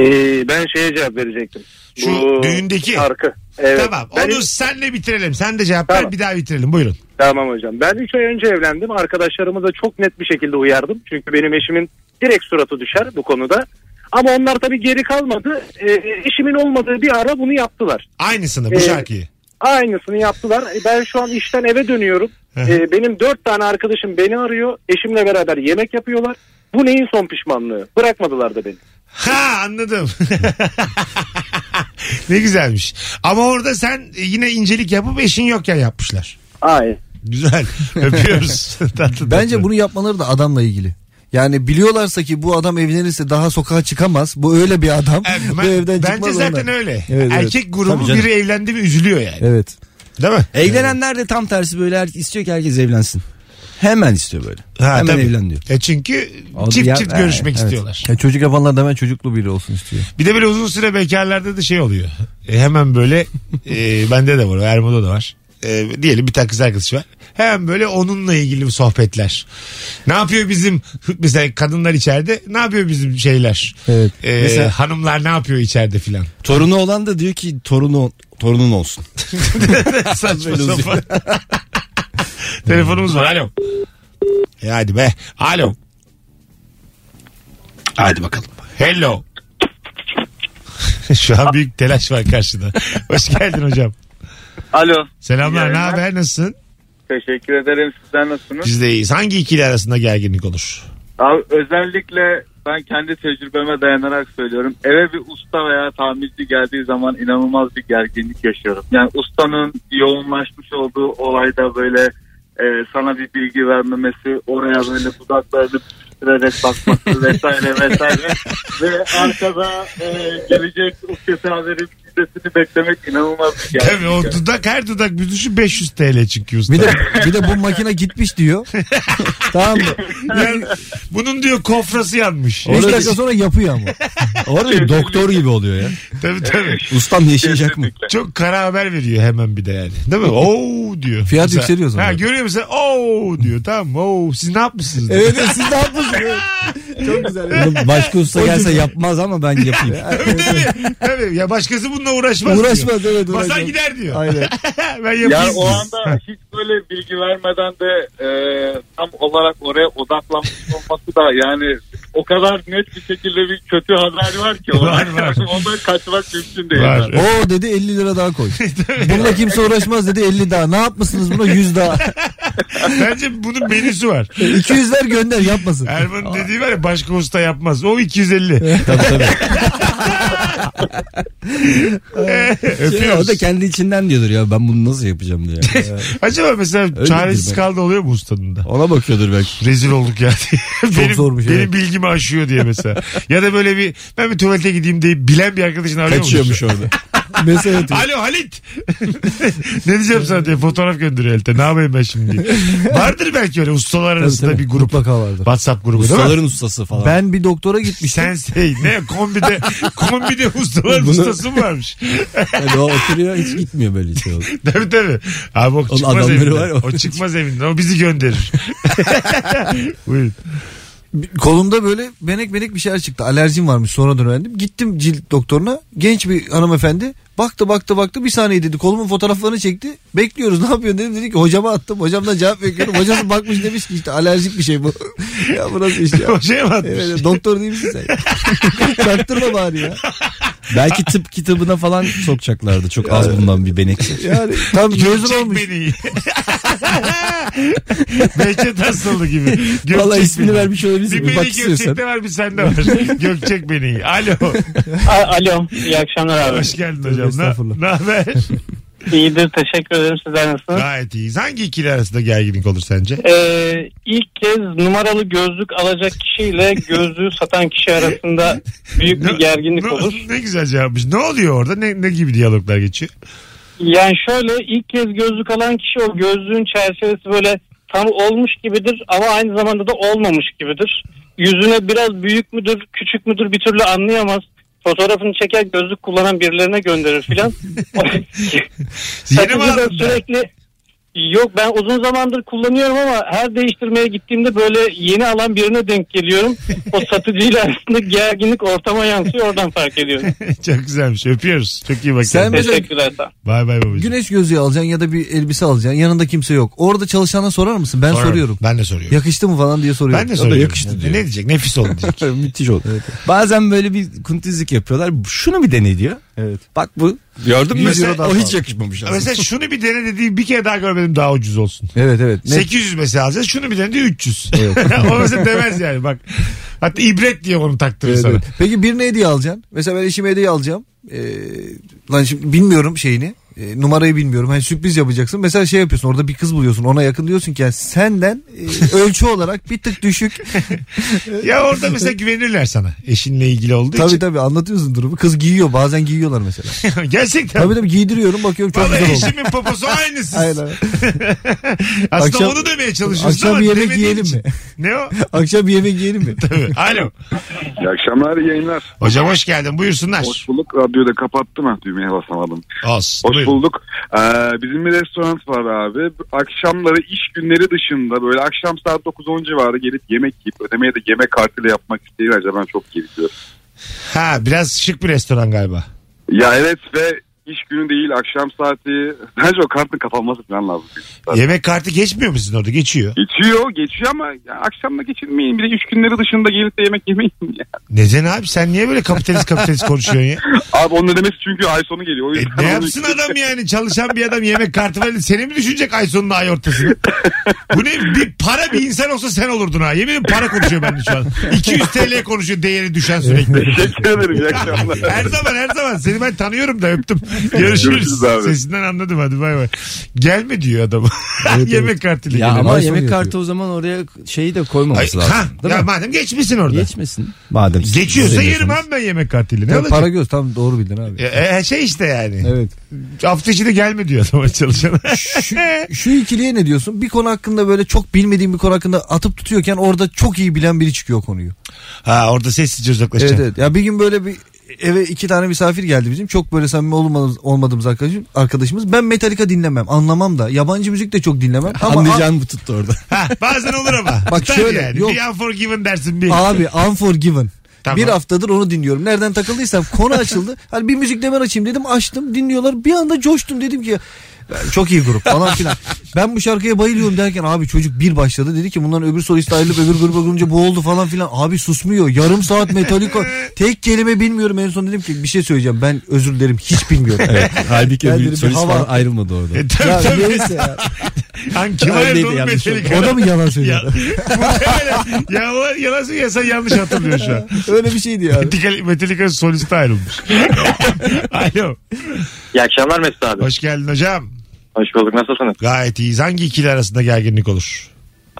[SPEAKER 12] ben şeye cevap verecektim.
[SPEAKER 4] Şu düğündeki.
[SPEAKER 12] Şarkı. Evet.
[SPEAKER 4] Tamam.
[SPEAKER 12] Ben
[SPEAKER 4] Onu senle bitirelim. Sen de cevap ver
[SPEAKER 12] Tamam.
[SPEAKER 4] bir daha bitirelim. Buyurun.
[SPEAKER 12] Tamam hocam. Ben 3 ay önce evlendim. Arkadaşlarımı da çok net bir şekilde uyardım. Çünkü benim eşimin direkt suratı düşer bu konuda. Ama onlar tabii geri kalmadı. Ee, eşimin olmadığı bir ara bunu yaptılar.
[SPEAKER 4] Aynısını bu
[SPEAKER 12] Ee,
[SPEAKER 4] şarkıyı.
[SPEAKER 12] Aynısını yaptılar. Ee, Ben şu an işten eve dönüyorum.
[SPEAKER 4] Hı.
[SPEAKER 12] Ee, benim 4 tane arkadaşım beni arıyor. Eşimle beraber yemek yapıyorlar. Bu neyin son pişmanlığı? Bırakmadılar da beni.
[SPEAKER 4] Ha anladım. ne güzelmiş. Ama orada sen yine incelik yapıp eşin yokken yapmışlar.
[SPEAKER 12] Hayır.
[SPEAKER 4] Güzel. Öpüyoruz. Tatlı
[SPEAKER 5] Bence
[SPEAKER 4] tatlı.
[SPEAKER 5] bunu yapmaları da adamla ilgili. Yani biliyorlarsa ki bu adam evlenirse daha sokağa çıkamaz. Bu öyle bir adam.
[SPEAKER 4] Evet,
[SPEAKER 5] bu
[SPEAKER 4] ben-
[SPEAKER 5] evden
[SPEAKER 4] bence
[SPEAKER 5] çıkmaz
[SPEAKER 4] zaten
[SPEAKER 5] ondan.
[SPEAKER 4] öyle.
[SPEAKER 5] Evet, evet.
[SPEAKER 4] Erkek grubu
[SPEAKER 5] Tabii canım.
[SPEAKER 4] biri evlendi mi üzülüyor yani.
[SPEAKER 5] Evet.
[SPEAKER 4] Değil mi?
[SPEAKER 3] Evlenenler de tam tersi böyle her- istiyor ki herkes evlensin. Hemen istiyor böyle.
[SPEAKER 4] Ha,
[SPEAKER 3] Hemen
[SPEAKER 4] tabii.
[SPEAKER 3] evlen diyor.
[SPEAKER 4] E çünkü
[SPEAKER 3] O
[SPEAKER 4] çift
[SPEAKER 3] ya-
[SPEAKER 4] çift
[SPEAKER 3] ha,
[SPEAKER 4] görüşmek
[SPEAKER 3] evet.
[SPEAKER 4] istiyorlar.
[SPEAKER 5] Ya çocuk yapanlar da hemen çocuklu biri olsun istiyor.
[SPEAKER 4] Bir de böyle uzun süre bekarlarda da şey oluyor. E, hemen böyle e, bende de var. Ermo'da da var. E, diyelim bir tane kız arkadaşı var. Hemen böyle onunla ilgili sohbetler. Ne yapıyor bizim mesela kadınlar içeride ne yapıyor bizim şeyler?
[SPEAKER 5] Evet.
[SPEAKER 4] E,
[SPEAKER 3] Mesela-
[SPEAKER 4] hanımlar ne yapıyor içeride filan?
[SPEAKER 3] Torunu olan da diyor ki torunu torunun olsun.
[SPEAKER 4] Saçma sapan. Telefonumuz var. Alo. E, hadi be. Alo. Hadi bakalım. Hello. Şu an büyük telaş var karşıda. Hoş geldin hocam.
[SPEAKER 7] Alo.
[SPEAKER 4] Selamlar.
[SPEAKER 7] İyi
[SPEAKER 4] Ne
[SPEAKER 7] yayınlar.
[SPEAKER 4] haber? Nasılsın?
[SPEAKER 7] Teşekkür ederim. Sizler nasılsınız?
[SPEAKER 4] Biz de iyiyiz. Hangi ikili arasında gerginlik olur?
[SPEAKER 7] Abi, özellikle ben kendi tecrübeme dayanarak söylüyorum. Eve bir usta veya tamirci geldiği zaman inanılmaz bir gerginlik yaşıyorum. Yani ustanın yoğunlaşmış olduğu olayda böyle e, sana bir bilgi vermemesi, oraya böyle dudaklarını püskürerek bakması vesaire vesaire. Ve arkada e, gelecek ustası haberin sesini beklemek inanılmaz bir gerginlik.
[SPEAKER 4] Tabii o dudak her dudak büzüşü 500 TL çıkıyor usta.
[SPEAKER 5] Bir de bir de bu makine gitmiş diyor. tamam mı?
[SPEAKER 4] Yani bunun diyor kofrası yanmış.
[SPEAKER 5] Üç dakika sonra yapıyor ama.
[SPEAKER 3] Orada bir doktor gibi oluyor ya.
[SPEAKER 4] tabii tabii.
[SPEAKER 3] Ustam yaşayacak mı?
[SPEAKER 4] Çok kara haber veriyor hemen bir de yani. Değil mi? Oo diyor.
[SPEAKER 5] Fiyat yükseliyor o zaman.
[SPEAKER 4] Ha, görüyor musun? Oo diyor. Tamam. Oo. Siz ne yapmışsınız? diyor.
[SPEAKER 5] Evet siz ne yapıyorsunuz? Çok güzel.
[SPEAKER 3] Başka usta gelse yapmaz ama ben yapayım.
[SPEAKER 4] Tabii, tabii, tabii. Ya başkası bununla uğraşmaz.
[SPEAKER 5] Uğraşmaz evet
[SPEAKER 4] Diyor. Basar
[SPEAKER 5] uğraşmaz.
[SPEAKER 4] gider diyor.
[SPEAKER 5] Aynen.
[SPEAKER 4] ben yapayım.
[SPEAKER 7] Ya o
[SPEAKER 4] diyor.
[SPEAKER 7] anda hiç böyle bilgi vermeden de e, tam olarak oraya odaklanmış olması da yani o kadar net bir şekilde bir kötü haber var ki.
[SPEAKER 4] Var, var.
[SPEAKER 7] Ondan kaçmak mümkün değil.
[SPEAKER 4] Var.
[SPEAKER 5] O dedi 50 lira daha koy. Bununla kimse uğraşmaz dedi 50 daha. Ne yapmışsınız buna 100 daha.
[SPEAKER 4] Bence bunun menüsü var.
[SPEAKER 5] 200 ver gönder yapmasın.
[SPEAKER 4] Erman'ın dediği var ya başka usta yapmaz. O 250.
[SPEAKER 3] tabii tabii. Şey,
[SPEAKER 4] Ee, Öpüyoruz.
[SPEAKER 3] o da kendi içinden diyordur ya ben bunu nasıl yapacağım diye.
[SPEAKER 4] Acaba mesela
[SPEAKER 3] Öyledir
[SPEAKER 4] çaresiz
[SPEAKER 3] belki.
[SPEAKER 4] kaldı oluyor mu ustanın da?
[SPEAKER 3] Ona bakıyordur belki.
[SPEAKER 4] Rezil olduk ya diye. benim,
[SPEAKER 5] zormuş,
[SPEAKER 4] Benim
[SPEAKER 5] evet.
[SPEAKER 4] bilgimi aşıyor diye mesela. ya da böyle bir ben bir tuvalete gideyim deyip bilen bir arkadaşını arıyor
[SPEAKER 3] Kaçıyormuş orada.
[SPEAKER 5] Mesela
[SPEAKER 4] Alo Halit. ne diyeceğim sana diye fotoğraf gönderiyor elde. Ne yapayım ben şimdi diye. Vardır belki öyle ustalar arasında bir grup.
[SPEAKER 5] Mutlaka vardır.
[SPEAKER 4] WhatsApp grubu değil mi?
[SPEAKER 3] Ustaların ustası falan.
[SPEAKER 5] Ben bir doktora gitmiştim.
[SPEAKER 4] Sen şey ne kombide kombide ustalar
[SPEAKER 3] Bunu-
[SPEAKER 4] ustası mı varmış?
[SPEAKER 3] Yani o oturuyor hiç gitmiyor böyle şey.
[SPEAKER 4] tabii tabii. Abi o çıkmaz
[SPEAKER 3] adamları
[SPEAKER 4] evinden.
[SPEAKER 3] var ya.
[SPEAKER 4] o çıkmaz evinden. O bizi gönderir. Buyurun.
[SPEAKER 5] Kolumda böyle benek benek bir şeyler çıktı. Alerjim varmış sonradan öğrendim. Gittim cilt doktoruna. Genç bir hanımefendi. Baktı baktı baktı bir saniye dedi. Kolumun fotoğraflarını çekti. Bekliyoruz ne yapıyorsun dedim. Dedi ki hocama attım. Hocamdan cevap bekliyorum. Hocası bakmış demiş ki işte alerjik bir şey bu. ya bu nasıl iş ya?
[SPEAKER 4] O şey mi atmış?
[SPEAKER 5] Evet, doktor değil misin sen? Çaktırma bari ya.
[SPEAKER 3] Belki tıp kitabına falan sokacaklardı. Çok az bulunan bir benek.
[SPEAKER 5] Yani tam gözüm
[SPEAKER 4] Çek
[SPEAKER 5] olmuş.
[SPEAKER 4] beni. Behçet hastalığı gibi. Gökçek
[SPEAKER 3] Valla ismini
[SPEAKER 4] beni.
[SPEAKER 3] vermiş olabilirsin.
[SPEAKER 4] Bir
[SPEAKER 3] Bir bak
[SPEAKER 4] beni
[SPEAKER 3] istiyorsan.
[SPEAKER 4] Gökçek'te var bir sende var. Gökçek beni. Alo.
[SPEAKER 12] Alo iyi akşamlar abi.
[SPEAKER 4] Hoş geldin hocam.
[SPEAKER 5] Estağfurullah.
[SPEAKER 4] Ne, ne haber?
[SPEAKER 12] İyidir teşekkür ederim sizler nasılsınız?
[SPEAKER 4] Gayet iyiyiz. Hangi ikili arasında gerginlik olur sence?
[SPEAKER 12] Ee, ilk kez numaralı gözlük alacak kişiyle gözlüğü satan kişi arasında büyük bir
[SPEAKER 4] Ne- ne,
[SPEAKER 12] gerginlik olur.
[SPEAKER 4] Ne güzel cevapmış. Ne oluyor orada? Ne, ne gibi diyaloglar geçiyor?
[SPEAKER 12] Yani şöyle ilk kez gözlük alan kişi o gözlüğün çerçevesi böyle tam olmuş gibidir ama aynı zamanda da olmamış gibidir. Yüzüne biraz büyük müdür küçük müdür bir türlü anlayamaz. Fotoğrafını çeker gözlük kullanan birilerine gönderir filan.
[SPEAKER 4] Yeni mi
[SPEAKER 12] Satıcı da
[SPEAKER 4] aldın?
[SPEAKER 12] sürekli Yok ben uzun zamandır kullanıyorum ama her değiştirmeye gittiğimde böyle yeni alan birine denk geliyorum. O satıcıyla arasındaki gerginlik ortama yansıyor oradan fark ediyorum.
[SPEAKER 4] Çok güzelmiş. Öpüyoruz. Çok iyi bakın.
[SPEAKER 5] Sen mi-
[SPEAKER 12] Teşekkürler. sağ ol.
[SPEAKER 4] Bay bay babacığım.
[SPEAKER 5] Güneş gözlüğü alacaksın ya da bir elbise alacaksın. Yanında kimse yok. Orada çalışana sorar mısın? Ben
[SPEAKER 4] Sorarım.
[SPEAKER 5] soruyorum.
[SPEAKER 4] Ben de soruyorum.
[SPEAKER 5] Yakıştı mı falan diye soruyorum.
[SPEAKER 4] ben de soruyorum.
[SPEAKER 3] yakıştı
[SPEAKER 4] Ne-
[SPEAKER 3] diyor.
[SPEAKER 4] Ne diyecek? Nefis oldu diyecek.
[SPEAKER 3] Müthiş oldu. Bazen böyle bir kuntizlik yapıyorlar. Şunu bir dene diyor.
[SPEAKER 5] Evet.
[SPEAKER 3] Bak bu. Gördün
[SPEAKER 4] mü? Mesela-
[SPEAKER 3] o hiç yakışmamış aslında.
[SPEAKER 4] mesela şunu bir dene dediği bir kere daha görmedim daha ucuz olsun.
[SPEAKER 5] Evet evet. Ne?
[SPEAKER 4] 800 mesela alacağız. Şunu bir dene de 300. o mesela demez yani bak. Hatta ibret diye onu taktırır
[SPEAKER 5] Evet,
[SPEAKER 4] sana.
[SPEAKER 5] evet. Peki birine hediye alacaksın. Mesela ben eşime hediye alacağım. Ee, lan şimdi bilmiyorum şeyini. e, numarayı bilmiyorum. Hani sürpriz yapacaksın. Mesela şey yapıyorsun. Orada bir kız buluyorsun. Ona yakın diyorsun ki yani senden e, ölçü olarak bir tık düşük.
[SPEAKER 4] Ya orada mesela güvenirler sana. Eşinle ilgili olduğu
[SPEAKER 5] tabii
[SPEAKER 4] için.
[SPEAKER 5] tabii anlatıyorsun durumu. Kız giyiyor. Bazen giyiyorlar mesela.
[SPEAKER 4] Gerçekten.
[SPEAKER 5] tabii tabii giydiriyorum. Bakıyorum çok
[SPEAKER 4] Vallahi
[SPEAKER 5] güzel oldu.
[SPEAKER 4] eşimin poposu aynısı.
[SPEAKER 5] Aynen.
[SPEAKER 4] Aslında
[SPEAKER 5] Akşam-
[SPEAKER 4] onu demeye çalışıyorsun
[SPEAKER 5] akşam
[SPEAKER 4] ama
[SPEAKER 5] bir yemek
[SPEAKER 4] demediğin
[SPEAKER 5] yiyelim
[SPEAKER 4] için.
[SPEAKER 5] mi?
[SPEAKER 4] Ne o?
[SPEAKER 5] Akşam bir yemek yiyelim mi?
[SPEAKER 4] Tabii. Alo.
[SPEAKER 7] İyi akşamlar iyi yayınlar.
[SPEAKER 4] Hocam hoş geldin. Buyursunlar.
[SPEAKER 7] Hoş bulduk. Radyoda kapattı mı? Düğmeye basamadım.
[SPEAKER 4] Olsun.
[SPEAKER 7] Hoş
[SPEAKER 4] Buyurun.
[SPEAKER 7] bulduk. Ee, bizim bir restoran var abi. Akşamları iş günleri dışında böyle akşam saat 9-10 civarı gelip yemek yiyip ödemeyi de yemek kartıyla yapmak isteyen acaba ben çok geriliyorum.
[SPEAKER 4] Ha biraz şık bir restoran galiba.
[SPEAKER 7] Ya evet ve iş günü değil akşam saati. Bence o kartın kapanması falan lazım.
[SPEAKER 4] Yemek kartı geçmiyor mu sizin orada? Geçiyor.
[SPEAKER 7] Geçiyor geçiyor ama ya akşam da geçirmeyin. Bir de iş günleri dışında gelip de yemek yemeyin. Ya.
[SPEAKER 4] Neden abi sen niye böyle kapitalist kapitalist konuşuyorsun ya?
[SPEAKER 7] Abi onun ödemesi çünkü ay sonu geliyor. O
[SPEAKER 4] E,
[SPEAKER 7] yüzden
[SPEAKER 4] ne
[SPEAKER 7] onu-
[SPEAKER 4] yapsın adam yani çalışan bir adam yemek kartı var. Seni mi düşünecek ay sonunu ay ortasını? Bu ne bir para bir insan olsa sen olurdun ha. Yemin ederim para konuşuyor bende şu an. 200 TL konuşuyor değeri düşen sürekli.
[SPEAKER 7] Teşekkür ederim. İyi akşamlar.
[SPEAKER 4] her zaman her zaman seni ben tanıyorum da öptüm. Görüşürüz.
[SPEAKER 7] Görüşürüz abi.
[SPEAKER 4] Sesinden anladım hadi bay bay. Gelme diyor adam. yemek kartıyla
[SPEAKER 3] Ya
[SPEAKER 4] geliyor.
[SPEAKER 3] ama
[SPEAKER 5] Ay sonu
[SPEAKER 3] yemek
[SPEAKER 5] yapıyor.
[SPEAKER 3] kartı o zaman oraya şeyi de
[SPEAKER 4] Ay,
[SPEAKER 3] koymaması
[SPEAKER 4] ha,
[SPEAKER 3] lazım. Değil
[SPEAKER 4] ya
[SPEAKER 3] mi?
[SPEAKER 4] madem geçmişsin orada.
[SPEAKER 3] Geçmesin. Madem siz
[SPEAKER 4] Geçiyorsa
[SPEAKER 3] seviyorsanız.
[SPEAKER 4] yerim abi ben yemek kartıyla. Ne
[SPEAKER 5] Ya
[SPEAKER 4] olacak?
[SPEAKER 5] para göz tam doğru bildin abi.
[SPEAKER 4] E, e, şey işte yani.
[SPEAKER 5] Evet.
[SPEAKER 4] Hafta içi de gelme diyor adama çalışana.
[SPEAKER 5] Şu ikiliye ne diyorsun? Bir konu hakkında böyle çok bilmediğim bir konu hakkında atıp tutuyorken orada çok iyi bilen biri çıkıyor konuyu.
[SPEAKER 4] ha orada sessizce
[SPEAKER 5] Evet
[SPEAKER 4] uzaklaşacaksın.
[SPEAKER 5] evet. Ya bir gün böyle bir eve iki tane misafir geldi bizim. Çok böyle samimi olmadığımız, olmadığımız arkadaşım, arkadaşımız. Ben Metallica dinlemem. Anlamam da. Yabancı müzik de çok dinlemem. Ama
[SPEAKER 3] Anlayacağın bu tuttu orada.
[SPEAKER 4] Ha, bazen olur ama.
[SPEAKER 5] Bak
[SPEAKER 4] Tutar
[SPEAKER 5] şöyle,
[SPEAKER 4] yani.
[SPEAKER 5] yok.
[SPEAKER 4] Bir unforgiven dersin bir.
[SPEAKER 5] a- abi Unforgiven.
[SPEAKER 4] Tamam.
[SPEAKER 5] Bir haftadır onu dinliyorum. Nereden takıldıysam konu açıldı. Hani bir müzik de ben açayım dedim. Açtım dinliyorlar. Bir anda coştum dedim ki "Ben- çok iyi grup falan filan. Ben bu şarkıya bayılıyorum derken abi çocuk bir başladı. Dedi ki bunların öbür solist ayrılıp öbür gruba girince bu oldu falan filan. Abi susmuyor. Yarım saat Metallica. Tek kelime bilmiyorum. En son dedim ki bir şey söyleyeceğim. Ben özür dilerim. Hiç bilmiyorum.
[SPEAKER 3] Halbuki
[SPEAKER 5] Ben
[SPEAKER 3] öbür
[SPEAKER 5] dedim bir
[SPEAKER 3] solist
[SPEAKER 5] hava-
[SPEAKER 3] falan ayrılmadı orada.
[SPEAKER 4] E, tabii
[SPEAKER 5] Ya
[SPEAKER 4] tabii.
[SPEAKER 5] neyse ya.
[SPEAKER 4] Lan kim
[SPEAKER 3] Ay, neydi
[SPEAKER 4] ayırdı onu
[SPEAKER 3] yanlış
[SPEAKER 4] Metallica'dan?
[SPEAKER 5] O da mı yalan
[SPEAKER 4] Ya,
[SPEAKER 5] söylüyor?
[SPEAKER 4] muhtemelen yalan, yalan söylüyor. Sen yanlış hatırlıyor şu an.
[SPEAKER 5] Öyle bir şeydi yani.
[SPEAKER 4] Metallica, Metallica solisti ayrılmış. Alo.
[SPEAKER 11] İyi akşamlar Mesut abi.
[SPEAKER 4] Hoş geldin hocam.
[SPEAKER 11] Hoş bulduk. Nasılsınız?
[SPEAKER 4] Gayet iyiyiz. Hangi ikili arasında gerginlik olur?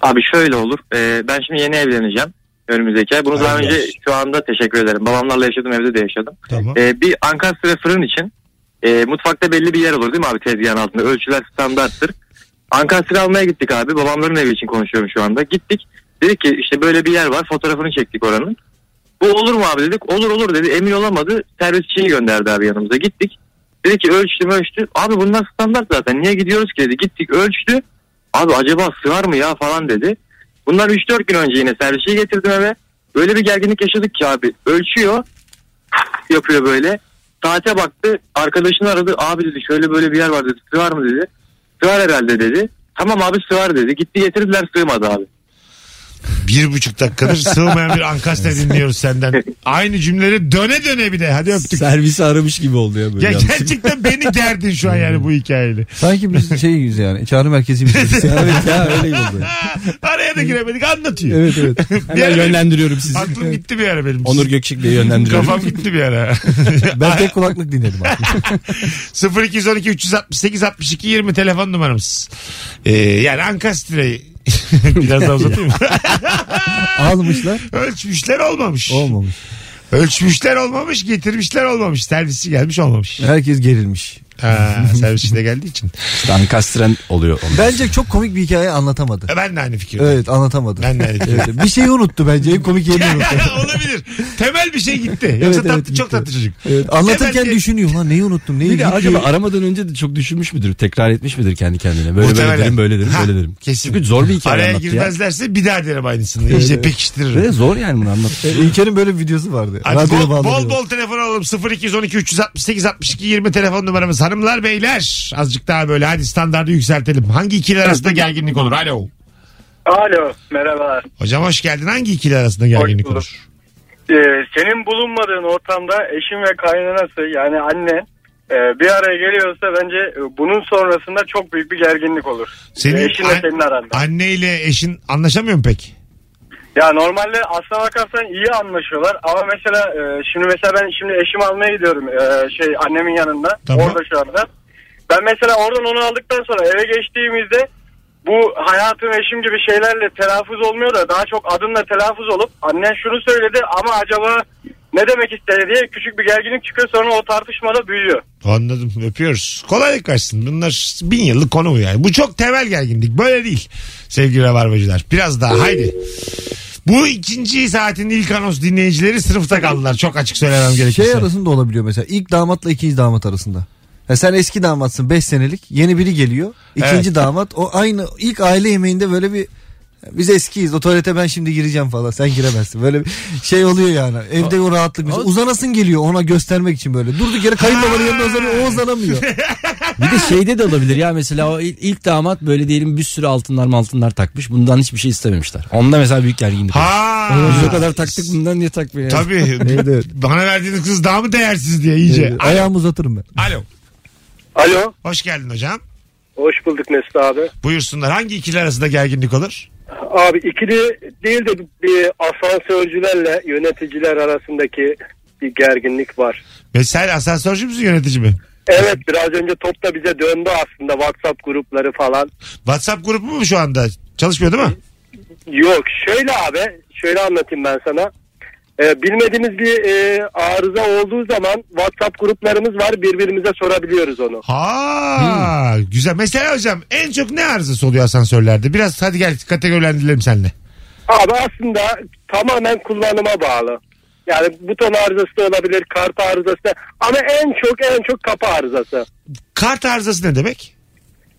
[SPEAKER 11] Abi şöyle olur. Ee, ben şimdi yeni evleneceğim. Önümüzdeki ay. Bunu daha
[SPEAKER 4] Hayırlı
[SPEAKER 11] önce
[SPEAKER 4] olsun.
[SPEAKER 11] Ee, şu anda teşekkür ederim. Babamlarla yaşadım evde de yaşadım.
[SPEAKER 4] Tamam.
[SPEAKER 11] Ee, bir Ankara fırın için e, mutfakta belli bir yer olur değil mi abi tezgahın altında? Ölçüler standarttır. Ankara almaya gittik abi. Babamların evi için konuşuyorum şu anda. Gittik. Dedik ki işte böyle bir yer var. Fotoğrafını çektik oranın. Bu olur mu abi dedik. Olur olur dedi. Emin olamadı. Servisçiyi gönderdi abi yanımıza. Gittik. Dedi ki ölçtü ölçtü. Abi bunlar standart zaten. Niye gidiyoruz ki dedi. Gittik ölçtü. Abi acaba sığar mı ya falan dedi. Bunlar 3-4 gün önce yine servisçiyi getirdim eve. Böyle bir gerginlik yaşadık ki abi. Ölçüyor. Yapıyor böyle. Saate baktı. Arkadaşını aradı. Abi dedi şöyle böyle bir yer var dedi. Sığar mı dedi. Sığar herhalde dedi. Tamam abi sığar dedi. Gitti getirdiler sığmadı abi.
[SPEAKER 4] Bir buçuk dakikadır sığmayan bir Ankastre dinliyoruz senden. Aynı cümleleri döne döne bir de. Hadi öptük.
[SPEAKER 3] Servisi aramış gibi oldu ya böyle.
[SPEAKER 4] Ya
[SPEAKER 3] yanlış.
[SPEAKER 4] gerçekten beni gerdin şu an yani bu hikayeyle.
[SPEAKER 5] Sanki biz şeyiz yani. Çağrı merkeziymişiz.
[SPEAKER 3] evet ya öyle oldu.
[SPEAKER 4] Araya da giremedik anlatıyor.
[SPEAKER 5] evet evet.
[SPEAKER 4] Bir
[SPEAKER 3] Hemen
[SPEAKER 4] ara-
[SPEAKER 3] yönlendiriyorum sizi.
[SPEAKER 4] Aklım gitti bir ara benim.
[SPEAKER 3] Onur Gökçek Bey'i yönlendiriyorum.
[SPEAKER 4] Kafam gitti bir ara.
[SPEAKER 5] Ben tek kulaklık dinledim abi.
[SPEAKER 4] 0212 368 62 20 telefon numaramız. Ee, yani Ankastre'yi biraz daha uzatayım.
[SPEAKER 5] Almışlar.
[SPEAKER 4] Ölçmüşler olmamış.
[SPEAKER 5] Olmamış.
[SPEAKER 4] Ölçmüşler olmamış, getirmişler olmamış. Servisi gelmiş olmamış.
[SPEAKER 5] Herkes gerilmiş.
[SPEAKER 4] Ha, servisine geldiği için.
[SPEAKER 3] İşte ankastren oluyor. onun.
[SPEAKER 5] Bence çok komik bir hikaye anlatamadı.
[SPEAKER 4] E, Ben de aynı fikirde.
[SPEAKER 5] Evet anlatamadı.
[SPEAKER 4] Ben de aynı fikirde.
[SPEAKER 5] Evet, bir şeyi unuttu bence. En komik yerini unuttu.
[SPEAKER 4] Olabilir. Temel bir şey gitti. Yoksa
[SPEAKER 5] Evet,
[SPEAKER 4] tatlı,
[SPEAKER 5] evet,
[SPEAKER 4] çok
[SPEAKER 5] gitti.
[SPEAKER 4] tatlı çocuk.
[SPEAKER 5] Evet, anlatırken
[SPEAKER 4] Temel-
[SPEAKER 5] düşünüyor. Lan neyi unuttum? Neyi
[SPEAKER 3] Bir de
[SPEAKER 5] gitti?
[SPEAKER 3] acaba aramadan önce de çok düşünmüş müdür? Tekrar etmiş midir kendi kendine? Böyle
[SPEAKER 4] Muhtemelen.
[SPEAKER 3] böyle derim, böyle derim,
[SPEAKER 4] Ha,
[SPEAKER 3] böyle derim.
[SPEAKER 4] kesin.
[SPEAKER 3] Çünkü zor bir hikaye
[SPEAKER 4] Araya
[SPEAKER 3] anlattı ya.
[SPEAKER 4] girmezlerse bir daha derim aynısını. İyice pekiştiririm.
[SPEAKER 3] Ve zor yani bunu anlat.
[SPEAKER 5] E, İlker'in böyle bir videosu vardı.
[SPEAKER 4] Hadi
[SPEAKER 5] Radyoya
[SPEAKER 4] bol, bol
[SPEAKER 5] bağlanıyor.
[SPEAKER 4] bol telefon alalım 0212 368 62 20 telefon numaramız hanımlar beyler azıcık daha böyle hadi standardı yükseltelim hangi ikili arasında gerginlik olur alo
[SPEAKER 7] Alo merhabalar.
[SPEAKER 4] hocam hoş geldin hangi ikili arasında gerginlik
[SPEAKER 7] bulduk.
[SPEAKER 4] olur
[SPEAKER 7] Ee, senin bulunmadığın ortamda eşin ve kaynanası yani annen e, bir araya geliyorsa bence e, bunun sonrasında çok büyük bir gerginlik olur.
[SPEAKER 4] Senin-
[SPEAKER 7] Ee, eşinle
[SPEAKER 4] an-
[SPEAKER 7] senin aranda.
[SPEAKER 4] anneyle eşin anlaşamıyor mu pek
[SPEAKER 7] Ya normalde aslına bakarsan iyi anlaşıyorlar ama mesela e, şimdi mesela ben şimdi eşimi almaya gidiyorum e, şey annemin yanında
[SPEAKER 4] Tamam.
[SPEAKER 7] orada şu anda. Ben mesela oradan onu aldıktan sonra eve geçtiğimizde bu hayatım eşim gibi şeylerle telaffuz olmuyor da daha çok adımla telaffuz olup annen şunu söyledi ama acaba ne demek istedi diye küçük bir gerginlik çıkıyor sonra o tartışmada büyüyor.
[SPEAKER 4] Anladım öpüyoruz. Kolaylık versin. Bunlar bin yıllık konu bu yani. Bu çok temel gerginlik. Böyle değil sevgili rabarbacılar. Biraz daha haydi. Bu ikinci saatin ilk anons dinleyicileri sınıfta kaldılar. Çok açık söylemem gerekirse.
[SPEAKER 5] Şey arasında olabiliyor mesela. ilk damatla ikinci damat arasında. Ya sen eski damatsın 5 senelik. Yeni biri geliyor. İkinci
[SPEAKER 4] Evet.
[SPEAKER 5] damat. O aynı ilk aile yemeğinde böyle bir biz eskiyiz. O tuvalete ben şimdi gireceğim falan. Sen giremezsin. Böyle bir şey oluyor yani. Evde o rahatlık. Mesela uzanasın geliyor ona göstermek için böyle. Durduk yere kayınbabanın yanında uzanıyor. O uzanamıyor.
[SPEAKER 3] Bir de şeyde de olabilir ya mesela o il- ilk damat böyle diyelim bir sürü altınlar altınlar takmış. Bundan hiçbir şey istememişler. Onda mesela büyük gerginlik. olur.
[SPEAKER 4] Ha.
[SPEAKER 3] Biz o kadar taktık bundan niye takmıyor? ya?
[SPEAKER 4] Tabii.
[SPEAKER 5] Evet, evet.
[SPEAKER 4] Bana verdiğiniz kız daha mı değersiz diye iyice. Alo.
[SPEAKER 5] Ayağımı uzatırım ben.
[SPEAKER 4] Alo.
[SPEAKER 7] Alo.
[SPEAKER 4] Hoş geldin hocam.
[SPEAKER 7] Hoş bulduk Mesut abi.
[SPEAKER 4] Buyursunlar. Hangi ikili arasında gerginlik olur?
[SPEAKER 7] Abi ikili değil de bir asansörcülerle yöneticiler arasındaki bir gerginlik var.
[SPEAKER 4] Mesela asansörcü müsün yönetici mi?
[SPEAKER 7] Evet biraz önce topla bize döndü aslında WhatsApp grupları falan.
[SPEAKER 4] WhatsApp grubu mu şu anda? Çalışmıyor değil mi?
[SPEAKER 7] Yok şöyle abi şöyle anlatayım ben sana. Ee, bilmediğimiz bir e, arıza olduğu zaman WhatsApp gruplarımız var birbirimize sorabiliyoruz onu.
[SPEAKER 4] Ha güzel. Mesela hocam en çok ne arızası oluyor asansörlerde? Biraz hadi gel kategorilendirelim seninle.
[SPEAKER 7] Abi aslında tamamen kullanıma bağlı. Yani buton arızası da olabilir, kart arızası da. ama en çok en çok kapı arızası.
[SPEAKER 4] Kart arızası ne demek?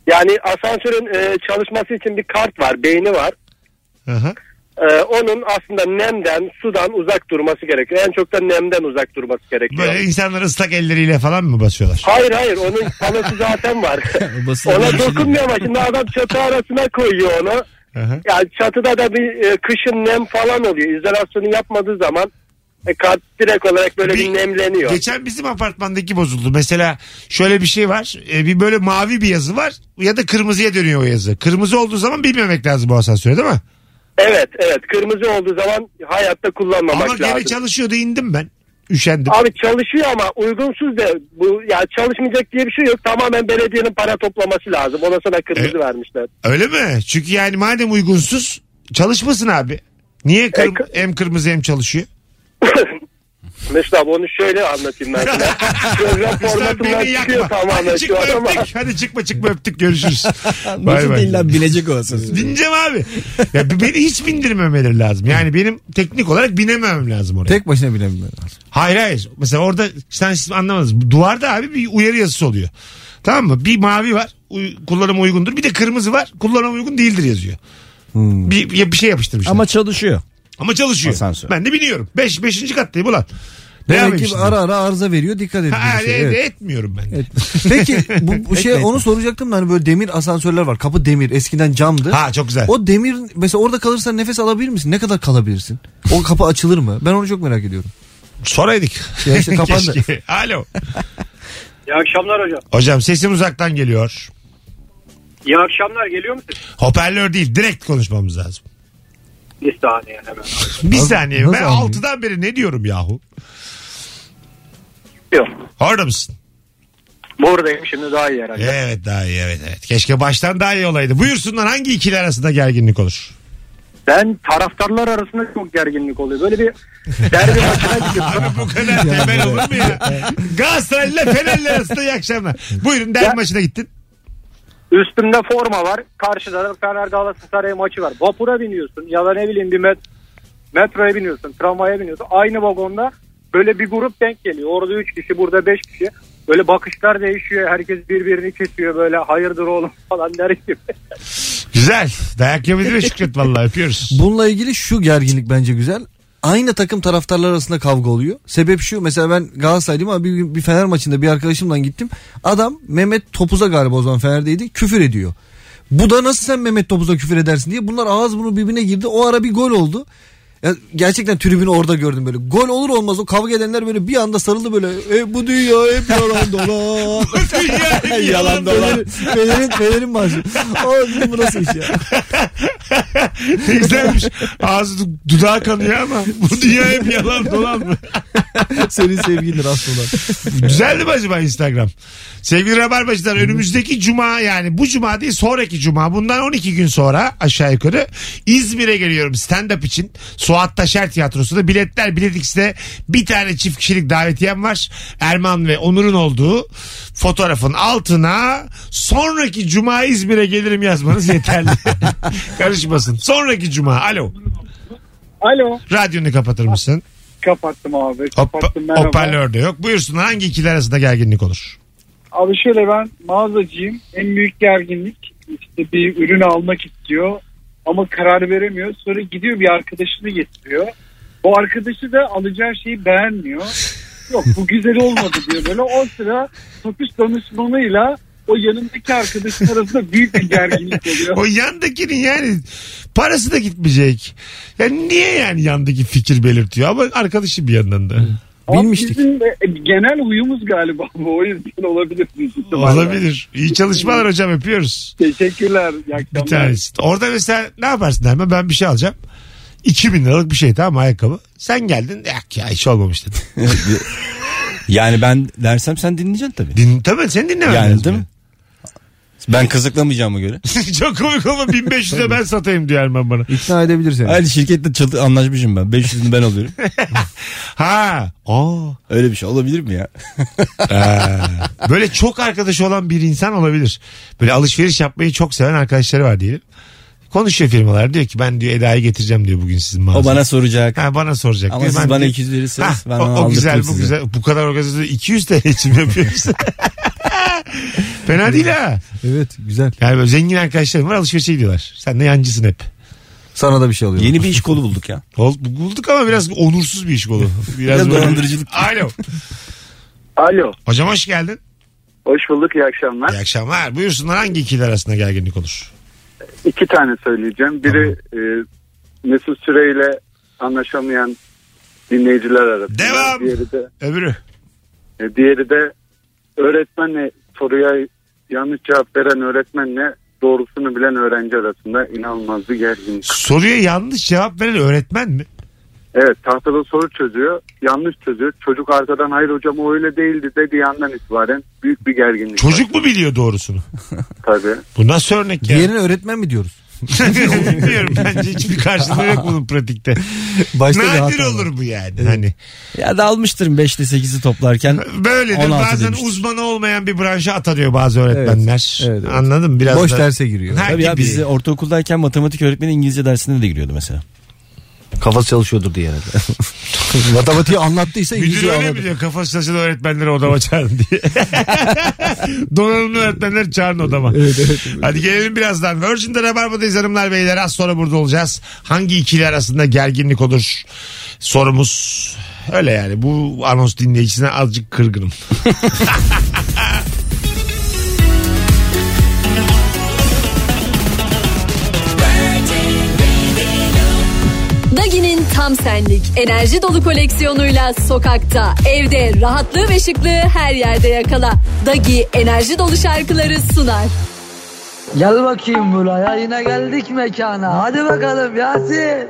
[SPEAKER 7] Yani asansörün e, çalışması için bir kart var, beyni var.
[SPEAKER 4] Aha.
[SPEAKER 7] Ee, onun aslında nemden, sudan uzak durması gerekiyor. En çok da nemden uzak durması gerekiyor.
[SPEAKER 4] Böyle insanlar ıslak elleriyle falan mı basıyorlar?
[SPEAKER 7] Hayır hayır onun panosu zaten var. Ona dokunmuyor ama şimdi adam çatı arasına koyuyor onu.
[SPEAKER 4] Aha.
[SPEAKER 7] Yani çatıda da bir e, kışın nem falan oluyor. İzolasyonu yapmadığı zaman e, kat direkt olarak böyle bir,
[SPEAKER 4] Bir-
[SPEAKER 7] nemleniyor.
[SPEAKER 4] Geçen bizim apartmandaki bozuldu. Mesela şöyle bir şey var. Ee, bir böyle mavi bir yazı var ya da kırmızıya dönüyor o yazı. Kırmızı olduğu zaman bilmemek lazım bu asansörü değil mi?
[SPEAKER 7] Evet evet kırmızı olduğu zaman hayatta kullanmamak
[SPEAKER 4] Ama gene
[SPEAKER 7] lazım.
[SPEAKER 4] çalışıyordu indim ben. Üşendim.
[SPEAKER 7] Abi çalışıyor ama uygunsuz de bu ya çalışmayacak diye bir şey yok. Tamamen belediyenin para toplaması lazım. Ona sana kırmızı
[SPEAKER 4] E,
[SPEAKER 7] vermişler.
[SPEAKER 4] Öyle mi? Çünkü yani madem uygunsuz çalışmasın abi. Niye kır-
[SPEAKER 7] E, kı-
[SPEAKER 4] hem kırmızı hem çalışıyor?
[SPEAKER 7] Mesut abi onu şöyle anlatayım ben sana. Program
[SPEAKER 4] Sen
[SPEAKER 7] formatından
[SPEAKER 4] beni
[SPEAKER 7] çıkıyor
[SPEAKER 4] yakma.
[SPEAKER 7] tamamen şu
[SPEAKER 4] Hadi çıkma
[SPEAKER 7] an ama.
[SPEAKER 4] öptük. Hadi çıkma çıkma öptük görüşürüz. bay
[SPEAKER 3] Nasıl da
[SPEAKER 4] bay.
[SPEAKER 3] illa bilecek olasın.
[SPEAKER 4] Bineceğim abi. Ya b- beni hiç bindirmemeleri lazım. Yani benim teknik olarak binememem lazım oraya.
[SPEAKER 5] Tek başına bilemem.
[SPEAKER 4] Hayır hayır. Mesela orada sen siz anlamadınız. Duvarda abi bir uyarı yazısı oluyor. Tamam mı? Bir mavi var. Uy- kullanıma uygundur. Bir de kırmızı var. Kullanıma uygun değildir yazıyor.
[SPEAKER 5] Hmm.
[SPEAKER 4] Bir, bir bir şey yapıştırmışlar. Ama,
[SPEAKER 3] Ama çalışıyor.
[SPEAKER 4] çalışıyor.
[SPEAKER 3] Asansör.
[SPEAKER 4] Ben de biniyorum. Beş, beşinci kattayım ulan. Ne
[SPEAKER 5] Demek
[SPEAKER 4] yapayım
[SPEAKER 5] ki
[SPEAKER 4] şimdi?
[SPEAKER 5] ara ara arıza veriyor. Dikkat edin.
[SPEAKER 4] Ha,
[SPEAKER 5] bir şey,
[SPEAKER 4] e-
[SPEAKER 5] evet.
[SPEAKER 4] Etmiyorum ben.
[SPEAKER 5] Peki bu, bu şey onu soracaktım da hani böyle demir asansörler var. Kapı demir. Eskiden camdı.
[SPEAKER 4] Ha çok güzel.
[SPEAKER 5] O demir mesela orada kalırsan nefes alabilir misin? Ne kadar kalabilirsin? O kapı açılır mı? Ben onu çok merak ediyorum.
[SPEAKER 4] Soraydık.
[SPEAKER 5] Ya işte kapandı.
[SPEAKER 4] Keşke. Alo.
[SPEAKER 7] İyi akşamlar hocam.
[SPEAKER 4] Hocam sesim uzaktan geliyor.
[SPEAKER 7] İyi akşamlar geliyor musun?
[SPEAKER 4] Hoparlör değil direkt konuşmamız lazım.
[SPEAKER 7] Bir saniye hemen.
[SPEAKER 4] Bir
[SPEAKER 5] Nasıl-
[SPEAKER 4] saniye
[SPEAKER 5] nasıl
[SPEAKER 4] ben
[SPEAKER 5] anlayayım?
[SPEAKER 4] altıdan beri ne diyorum yahu?
[SPEAKER 7] Yok.
[SPEAKER 4] Orada mısın?
[SPEAKER 7] Buradayım şimdi daha iyi
[SPEAKER 4] E?
[SPEAKER 7] herhalde.
[SPEAKER 4] Evet daha iyi evet evet. Keşke baştan daha iyi olaydı. Buyursunlar hangi ikili arasında gerginlik olur?
[SPEAKER 9] Ben taraftarlar arasında çok gerginlik oluyor. Böyle bir derbi maçına gidiyorum.
[SPEAKER 4] Bu kadar temel olur mu ya? Galatasaray ile Fener'le arasında iyi akşamlar. Buyurun derbi
[SPEAKER 9] Ya-
[SPEAKER 4] maçına gittin.
[SPEAKER 9] Üstümde forma var. Karşıda da Fener Galatasaray maçı var. Vapura biniyorsun ya da ne bileyim bir met metroya biniyorsun, tramvaya biniyorsun. Aynı vagonda böyle bir grup denk geliyor. Orada 3 kişi, burada 5 kişi. Böyle bakışlar değişiyor. Herkes birbirini kesiyor böyle hayırdır oğlum falan der gibi.
[SPEAKER 4] Güzel. Dayak yemedi mi Şükret vallahi öpüyoruz.
[SPEAKER 5] Bununla ilgili şu gerginlik bence güzel. Aynı takım taraftarlar arasında kavga oluyor. Sebep şu mesela ben Galatasaraylıyım ama bir, gün bir Fener maçında bir arkadaşımla gittim. Adam Mehmet Topuz'a galiba o zaman Fener'deydi küfür ediyor. Bu da nasıl sen Mehmet Topuz'a küfür edersin diye bunlar ağız burnu birbirine girdi. O ara bir gol oldu. Ya gerçekten tribünü orada gördüm böyle. Gol olur olmaz o kavga edenler böyle bir anda sarıldı böyle. E, bu dünya hep yalan dolan.
[SPEAKER 4] Dünya yalan dolan.
[SPEAKER 5] Fener'in, Fener'in, Fener'in maçı. Aa, bu nasıl iş ya?
[SPEAKER 4] Teyzemmiş. Ağzı du- dudağı kanıyor ama bu dünya hep yalan dolan mı?
[SPEAKER 5] Senin sevgindir aslında.
[SPEAKER 4] Güzeldi mi acaba Instagram? Sevgili Rabarbacılar önümüzdeki cuma yani bu cuma değil sonraki cuma bundan 12 gün sonra aşağı yukarı İzmir'e geliyorum stand-up için. Suat Taşer Tiyatrosu'nda biletler Bilet X'de bir tane çift kişilik davetiyem var. Erman ve Onur'un olduğu fotoğrafın altına sonraki cuma İzmir'e gelirim yazmanız yeterli. Karışmasın. Sonraki cuma. Alo.
[SPEAKER 9] Alo.
[SPEAKER 4] Radyonu kapatır mısın?
[SPEAKER 9] Kapattım abi. Kapattım
[SPEAKER 4] Hop-
[SPEAKER 9] merhaba.
[SPEAKER 4] hoparlör de yok. Buyursun hangi ikili arasında gerginlik olur?
[SPEAKER 9] Abi şöyle ben mağazacıyım. En büyük gerginlik işte bir ürün almak istiyor ama karar veremiyor. Sonra gidiyor bir arkadaşını getiriyor. O arkadaşı da alacağı şeyi beğenmiyor. Yok bu güzel olmadı diyor böyle. O sıra satış danışmanıyla o yanındaki arkadaşın arasında büyük bir gerginlik
[SPEAKER 4] O
[SPEAKER 9] oluyor.
[SPEAKER 4] yandakinin yani parası da gitmeyecek. Yani niye yani yandaki fikir belirtiyor ama arkadaşı bir yandan da.
[SPEAKER 9] Ama
[SPEAKER 5] Bilmiştik.
[SPEAKER 9] Bizim de genel uyumuz galiba bu. O yüzden olabilir. büyük ihtimalle.
[SPEAKER 4] Olabilir. İyi çalışmalar hocam öpüyoruz.
[SPEAKER 9] Teşekkürler. iyi
[SPEAKER 4] Bir
[SPEAKER 9] akşamlar.
[SPEAKER 4] tanesi. Orada mesela ne yaparsın Derman? Ben bir şey alacağım. 2000 liralık bir şey tamam mı? ayakkabı. Sen geldin yok ya hiç olmamış dedin.
[SPEAKER 3] Yani ben dersem sen dinleyeceksin tabii.
[SPEAKER 4] Din, tabii seni dinlemem
[SPEAKER 3] Yani
[SPEAKER 4] lazım
[SPEAKER 3] değil mi? Ben kızıklamayacağıma göre.
[SPEAKER 4] ya. Çok komik ama 1500'e ben satayım diyor Erman bana.
[SPEAKER 5] İkna edebilir seni.
[SPEAKER 3] Aynı şirketle çalı- anlaşmışım ben. 500'ünü ben alıyorum.
[SPEAKER 4] Ha. Aa.
[SPEAKER 3] Öyle bir şey olabilir mi ya?
[SPEAKER 4] Böyle çok arkadaşı olan bir insan olabilir. Böyle alışveriş yapmayı çok seven arkadaşları var diyelim. Konuşuyor firmalar diyor ki ben diyor Eda'yı getireceğim diyor bugün sizin mağazaya.
[SPEAKER 3] O bana soracak.
[SPEAKER 4] Ha, bana soracak.
[SPEAKER 3] Ama
[SPEAKER 4] diyor.
[SPEAKER 3] siz
[SPEAKER 4] Ben
[SPEAKER 3] bana
[SPEAKER 4] diyor-
[SPEAKER 3] 200 verirseniz
[SPEAKER 4] Ha,
[SPEAKER 3] ben
[SPEAKER 4] o,
[SPEAKER 3] onu
[SPEAKER 4] o güzel bu
[SPEAKER 3] size.
[SPEAKER 4] güzel. Bu kadar organizasyonu 200 TL için mi yapıyorsun? Fena değil ha.
[SPEAKER 5] Evet güzel.
[SPEAKER 4] Yani böyle zengin arkadaşlarım var alışverişe gidiyorlar. Sen de yancısın hep.
[SPEAKER 5] Sana da bir şey alıyorum.
[SPEAKER 3] Yeni bir iş kolu bulduk ya.
[SPEAKER 4] Ol, bulduk ama biraz onursuz bir iş kolu. Biraz
[SPEAKER 3] Biraz
[SPEAKER 4] böyle-
[SPEAKER 3] dolandırıcılık.
[SPEAKER 4] Alo.
[SPEAKER 9] Alo.
[SPEAKER 4] Hocam hoş geldin.
[SPEAKER 9] Hoş bulduk. iyi akşamlar.
[SPEAKER 4] İyi akşamlar. Buyursunlar hangi ikili arasında gerginlik olur?
[SPEAKER 9] İki tane söyleyeceğim. Biri e, Mesut Süreyle anlaşamayan dinleyiciler arasında.
[SPEAKER 4] Devam.
[SPEAKER 9] Diğeri de,
[SPEAKER 4] Öbürü.
[SPEAKER 9] e, diğeri de öğretmenle soruya yanlış cevap veren öğretmenle doğrusunu bilen öğrenci arasında inanılmaz bir gerginlik.
[SPEAKER 4] Soruya yanlış cevap veren öğretmen mi?
[SPEAKER 9] Evet tahtada soru çözüyor. Yanlış çözüyor. Çocuk arkadan hayır hocam o öyle değildi dediği andan itibaren büyük bir gerginlik. var
[SPEAKER 4] Çocuk mu biliyor doğrusunu?
[SPEAKER 9] Tabii.
[SPEAKER 4] Bu nasıl örnek ya?
[SPEAKER 5] Diğerine öğretmen mi diyoruz?
[SPEAKER 4] Bilmiyorum bence hiçbir karşılığı yok bunun pratikte.
[SPEAKER 5] Başta bir
[SPEAKER 4] Nadir
[SPEAKER 5] hata var.
[SPEAKER 4] olur bu yani. Hani
[SPEAKER 3] Ya dalmıştırım 5 ile 8'i toplarken.
[SPEAKER 4] Böyledir
[SPEAKER 3] 16
[SPEAKER 4] bazen
[SPEAKER 3] demiştir.
[SPEAKER 4] uzmanı olmayan bir branşa atanıyor bazı öğretmenler.
[SPEAKER 5] Evet, evet.
[SPEAKER 4] Anladın mı? Biraz
[SPEAKER 5] Boş
[SPEAKER 4] da-
[SPEAKER 5] derse giriyor.
[SPEAKER 4] Ha,
[SPEAKER 3] Tabii ya
[SPEAKER 4] gibi.
[SPEAKER 3] biz ortaokuldayken matematik öğretmeni İngilizce dersine de giriyordu mesela.
[SPEAKER 5] Kafası çalışıyordur diye herhalde. Matematiği anlattıysa
[SPEAKER 4] Müdür
[SPEAKER 5] İngilizce
[SPEAKER 4] öyle mi
[SPEAKER 5] anladı.
[SPEAKER 4] diyor kafası çalışan öğretmenleri odama çağırın diye. Donanımlı öğretmenler çağırın odama. Hadi gelelim birazdan. Virgin'de Rabarba'dayız hanımlar beyler. Az sonra burada olacağız. Hangi ikili arasında gerginlik olur? Sorumuz öyle yani. Bu anons dinleyicisine azıcık kırgınım.
[SPEAKER 14] Dagi'nin tam senlik enerji dolu koleksiyonuyla sokakta, evde rahatlığı ve şıklığı her yerde yakala. Dagi enerji dolu şarkıları sunar.
[SPEAKER 15] Gel bakayım buraya yine geldik mekana. Hadi bakalım Yasin.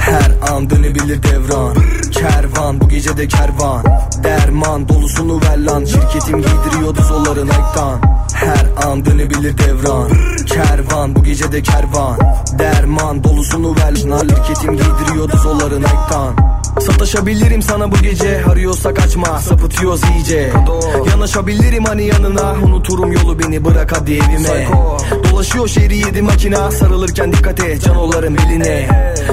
[SPEAKER 16] Her an dönebilir devran Kervan bu gece de kervan Derman dolusunu ver lan Şirketim giydiriyordu zolları Nike'dan Her an dönebilir devran Kervan bu gece de kervan Derman dolusunu ver Hareketim giydiriyordu zoların ektan Sataşabilirim sana bu gece Arıyorsa kaçma sapıtıyoruz iyice Yanaşabilirim hani yanına Unuturum yolu beni bırak hadi evime Dolaşıyor şehri yedi makina Sarılırken dikkat et canoların eline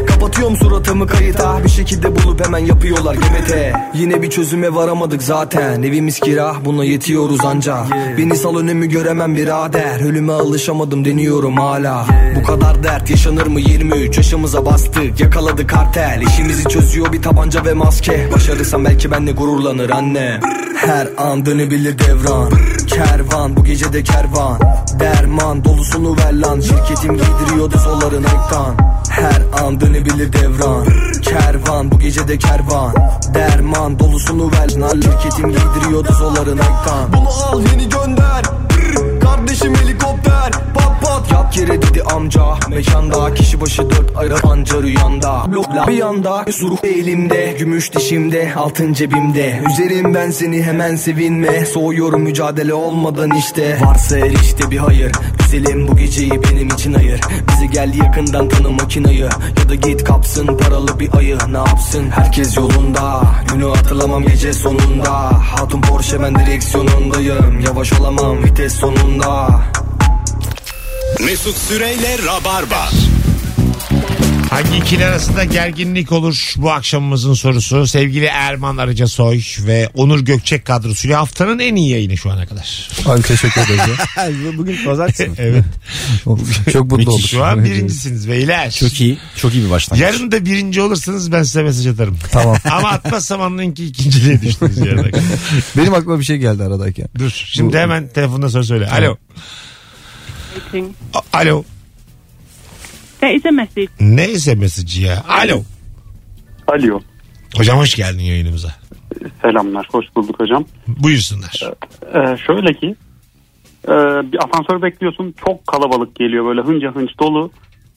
[SPEAKER 16] Kapatıyorum suratımı kayıta Bir şekilde bulup hemen yapıyorlar gemete Yine bir çözüme varamadık zaten Evimiz kira buna yetiyoruz anca Beni sal önümü göremem birader Ölüme alışamadım deniyorum hala Bu kadar dert yaşanır mı 23 yaşımıza bastık Yakaladı kartel işimizi çözüyor bir tabanca ve maske Başarırsam belki benle gururlanır anne Her an dönebilir devran Kervan bu gece de kervan Derman dolusunu ver lan Şirketim giydiriyordu solların ektan Her an dönebilir devran Kervan bu gece de kervan Derman dolusunu ver lan Şirketim giydiriyordu solların ektan Bunu al yeni gönder Brr, Kardeşim helikopter Pat pat yap yere dedi amca Mekanda kişi başı dört ayra panca rüyanda Blokla bir yanda Suruk elimde Gümüş dişimde Altın cebimde Üzerim ben seni hemen sevinme Soğuyorum mücadele olmadan işte Varsa her işte bir hayır Güzelim bu geceyi benim için ayır Bizi gel yakından tanı makinayı Ya da git kapsın paralı bir ayı Ne yapsın herkes yolunda Günü hatırlamam gece sonunda Hatun Porsche ben direksiyonundayım Yavaş olamam vites sonunda
[SPEAKER 2] Mesut Süreyle Rabarba.
[SPEAKER 4] Hangi ikili arasında gerginlik olur bu akşamımızın sorusu. Sevgili Erman Arıca Soy ve Onur Gökçek kadrosuyla haftanın en iyi yayını şu ana kadar.
[SPEAKER 5] Abi teşekkür ederiz. ya.
[SPEAKER 3] Bugün pazartesi mi?
[SPEAKER 4] evet.
[SPEAKER 5] Çok mutlu olduk.
[SPEAKER 4] Müthiş. Şu an birincisiniz beyler.
[SPEAKER 3] Çok iyi. Çok iyi bir başlangıç.
[SPEAKER 4] Yarın da birinci olursanız ben size mesaj atarım.
[SPEAKER 5] Tamam.
[SPEAKER 4] Ama atmazsam anlayın ki ikinciliğe düştünüz yarın.
[SPEAKER 5] Benim aklıma bir şey geldi aradayken.
[SPEAKER 4] Dur şimdi hemen telefonda soru söyle. Alo. A- Alo.
[SPEAKER 17] There is a message.
[SPEAKER 4] Neyse mesajı ya. Alo.
[SPEAKER 18] Alo.
[SPEAKER 4] Hocam hoş geldin yayınımıza.
[SPEAKER 18] Selamlar. Hoş bulduk hocam.
[SPEAKER 4] Buyursunlar.
[SPEAKER 18] Ee, şöyle ki e, bir asansör bekliyorsun. Çok kalabalık geliyor böyle hınca hınç dolu.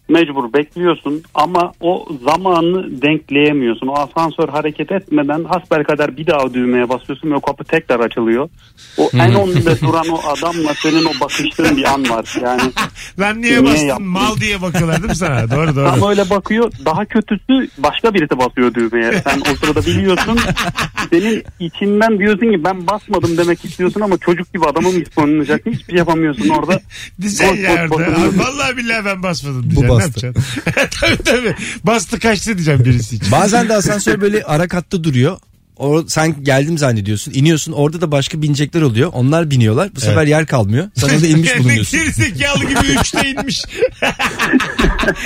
[SPEAKER 18] Mecbur bekliyorsun ama o zamanı denkleyemiyorsun. O asansör hareket etmeden hasbelkader bir daha düğmeye basıyorsun ve o kapı tekrar açılıyor. O en önde duran o adamla senin o bakıştığın bir an var. Yani
[SPEAKER 4] Lan niye
[SPEAKER 18] Niye
[SPEAKER 4] bastın
[SPEAKER 18] yaptın?
[SPEAKER 4] mal diye bakıyorlar değil mi sana? Doğru doğru.
[SPEAKER 18] Tam öyle bakıyor. Daha kötüsü başka birisi basıyor düğmeye. Sen o sırada biliyorsun. Senin içinden diyorsun ki ben basmadım demek istiyorsun ama çocuk gibi adamım ispanyolacak. Hiçbir şey yapamıyorsun orada.
[SPEAKER 4] Dizen
[SPEAKER 18] Boş boş
[SPEAKER 4] yerde.
[SPEAKER 18] bakıyorsun.
[SPEAKER 4] Aa, Vallahi billahi ben basmadım diyeceğim. Ne
[SPEAKER 3] bastı.
[SPEAKER 4] yapacaksın? tabii tabii. Bastı kaçtı diyeceğim birisi için.
[SPEAKER 3] Bazen de asansör böyle ara katta duruyor. O, sen geldim zannediyorsun. iniyorsun orada da başka binecekler oluyor. Onlar biniyorlar. Bu sefer yer kalmıyor. Sen orada inmiş bulunuyorsun.
[SPEAKER 4] Gerizekalı gibi üçte inmiş.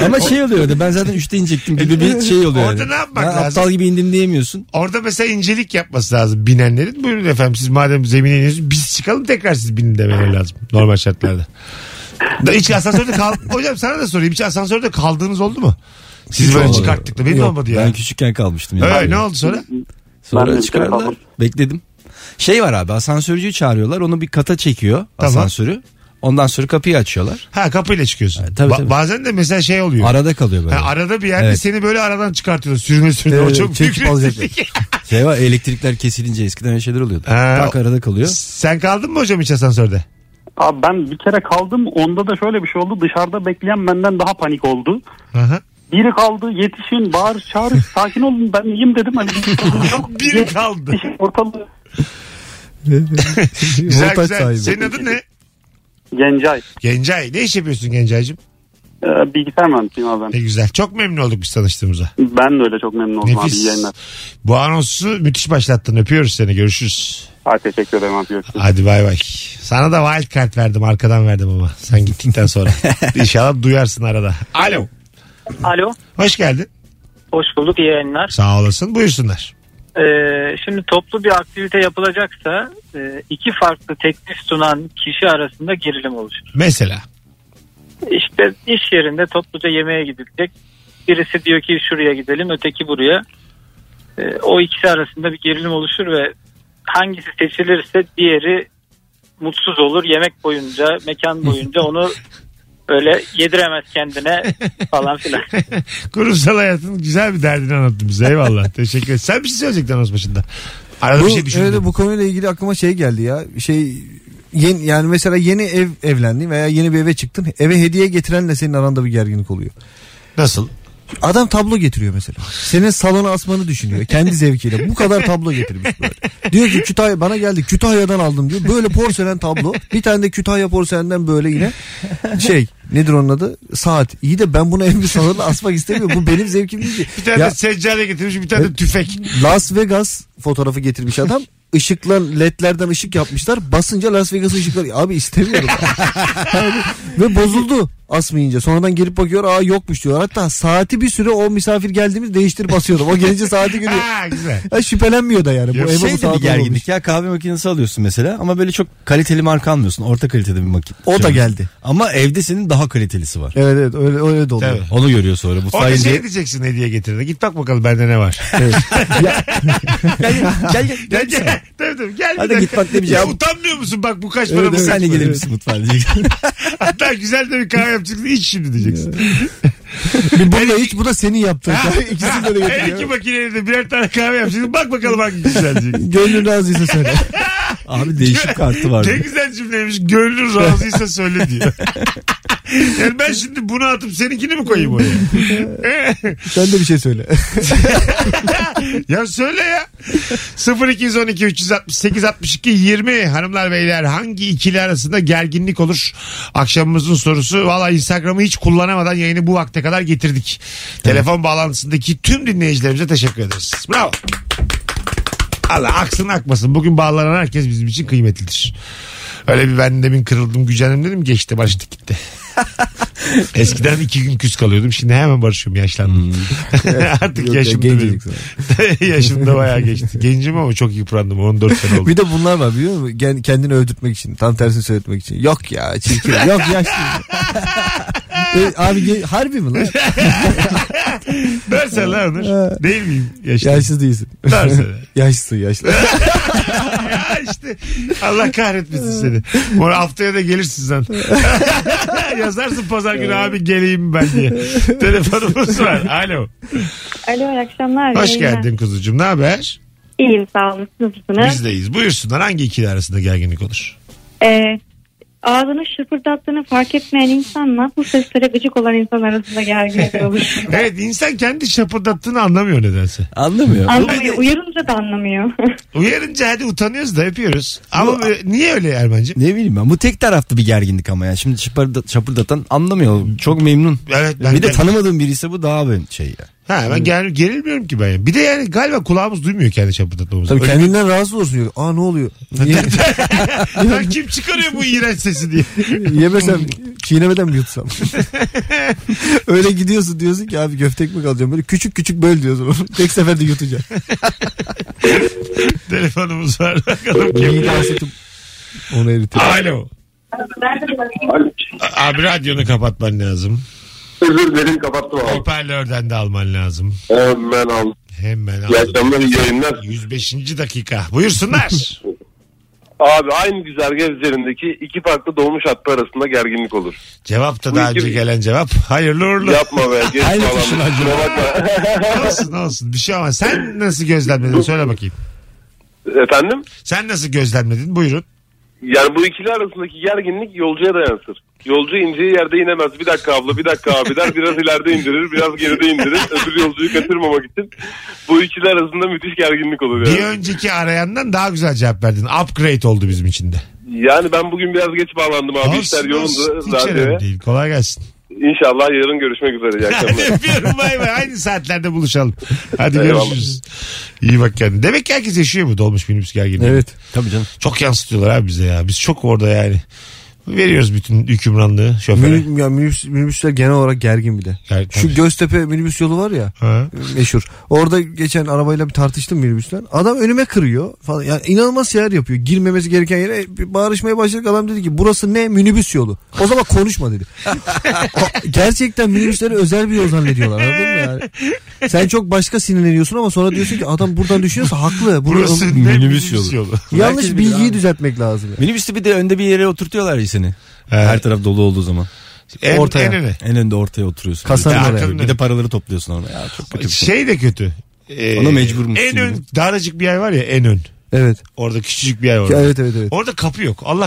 [SPEAKER 3] Ama şey oluyor orada ben zaten 3'te inecektim gibi bir şey oluyor.
[SPEAKER 4] Orada
[SPEAKER 3] yani.
[SPEAKER 4] ne yapmak
[SPEAKER 3] Ben
[SPEAKER 4] lazım?
[SPEAKER 3] Aptal gibi indim diyemiyorsun.
[SPEAKER 4] Orada mesela incelik yapması lazım binenlerin. Buyurun efendim siz madem zemine iniyorsunuz biz çıkalım tekrar siz binin demeleri lazım. Normal şartlarda. Da hiç asansörde kal... Hocam sana da sorayım. Hiç asansörde kaldığınız oldu mu? Siz
[SPEAKER 3] Hiç
[SPEAKER 4] böyle
[SPEAKER 3] olmadı.
[SPEAKER 4] çıkarttık da benim
[SPEAKER 3] Yok,
[SPEAKER 4] olmadı ya.
[SPEAKER 3] Ben küçükken kalmıştım. yani.
[SPEAKER 4] Öyle, ne oldu sonra?
[SPEAKER 3] Sonra
[SPEAKER 18] Ben de
[SPEAKER 3] çıkardılar.
[SPEAKER 18] kaldım.
[SPEAKER 3] Bekledim. Şey var abi asansörcüyü çağırıyorlar. Onu bir kata çekiyor
[SPEAKER 4] Tamam.
[SPEAKER 3] asansörü. Ondan sonra kapıyı açıyorlar.
[SPEAKER 4] Ha kapıyla çıkıyorsun.
[SPEAKER 3] tabii,
[SPEAKER 4] Ba-
[SPEAKER 3] tabii.
[SPEAKER 4] Bazen de mesela şey oluyor.
[SPEAKER 3] Arada kalıyor böyle.
[SPEAKER 4] Ha, arada bir yerde
[SPEAKER 3] Evet.
[SPEAKER 4] seni böyle aradan çıkartıyorlar. Sürme sürme. o
[SPEAKER 3] Evet,
[SPEAKER 4] çok büyük
[SPEAKER 3] çekip alacaklar.
[SPEAKER 4] rezillik.
[SPEAKER 3] Şey var elektrikler kesilince eskiden öyle şeyler oluyordu.
[SPEAKER 4] Ha.
[SPEAKER 3] Tak arada kalıyor.
[SPEAKER 4] Sen kaldın mı hocam hiç asansörde?
[SPEAKER 18] Abi ben bir kere kaldım. Onda da şöyle bir şey oldu. Dışarıda bekleyen benden daha panik oldu.
[SPEAKER 4] Aha.
[SPEAKER 18] Biri kaldı yetişin bağır çağır sakin olun ben iyiyim dedim. Hani bir sorun yok.
[SPEAKER 4] Biri kaldı.
[SPEAKER 18] Yetişin ortalığı.
[SPEAKER 4] Güzel
[SPEAKER 5] Voltaj
[SPEAKER 4] güzel.
[SPEAKER 5] sahibi.
[SPEAKER 4] Senin adın ne?
[SPEAKER 18] Gencay.
[SPEAKER 4] Gencay. Ne iş yapıyorsun Gencay'cığım?
[SPEAKER 18] Ee, bilgisayar mühendisiyim abi
[SPEAKER 4] Ne
[SPEAKER 18] ben.
[SPEAKER 4] güzel. Çok memnun olduk biz tanıştığımıza.
[SPEAKER 18] Ben de öyle çok memnun oldum abi. İyi
[SPEAKER 4] Nefis.
[SPEAKER 18] yayınlar.
[SPEAKER 4] Bu anonsu müthiş başlattın. Öpüyoruz seni. Görüşürüz.
[SPEAKER 18] Ha, teşekkür ederim abi. Görüşürüz.
[SPEAKER 4] Hadi bay bay. Sana da wild card verdim. Arkadan verdim ama. Sen gittikten sonra. İnşallah duyarsın arada. Alo.
[SPEAKER 19] Alo.
[SPEAKER 4] Hoş geldin.
[SPEAKER 19] Hoş bulduk iyi yayınlar.
[SPEAKER 4] Sağ olasın. Buyursunlar.
[SPEAKER 19] Ee, şimdi toplu bir aktivite yapılacaksa e, iki farklı teklif sunan kişi arasında gerilim oluşur.
[SPEAKER 4] Mesela.
[SPEAKER 19] İşte iş yerinde topluca yemeğe gidilecek. Birisi diyor ki şuraya gidelim öteki buraya. Ee, o ikisi arasında bir gerilim oluşur ve hangisi seçilirse diğeri mutsuz olur. Yemek boyunca mekan boyunca onu öyle yediremez kendine falan filan.
[SPEAKER 4] Kurumsal hayatın güzel bir derdini anlattın bize. Eyvallah. Teşekkür ederim. Sen bir şey söyleyecektin anons başında. Arada
[SPEAKER 5] bu,
[SPEAKER 4] bir şey düşündün.
[SPEAKER 5] evet, bu konuyla ilgili aklıma şey geldi ya. Şey yeni, yani mesela yeni ev evlendin veya yeni bir eve çıktın. Eve hediye getirenle senin aranda bir gerginlik oluyor.
[SPEAKER 4] Nasıl?
[SPEAKER 5] Adam tablo getiriyor mesela. Senin salona asmanı düşünüyor. Kendi zevkiyle. Bu kadar tablo getirmiş böyle. Diyor ki Kütahya bana geldi. Kütahya'dan aldım diyor. Böyle porselen tablo. Bir tane de Kütahya porselenden böyle yine şey nedir onun adı? Saat. İyi de ben bunu evimi salona asmak istemiyorum. Bu benim zevkim değil ki.
[SPEAKER 4] Bir tane
[SPEAKER 5] Ya- E-
[SPEAKER 4] de seccade getirmiş bir tane de tüfek.
[SPEAKER 5] Las Vegas fotoğrafı getirmiş adam. Işıklar ledlerden ışık yapmışlar. Basınca Las Vegas ışıkları. Abi istemiyorum. Yani Ve bozuldu asmayınca. Sonradan gelip bakıyor aa yokmuş diyor. Hatta saati bir süre o misafir geldiğimiz değiştirip basıyordum. O gelince saati görüyor.
[SPEAKER 4] Ha güzel.
[SPEAKER 5] Ya şüphelenmiyor da yani.
[SPEAKER 3] Yok,
[SPEAKER 5] bu
[SPEAKER 3] şey
[SPEAKER 5] şey
[SPEAKER 3] de bir gerginlik ya kahve makinesi alıyorsun mesela ama böyle çok kaliteli marka almıyorsun. Orta kalitede bir makine.
[SPEAKER 5] O da geldi.
[SPEAKER 3] Ama evde senin daha kalitelisi var.
[SPEAKER 5] Evet evet öyle, öyle de oluyor.
[SPEAKER 4] Tabii.
[SPEAKER 3] Onu görüyor sonra. Bu
[SPEAKER 4] Orada şey
[SPEAKER 3] sayede
[SPEAKER 4] diyeceksin hediye getirdi. Git bak bakalım bende ne var.
[SPEAKER 3] gel gel.
[SPEAKER 4] Gel gel. Tabii tabii gel. bir
[SPEAKER 3] Hadi
[SPEAKER 4] dakika.
[SPEAKER 3] git bak ne bir-
[SPEAKER 4] Ya utanmıyor musun bak bu kaç para
[SPEAKER 3] Evet,
[SPEAKER 4] bu
[SPEAKER 3] evet,
[SPEAKER 4] kaç
[SPEAKER 3] sen de
[SPEAKER 4] para?
[SPEAKER 3] gelir misin mutfağa diyeceksin.
[SPEAKER 4] Hatta güzel de bir kahve yapacaksın iç şimdi diyeceksin.
[SPEAKER 5] Bir bu da hiç bu da senin yaptığın.
[SPEAKER 4] Ha,
[SPEAKER 5] İkisini de öyle
[SPEAKER 4] Her iki
[SPEAKER 5] getiriyor.
[SPEAKER 4] makineyle de birer tane kahve yapacaksın. Bak bakalım hangi güzel diyeceksin.
[SPEAKER 5] Gönlün razıysa söyle.
[SPEAKER 3] Abi değişik kartı var.
[SPEAKER 4] Ne güzel cümleymiş. Gönlün razıysa söyle diyor. yani ben şimdi bunu atıp seninkini mi koyayım oraya?
[SPEAKER 5] Sen de bir şey söyle.
[SPEAKER 4] ya söyle ya. 0212 368 62 20 hanımlar beyler hangi ikili arasında gerginlik olur? Akşamımızın sorusu. Valla Instagram'ı hiç kullanamadan yayını bu vakte kadar getirdik. Telefon bağlantısındaki tüm dinleyicilerimize teşekkür ederiz. Bravo. Allah aksın akmasın. Bugün bağlanan herkes bizim için kıymetlidir. Öyle bir ben demin kırıldım gücendim dedim geçti barıştık gitti. Eskiden iki gün küs kalıyordum. Şimdi hemen barışıyorum yaşlandım. Artık
[SPEAKER 5] Hmm. Yok ya,
[SPEAKER 4] yaşım da
[SPEAKER 5] gencecik
[SPEAKER 4] benim. Yaşım da bayağı geçti. Gencim ama çok yıprandım. 14 sene oldu.
[SPEAKER 5] Bir de bunlar var biliyor musun? Gen- Kendini öldürtmek için. Tam tersini söyletmek için. Yok ya çirkin. Yok yaşlı. E, abi ge- harbi mi lan?
[SPEAKER 4] Versene lan Onur. Değil miyim? Yaşlı.
[SPEAKER 5] Yaşlı değilsin.
[SPEAKER 4] Versene.
[SPEAKER 5] Yaşlısın yaşlı.
[SPEAKER 4] Ya işte Allah kahretmesin seni. Bu arada haftaya da gelirsin sen. Yazarsın pazar günü abi geleyim ben diye. Telefonumuz var. Alo.
[SPEAKER 20] Alo iyi akşamlar.
[SPEAKER 4] Hoş
[SPEAKER 20] yayınlar.
[SPEAKER 4] geldin kuzucuğum. Ne haber?
[SPEAKER 20] İyiyim sağ olun. Siz Nasılsınız?
[SPEAKER 4] Bizdeyiz. Buyursunlar hangi ikili arasında gerginlik olur?
[SPEAKER 20] Ee, ağzını şıpırdattığını fark etmeyen insanla bu seslere gıcık olan insan arasında gerginlik olur.
[SPEAKER 4] Evet insan kendi şapırdattığını anlamıyor nedense.
[SPEAKER 3] Anlamıyor.
[SPEAKER 20] anlamıyor. Uyarınca da anlamıyor.
[SPEAKER 4] Uyarınca hadi utanıyoruz da yapıyoruz. Ama böyle- niye öyle Erman'cığım?
[SPEAKER 3] Ne bileyim ben. Bu tek taraflı bir gerginlik ama ya. Şimdi şıpırda- şapırdatan anlamıyor. Çok memnun.
[SPEAKER 4] Evet, ben-
[SPEAKER 3] bir de
[SPEAKER 4] ben-
[SPEAKER 3] tanımadığım biri ise bu daha ben şey ya.
[SPEAKER 4] Ha, ben gel, gerilmiyorum ki ben. Bir de yani galiba kulağımız duymuyor kendi şapırdatmamızı.
[SPEAKER 5] Tabii
[SPEAKER 4] Öyle-
[SPEAKER 5] kendinden rahatsız olursun. diyor. Aa ne oluyor? Niye,
[SPEAKER 4] Lan kim çıkarıyor bu iğrenç sesi diye.
[SPEAKER 5] yemesem çiğnemeden mi yutsam? Öyle gidiyorsun diyorsun ki abi köfte ekmek alacağım. Böyle küçük küçük böl diyorsun. Tek seferde yutacağım.
[SPEAKER 4] Telefonumuz var. Bakalım
[SPEAKER 5] Neyi
[SPEAKER 4] kim.
[SPEAKER 5] bahsettim? Onu eritir.
[SPEAKER 4] Alo. A- Abi radyonu kapatman lazım.
[SPEAKER 13] Özür dilerim kapattım abi.
[SPEAKER 4] Hoparlörden de alman lazım.
[SPEAKER 13] Hemen al.
[SPEAKER 4] Hemen
[SPEAKER 13] İyi
[SPEAKER 4] aldım.
[SPEAKER 13] akşamlar iyi yayınlar.
[SPEAKER 4] 105. dakika. Buyursunlar.
[SPEAKER 13] Abi aynı güzergah üzerindeki iki farklı dolmuş hattı arasında gerginlik olur.
[SPEAKER 4] cevap da daha
[SPEAKER 13] Buyur.
[SPEAKER 4] önce gelen cevap. Hayırlı uğurlu.
[SPEAKER 13] Yapma be. Geç
[SPEAKER 3] Aynı
[SPEAKER 13] falan.
[SPEAKER 3] kişiler
[SPEAKER 13] Kusura bakma.
[SPEAKER 4] olsun olsun. Bir şey olmaz. Sen nasıl gözlemledin? Söyle bakayım.
[SPEAKER 13] Efendim?
[SPEAKER 4] Sen nasıl gözlemledin? Buyurun.
[SPEAKER 13] Yani bu ikili arasındaki gerginlik yolcuya da yansır. Yolcu ineceği yerde inemez. Bir dakika abla bir dakika abi der. Biraz ileride indirir. Biraz geride indirir. Öbür yolcuyu kaçırmamak için. Bu ikili arasında müthiş gerginlik olur
[SPEAKER 4] Bir
[SPEAKER 13] yani.
[SPEAKER 4] önceki arayandan daha güzel cevap verdin. Upgrade oldu bizim için de.
[SPEAKER 13] Yani ben bugün biraz geç bağlandım abi. İşler
[SPEAKER 4] Olsun, olsun.
[SPEAKER 13] yoğundu.
[SPEAKER 4] Hiç önemli
[SPEAKER 13] Radyoya.
[SPEAKER 4] değil. Kolay gelsin.
[SPEAKER 13] İnşallah yarın görüşmek üzere. İyi akşamlar.
[SPEAKER 4] Öpüyorum bay bay. Aynı saatlerde buluşalım. Hadi
[SPEAKER 13] Eyvallah.
[SPEAKER 4] görüşürüz. İyi bak kendine. Demek ki herkes yaşıyor bu dolmuş minibüs gerginliği.
[SPEAKER 5] Evet.
[SPEAKER 3] Tabii canım.
[SPEAKER 4] Çok yansıtıyorlar abi bize ya. Biz çok orada yani. Veriyoruz bütün hükümranlığı şoföre.
[SPEAKER 5] Minibüs, ya minibüs, minibüsler genel olarak gergin bir de.
[SPEAKER 4] Yani,
[SPEAKER 5] Şu Göztepe minibüs yolu var ya.
[SPEAKER 4] Ha.
[SPEAKER 5] meşhur. Orada geçen arabayla bir tartıştım minibüsten. Adam önüme kırıyor falan. Yani inanılmaz şeyler yapıyor. Girmemesi gereken yere bir bağırışmaya başladık. Adam dedi ki burası ne minibüs yolu. O zaman konuşma dedi. O- Gerçekten minibüsleri özel bir yol zannediyorlar. Anladın mı yani? Sen çok başka sinirleniyorsun ama sonra diyorsun ki adam buradan düşünüyorsa haklı. Bunu-
[SPEAKER 4] Burası ne minibüs
[SPEAKER 3] Minibüs
[SPEAKER 4] yolu.
[SPEAKER 3] yolu.
[SPEAKER 5] yanlış
[SPEAKER 3] Herkes bilir
[SPEAKER 5] bilgiyi
[SPEAKER 3] abi.
[SPEAKER 5] düzeltmek lazım. yani.
[SPEAKER 3] Minibüste bir de önde bir yere oturtuyorlar ya seni. Her taraf dolu olduğu zaman.
[SPEAKER 4] En,
[SPEAKER 5] Ortaya.
[SPEAKER 4] en öne.
[SPEAKER 3] En önde ortaya oturuyorsun.
[SPEAKER 5] Kasanın
[SPEAKER 3] Bir de-
[SPEAKER 4] oraya.
[SPEAKER 3] Bir de paraları topluyorsun orada. Ya çok kötü. bir şey.
[SPEAKER 4] Şey de kötü. Ee,
[SPEAKER 3] Ona mecburmuşsun
[SPEAKER 4] En
[SPEAKER 3] gibi.
[SPEAKER 4] ön, daracık bir yer var ya en ön.
[SPEAKER 5] Evet.
[SPEAKER 4] Orada küçücük bir yer var.
[SPEAKER 5] Evet, evet, evet.
[SPEAKER 4] Orada kapı yok. Allah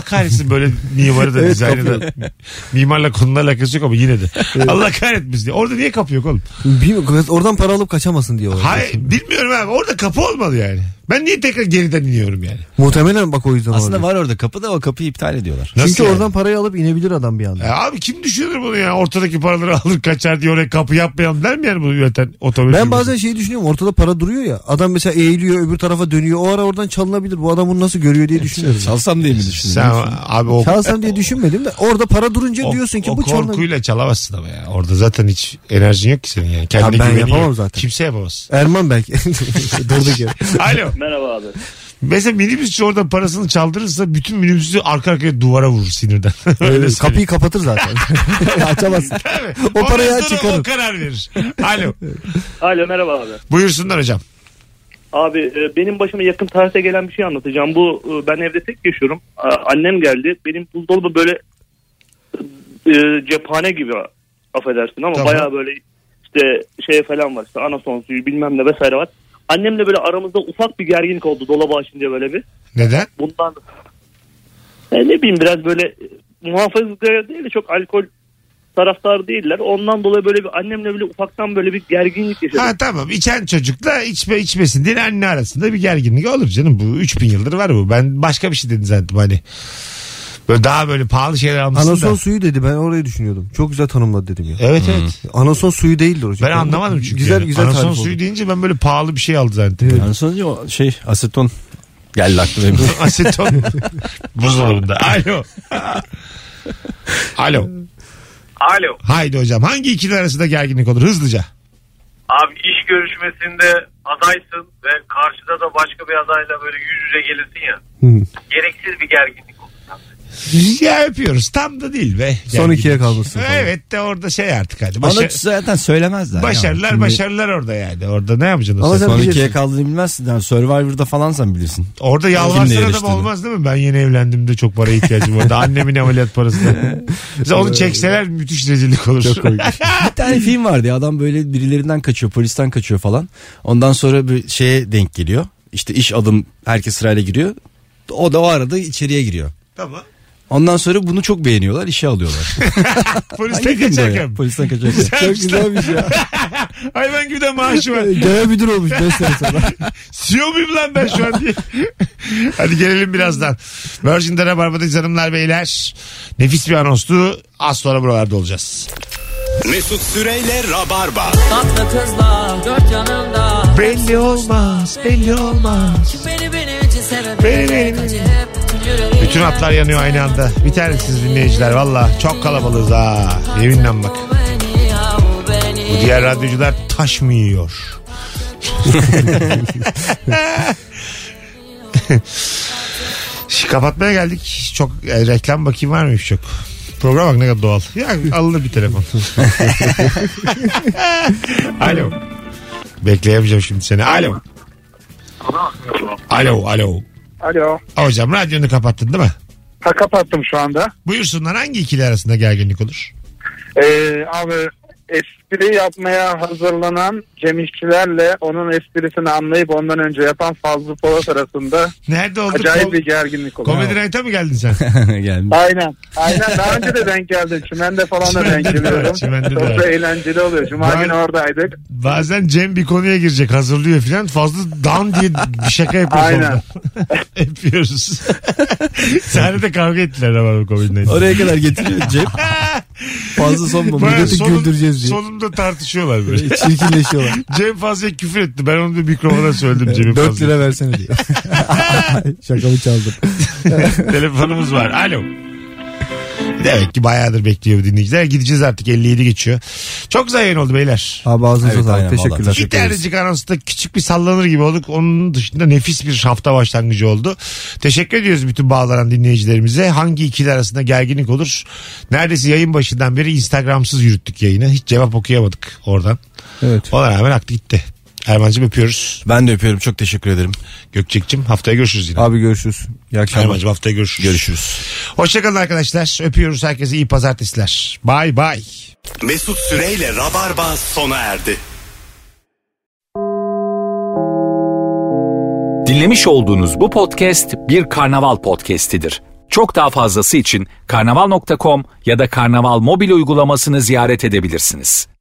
[SPEAKER 4] kahretsin böyle mimarı da
[SPEAKER 5] Evet,
[SPEAKER 4] dizaynı
[SPEAKER 5] kapı
[SPEAKER 4] da. Mimarla konunun alakası yok ama yine de. Allah kahretmesin. Orada niye kapı yok oğlum?
[SPEAKER 5] Bilmiyorum, oradan para alıp kaçamasın diye. orada.
[SPEAKER 4] Hayır bilmiyorum abi. Orada kapı olmalı yani. Ben niye tekrar geriden iniyorum yani?
[SPEAKER 5] Muhtemelen bak o yüzden
[SPEAKER 3] Aslında
[SPEAKER 5] olabilir.
[SPEAKER 3] var orada kapı da o kapıyı iptal ediyorlar.
[SPEAKER 5] Çünkü oradan parayı alıp inebilir adam bir anda.
[SPEAKER 4] E abi kim düşünür bunu ya? Ortadaki paraları alır kaçar diye oraya kapı yapmayalım der mi yani bunu üreten otomobil?
[SPEAKER 5] Ben
[SPEAKER 4] firması?
[SPEAKER 5] bazen şeyi düşünüyorum ortada para duruyor ya adam mesela eğiliyor öbür tarafa dönüyor o ara oradan çalınabilir bu adam bunu nasıl görüyor diye düşünüyorum.
[SPEAKER 3] Çalsam diye mi düşündün?
[SPEAKER 4] Sen abi o,
[SPEAKER 5] Çalsam diye düşünmedim de orada para durunca
[SPEAKER 4] o-
[SPEAKER 5] diyorsun ki
[SPEAKER 4] o
[SPEAKER 5] bu çalınabilir.
[SPEAKER 4] korkuyla çalamazsın ama ya. Orada zaten hiç enerjin yok ki senin yani. Kendine
[SPEAKER 5] ben
[SPEAKER 4] güvenin
[SPEAKER 5] yapamam
[SPEAKER 4] yok.
[SPEAKER 5] zaten.
[SPEAKER 4] Kimse yapamaz.
[SPEAKER 5] Erman belki. Durduk yere.
[SPEAKER 4] Alo.
[SPEAKER 21] Merhaba abi.
[SPEAKER 4] Mesela minibüsçü orada parasını çaldırırsa bütün minibüsü arka arkaya duvara vurur sinirden.
[SPEAKER 5] Evet, Ee, kapıyı kapatır zaten. Açamazsın. o parayı aç
[SPEAKER 4] çıkarır. O
[SPEAKER 5] çıkarır.
[SPEAKER 4] karar verir. Alo.
[SPEAKER 21] Alo merhaba abi.
[SPEAKER 4] Buyursunlar hocam.
[SPEAKER 21] Abi e, benim başıma yakın tarihte gelen bir şey anlatacağım. Bu e, ben evde tek yaşıyorum. A- Annem geldi. Benim buzdolabı böyle e, cephane gibi affedersin ama
[SPEAKER 4] Tamam.
[SPEAKER 21] baya böyle işte şey falan var. İşte anason suyu bilmem ne vesaire var. Annemle böyle aramızda ufak bir gerginlik oldu dolabı açınca böyle bir.
[SPEAKER 4] Neden?
[SPEAKER 21] Bundan E, ne bileyim biraz böyle e, muhafazakar değil de çok alkol taraftar değiller. Ondan dolayı böyle bir annemle bile ufaktan böyle bir gerginlik yaşadık.
[SPEAKER 4] Ha tamam içen çocukla içme içmesin diye anne arasında bir gerginlik olur canım bu 3000 yıldır var bu. Ben başka bir şey dedim zaten hani. Böyle daha böyle pahalı şeyler almışsın
[SPEAKER 5] Anason
[SPEAKER 4] da.
[SPEAKER 5] suyu dedi ben orayı düşünüyordum. Çok güzel tanımladı dedim ya.
[SPEAKER 4] Evet evet.
[SPEAKER 5] Anason suyu değildir o.
[SPEAKER 4] Ben anlamadım çünkü.
[SPEAKER 5] Güzel
[SPEAKER 4] yani.
[SPEAKER 5] güzel
[SPEAKER 4] Anason
[SPEAKER 5] tarif
[SPEAKER 4] suyu
[SPEAKER 5] oldu.
[SPEAKER 4] deyince ben böyle pahalı bir şey aldı zannettim.
[SPEAKER 3] Yani sonucu o şey aseton geldi aklıma benim.
[SPEAKER 4] Aseton. Buzdolabında. Alo. Alo.
[SPEAKER 22] Alo.
[SPEAKER 4] Haydi hocam hangi ikili arasında gerginlik olur hızlıca?
[SPEAKER 22] Abi iş görüşmesinde adaysın ve karşıda da başka bir adayla böyle yüz yüze gelirsin ya. Gereksiz bir gerginlik.
[SPEAKER 4] Ya öpüyoruz tam da değil be.
[SPEAKER 5] Son ikiye kalmışsın. falan.
[SPEAKER 4] Evet de orada şey artık hadi.
[SPEAKER 3] Onu
[SPEAKER 4] Başa-
[SPEAKER 3] zaten söylemezler.
[SPEAKER 4] Başarılar başarılar orada yani. Orada ne yapacaksın? o
[SPEAKER 3] Ama sen şey-
[SPEAKER 4] sırada?
[SPEAKER 3] son
[SPEAKER 5] şey
[SPEAKER 3] ikiye kaldığını bilmezsin. Yani Survivor'da falan sen bilirsin.
[SPEAKER 4] Orada
[SPEAKER 3] Kimle
[SPEAKER 4] yalvarsın adam
[SPEAKER 3] yarıştığını.
[SPEAKER 4] olmaz değil mi? Ben yeni evlendim de çok para ihtiyacım vardı. Annemin ameliyat parası. Mesela onu çekseler müthiş rezillik olur.
[SPEAKER 3] Çok komik. bir tane film vardı ya adam böyle birilerinden kaçıyor polisten kaçıyor falan. Ondan sonra bir şeye denk geliyor. İşte iş adım herkes sırayla giriyor. O da o arada içeriye giriyor.
[SPEAKER 4] Tamam.
[SPEAKER 3] Ondan sonra bunu çok beğeniyorlar işe alıyorlar.
[SPEAKER 4] Polisten
[SPEAKER 3] Hangi filmdi o ya?
[SPEAKER 4] kaçarken.
[SPEAKER 3] Polisten kaçarken.
[SPEAKER 5] Çok güzelmiş ya.
[SPEAKER 4] Hayvan gibi de maaşı var.
[SPEAKER 5] Genel müdür olmuş 5 sene sonra.
[SPEAKER 4] CEO muyum lan ben şu an diye. Hadi gelelim birazdan. Virgin'de Rabarba'dayız hanımlar beyler. Nefis bir anonstu. Az sonra buralarda olacağız.
[SPEAKER 2] Mesut Süreyle Rabarba.
[SPEAKER 23] Tatlı kızla dört yanımda
[SPEAKER 4] Belli olmaz, belli olmaz.
[SPEAKER 23] Beni benim için sevemedi
[SPEAKER 4] Beni benim için.
[SPEAKER 23] Acep bütün yüreğim.
[SPEAKER 4] Bütün hatlar yanıyor aynı anda. Bir tanesiz dinleyiciler valla. Çok kalabalığız ha. Yeminle bak.
[SPEAKER 23] Beni yahu beni
[SPEAKER 4] Bu diğer radyocular taş mı yiyor? Şi- Kapatmaya geldik. Çok e, reklam bakayım var mıymış çok. Program bak ne kadar doğal. Ya alınır bir telefon. alo. Bekleyemeyeceğim şimdi seni. Alo. Alo, alo.
[SPEAKER 24] Alo.
[SPEAKER 4] Hocam radyonu kapattın değil mi?
[SPEAKER 24] Ha, kapattım şu anda.
[SPEAKER 4] Buyursunlar hangi ikili arasında gerginlik olur?
[SPEAKER 24] Ee, abi espri yapmaya hazırlanan Cem İşçilerle onun esprisini anlayıp ondan önce yapan Fazlı Polat arasında
[SPEAKER 4] Nerede oldu?
[SPEAKER 24] acayip
[SPEAKER 4] Kom-
[SPEAKER 24] bir şey gerginlik oldu.
[SPEAKER 4] Comedy Night'a mı geldin sen?
[SPEAKER 3] Gelmiş.
[SPEAKER 24] Aynen. Aynen daha önce de denk geldim. Çimende falan da denk geliyorum.
[SPEAKER 4] Çimende de
[SPEAKER 24] Çok
[SPEAKER 4] var.
[SPEAKER 24] da eğlenceli oluyor. Cuma
[SPEAKER 4] Ben-
[SPEAKER 24] günü oradaydık.
[SPEAKER 4] Bazen Cem bir konuya girecek hazırlıyor filan fazla dan diye bir şaka yapıyor
[SPEAKER 24] Aynen.
[SPEAKER 4] sonunda. Yapıyoruz. Sahnede kavga ettiler ama bu komedinin.
[SPEAKER 3] Oraya kadar getiriyor Cem. Fazla sonma.
[SPEAKER 4] Bayağı
[SPEAKER 3] Milleti
[SPEAKER 4] sonun-
[SPEAKER 3] güldüreceğiz diye.
[SPEAKER 4] Sonunda tartışıyorlar böyle.
[SPEAKER 5] Çirkinleşiyorlar.
[SPEAKER 4] Cem fazla küfür etti. Ben onu da mikrofona söyledim Cem'in
[SPEAKER 5] 4
[SPEAKER 4] fazla.
[SPEAKER 5] lira versene diye. Şakamı çaldım.
[SPEAKER 4] Telefonumuz var. Alo. Demek ki bayağıdır bekliyor bu dinleyiciler. Gideceğiz artık 57 geçiyor. Çok güzel yayın oldu beyler.
[SPEAKER 5] Abi ağzınıza
[SPEAKER 3] Evet,
[SPEAKER 5] sağlık.
[SPEAKER 3] aynen,
[SPEAKER 5] Teşekkürler.
[SPEAKER 4] İki tanecik anonsta küçük bir sallanır gibi olduk. Onun dışında nefis bir hafta başlangıcı oldu. Teşekkür ediyoruz bütün bağlanan dinleyicilerimize. Hangi ikili arasında gerginlik olur? Neredeyse yayın başından beri Instagram'sız yürüttük yayını. Hiç cevap okuyamadık oradan.
[SPEAKER 5] Evet.
[SPEAKER 4] Ona rağmen aktı gitti. Erman'cığım öpüyoruz.
[SPEAKER 3] Ben de öpüyorum. Çok teşekkür ederim.
[SPEAKER 4] Gökçek'cim haftaya görüşürüz yine.
[SPEAKER 5] Abi görüşürüz. İyi akşamlar.
[SPEAKER 4] Erman'cığım haftaya görüşürüz.
[SPEAKER 3] Görüşürüz.
[SPEAKER 4] Hoşçakalın arkadaşlar. Öpüyoruz herkese iyi pazartesiler. Bay bay.
[SPEAKER 2] Mesut Süreyle Rabarba sona erdi.
[SPEAKER 1] Dinlemiş olduğunuz bu podcast bir karnaval podcastidir. Çok daha fazlası için karnaval.com ya da karnaval mobil uygulamasını ziyaret edebilirsiniz.